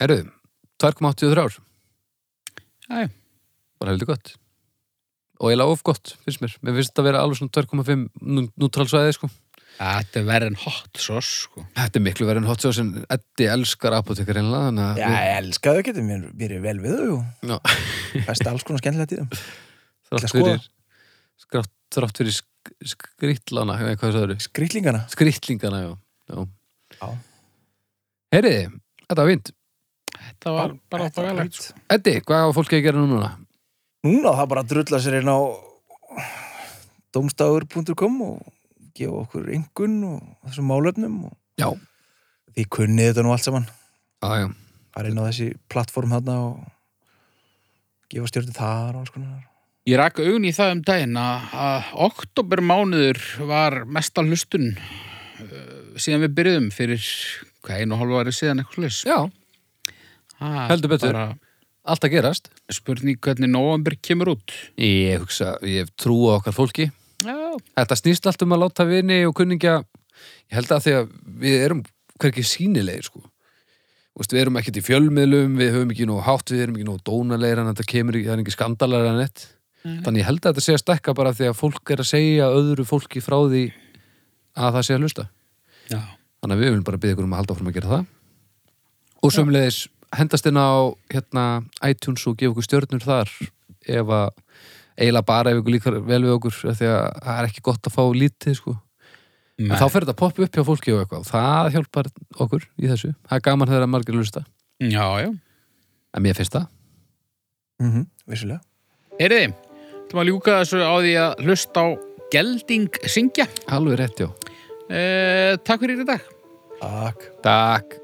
[SPEAKER 2] Herru, 2,83 ár.
[SPEAKER 1] já, já.
[SPEAKER 2] Bara heldur gott. Og ég lág of gott, finnst mér. Mér finnst þetta að vera alveg svona 2,5 nú- nútrálsvæði, sko.
[SPEAKER 1] Þetta er verið en hot sauce, sko.
[SPEAKER 2] Þetta er miklu verið en hot sauce en Eddi elskar apotekar einlega, þannig að
[SPEAKER 3] Já,
[SPEAKER 2] við-
[SPEAKER 3] ég elska þau getur mér, mér er vel við þau jú.
[SPEAKER 2] Já.
[SPEAKER 3] Best alls konar skemmtilega tíðum
[SPEAKER 2] þrátt
[SPEAKER 3] Ætla að
[SPEAKER 2] fyrir skrátt, þrátt fyrir sk skrýtlana eða hvað það eru,
[SPEAKER 3] Skrýtlingana
[SPEAKER 2] skrýtlingana já, já.
[SPEAKER 3] Já.
[SPEAKER 2] heyriði, þetta var vind
[SPEAKER 1] Þetta var bara
[SPEAKER 3] Þetta var
[SPEAKER 1] bagalegt,
[SPEAKER 3] gott.
[SPEAKER 1] sko.
[SPEAKER 2] Eddi, hvað hafa fólki að gera núna?
[SPEAKER 3] Núna á það bara að drulla sér inn á domstafur.com og gefa okkur engun og þessum málefnum og
[SPEAKER 2] já,
[SPEAKER 3] því kunnið þetta nú allt saman
[SPEAKER 2] já, já,
[SPEAKER 3] bara inn á þessi plattform þarna og gefa stjórnum þar og alls konar
[SPEAKER 1] Ég rak augun í það um daginn að, að oktobermánuður var mesta hlustun uh, síðan við byrjuðum fyrir hvað einu og hálfu ári síðan eitthvað slags.
[SPEAKER 2] já, Heldur betur.
[SPEAKER 1] Bara
[SPEAKER 2] allt að gerast
[SPEAKER 1] spurning hvernig november kemur út.
[SPEAKER 2] ég hugsa, ég hef trú á okkar fólki
[SPEAKER 1] Já.
[SPEAKER 2] þetta snýst allt um að láta vini og kunningja ég held að því að við erum hverki sínilegir sko Vist, við erum ekkert í fjölmiðlum, við höfum ekki nóg hátt, við erum ekki nóg dónalegir en þetta kemur ekki, það er ekki skandalegir en neitt þannig ég held að þetta sé að stekka bara því að fólk er að segja öðru fólki frá því að það sé að hlusta
[SPEAKER 1] Já.
[SPEAKER 2] þannig að við viljum bara byggja ykkur um að halda áfram að gera það og sömulegis hendast inn á hérna, iTunes og gefa okkur stjörnur þar ef að eiginlega bara ef ykkur líkar vel við okkur af því að það er ekki gott að fá lítið sko. en þá
[SPEAKER 1] Nei.
[SPEAKER 2] fer þetta að poppa upp hjá fólki og eitthvað það hjálpar okkur í þessu það er gaman þegar að margir hlusta
[SPEAKER 1] Já, já.
[SPEAKER 2] en mér finnst það
[SPEAKER 3] mm -hmm. Vissulega
[SPEAKER 1] Heyriði, þú maður ljúka þessu á því að hlusta á Gelding syngja.
[SPEAKER 2] alveg rétt já
[SPEAKER 1] Eh, takk fyrir í dag.
[SPEAKER 3] Takk
[SPEAKER 2] Takk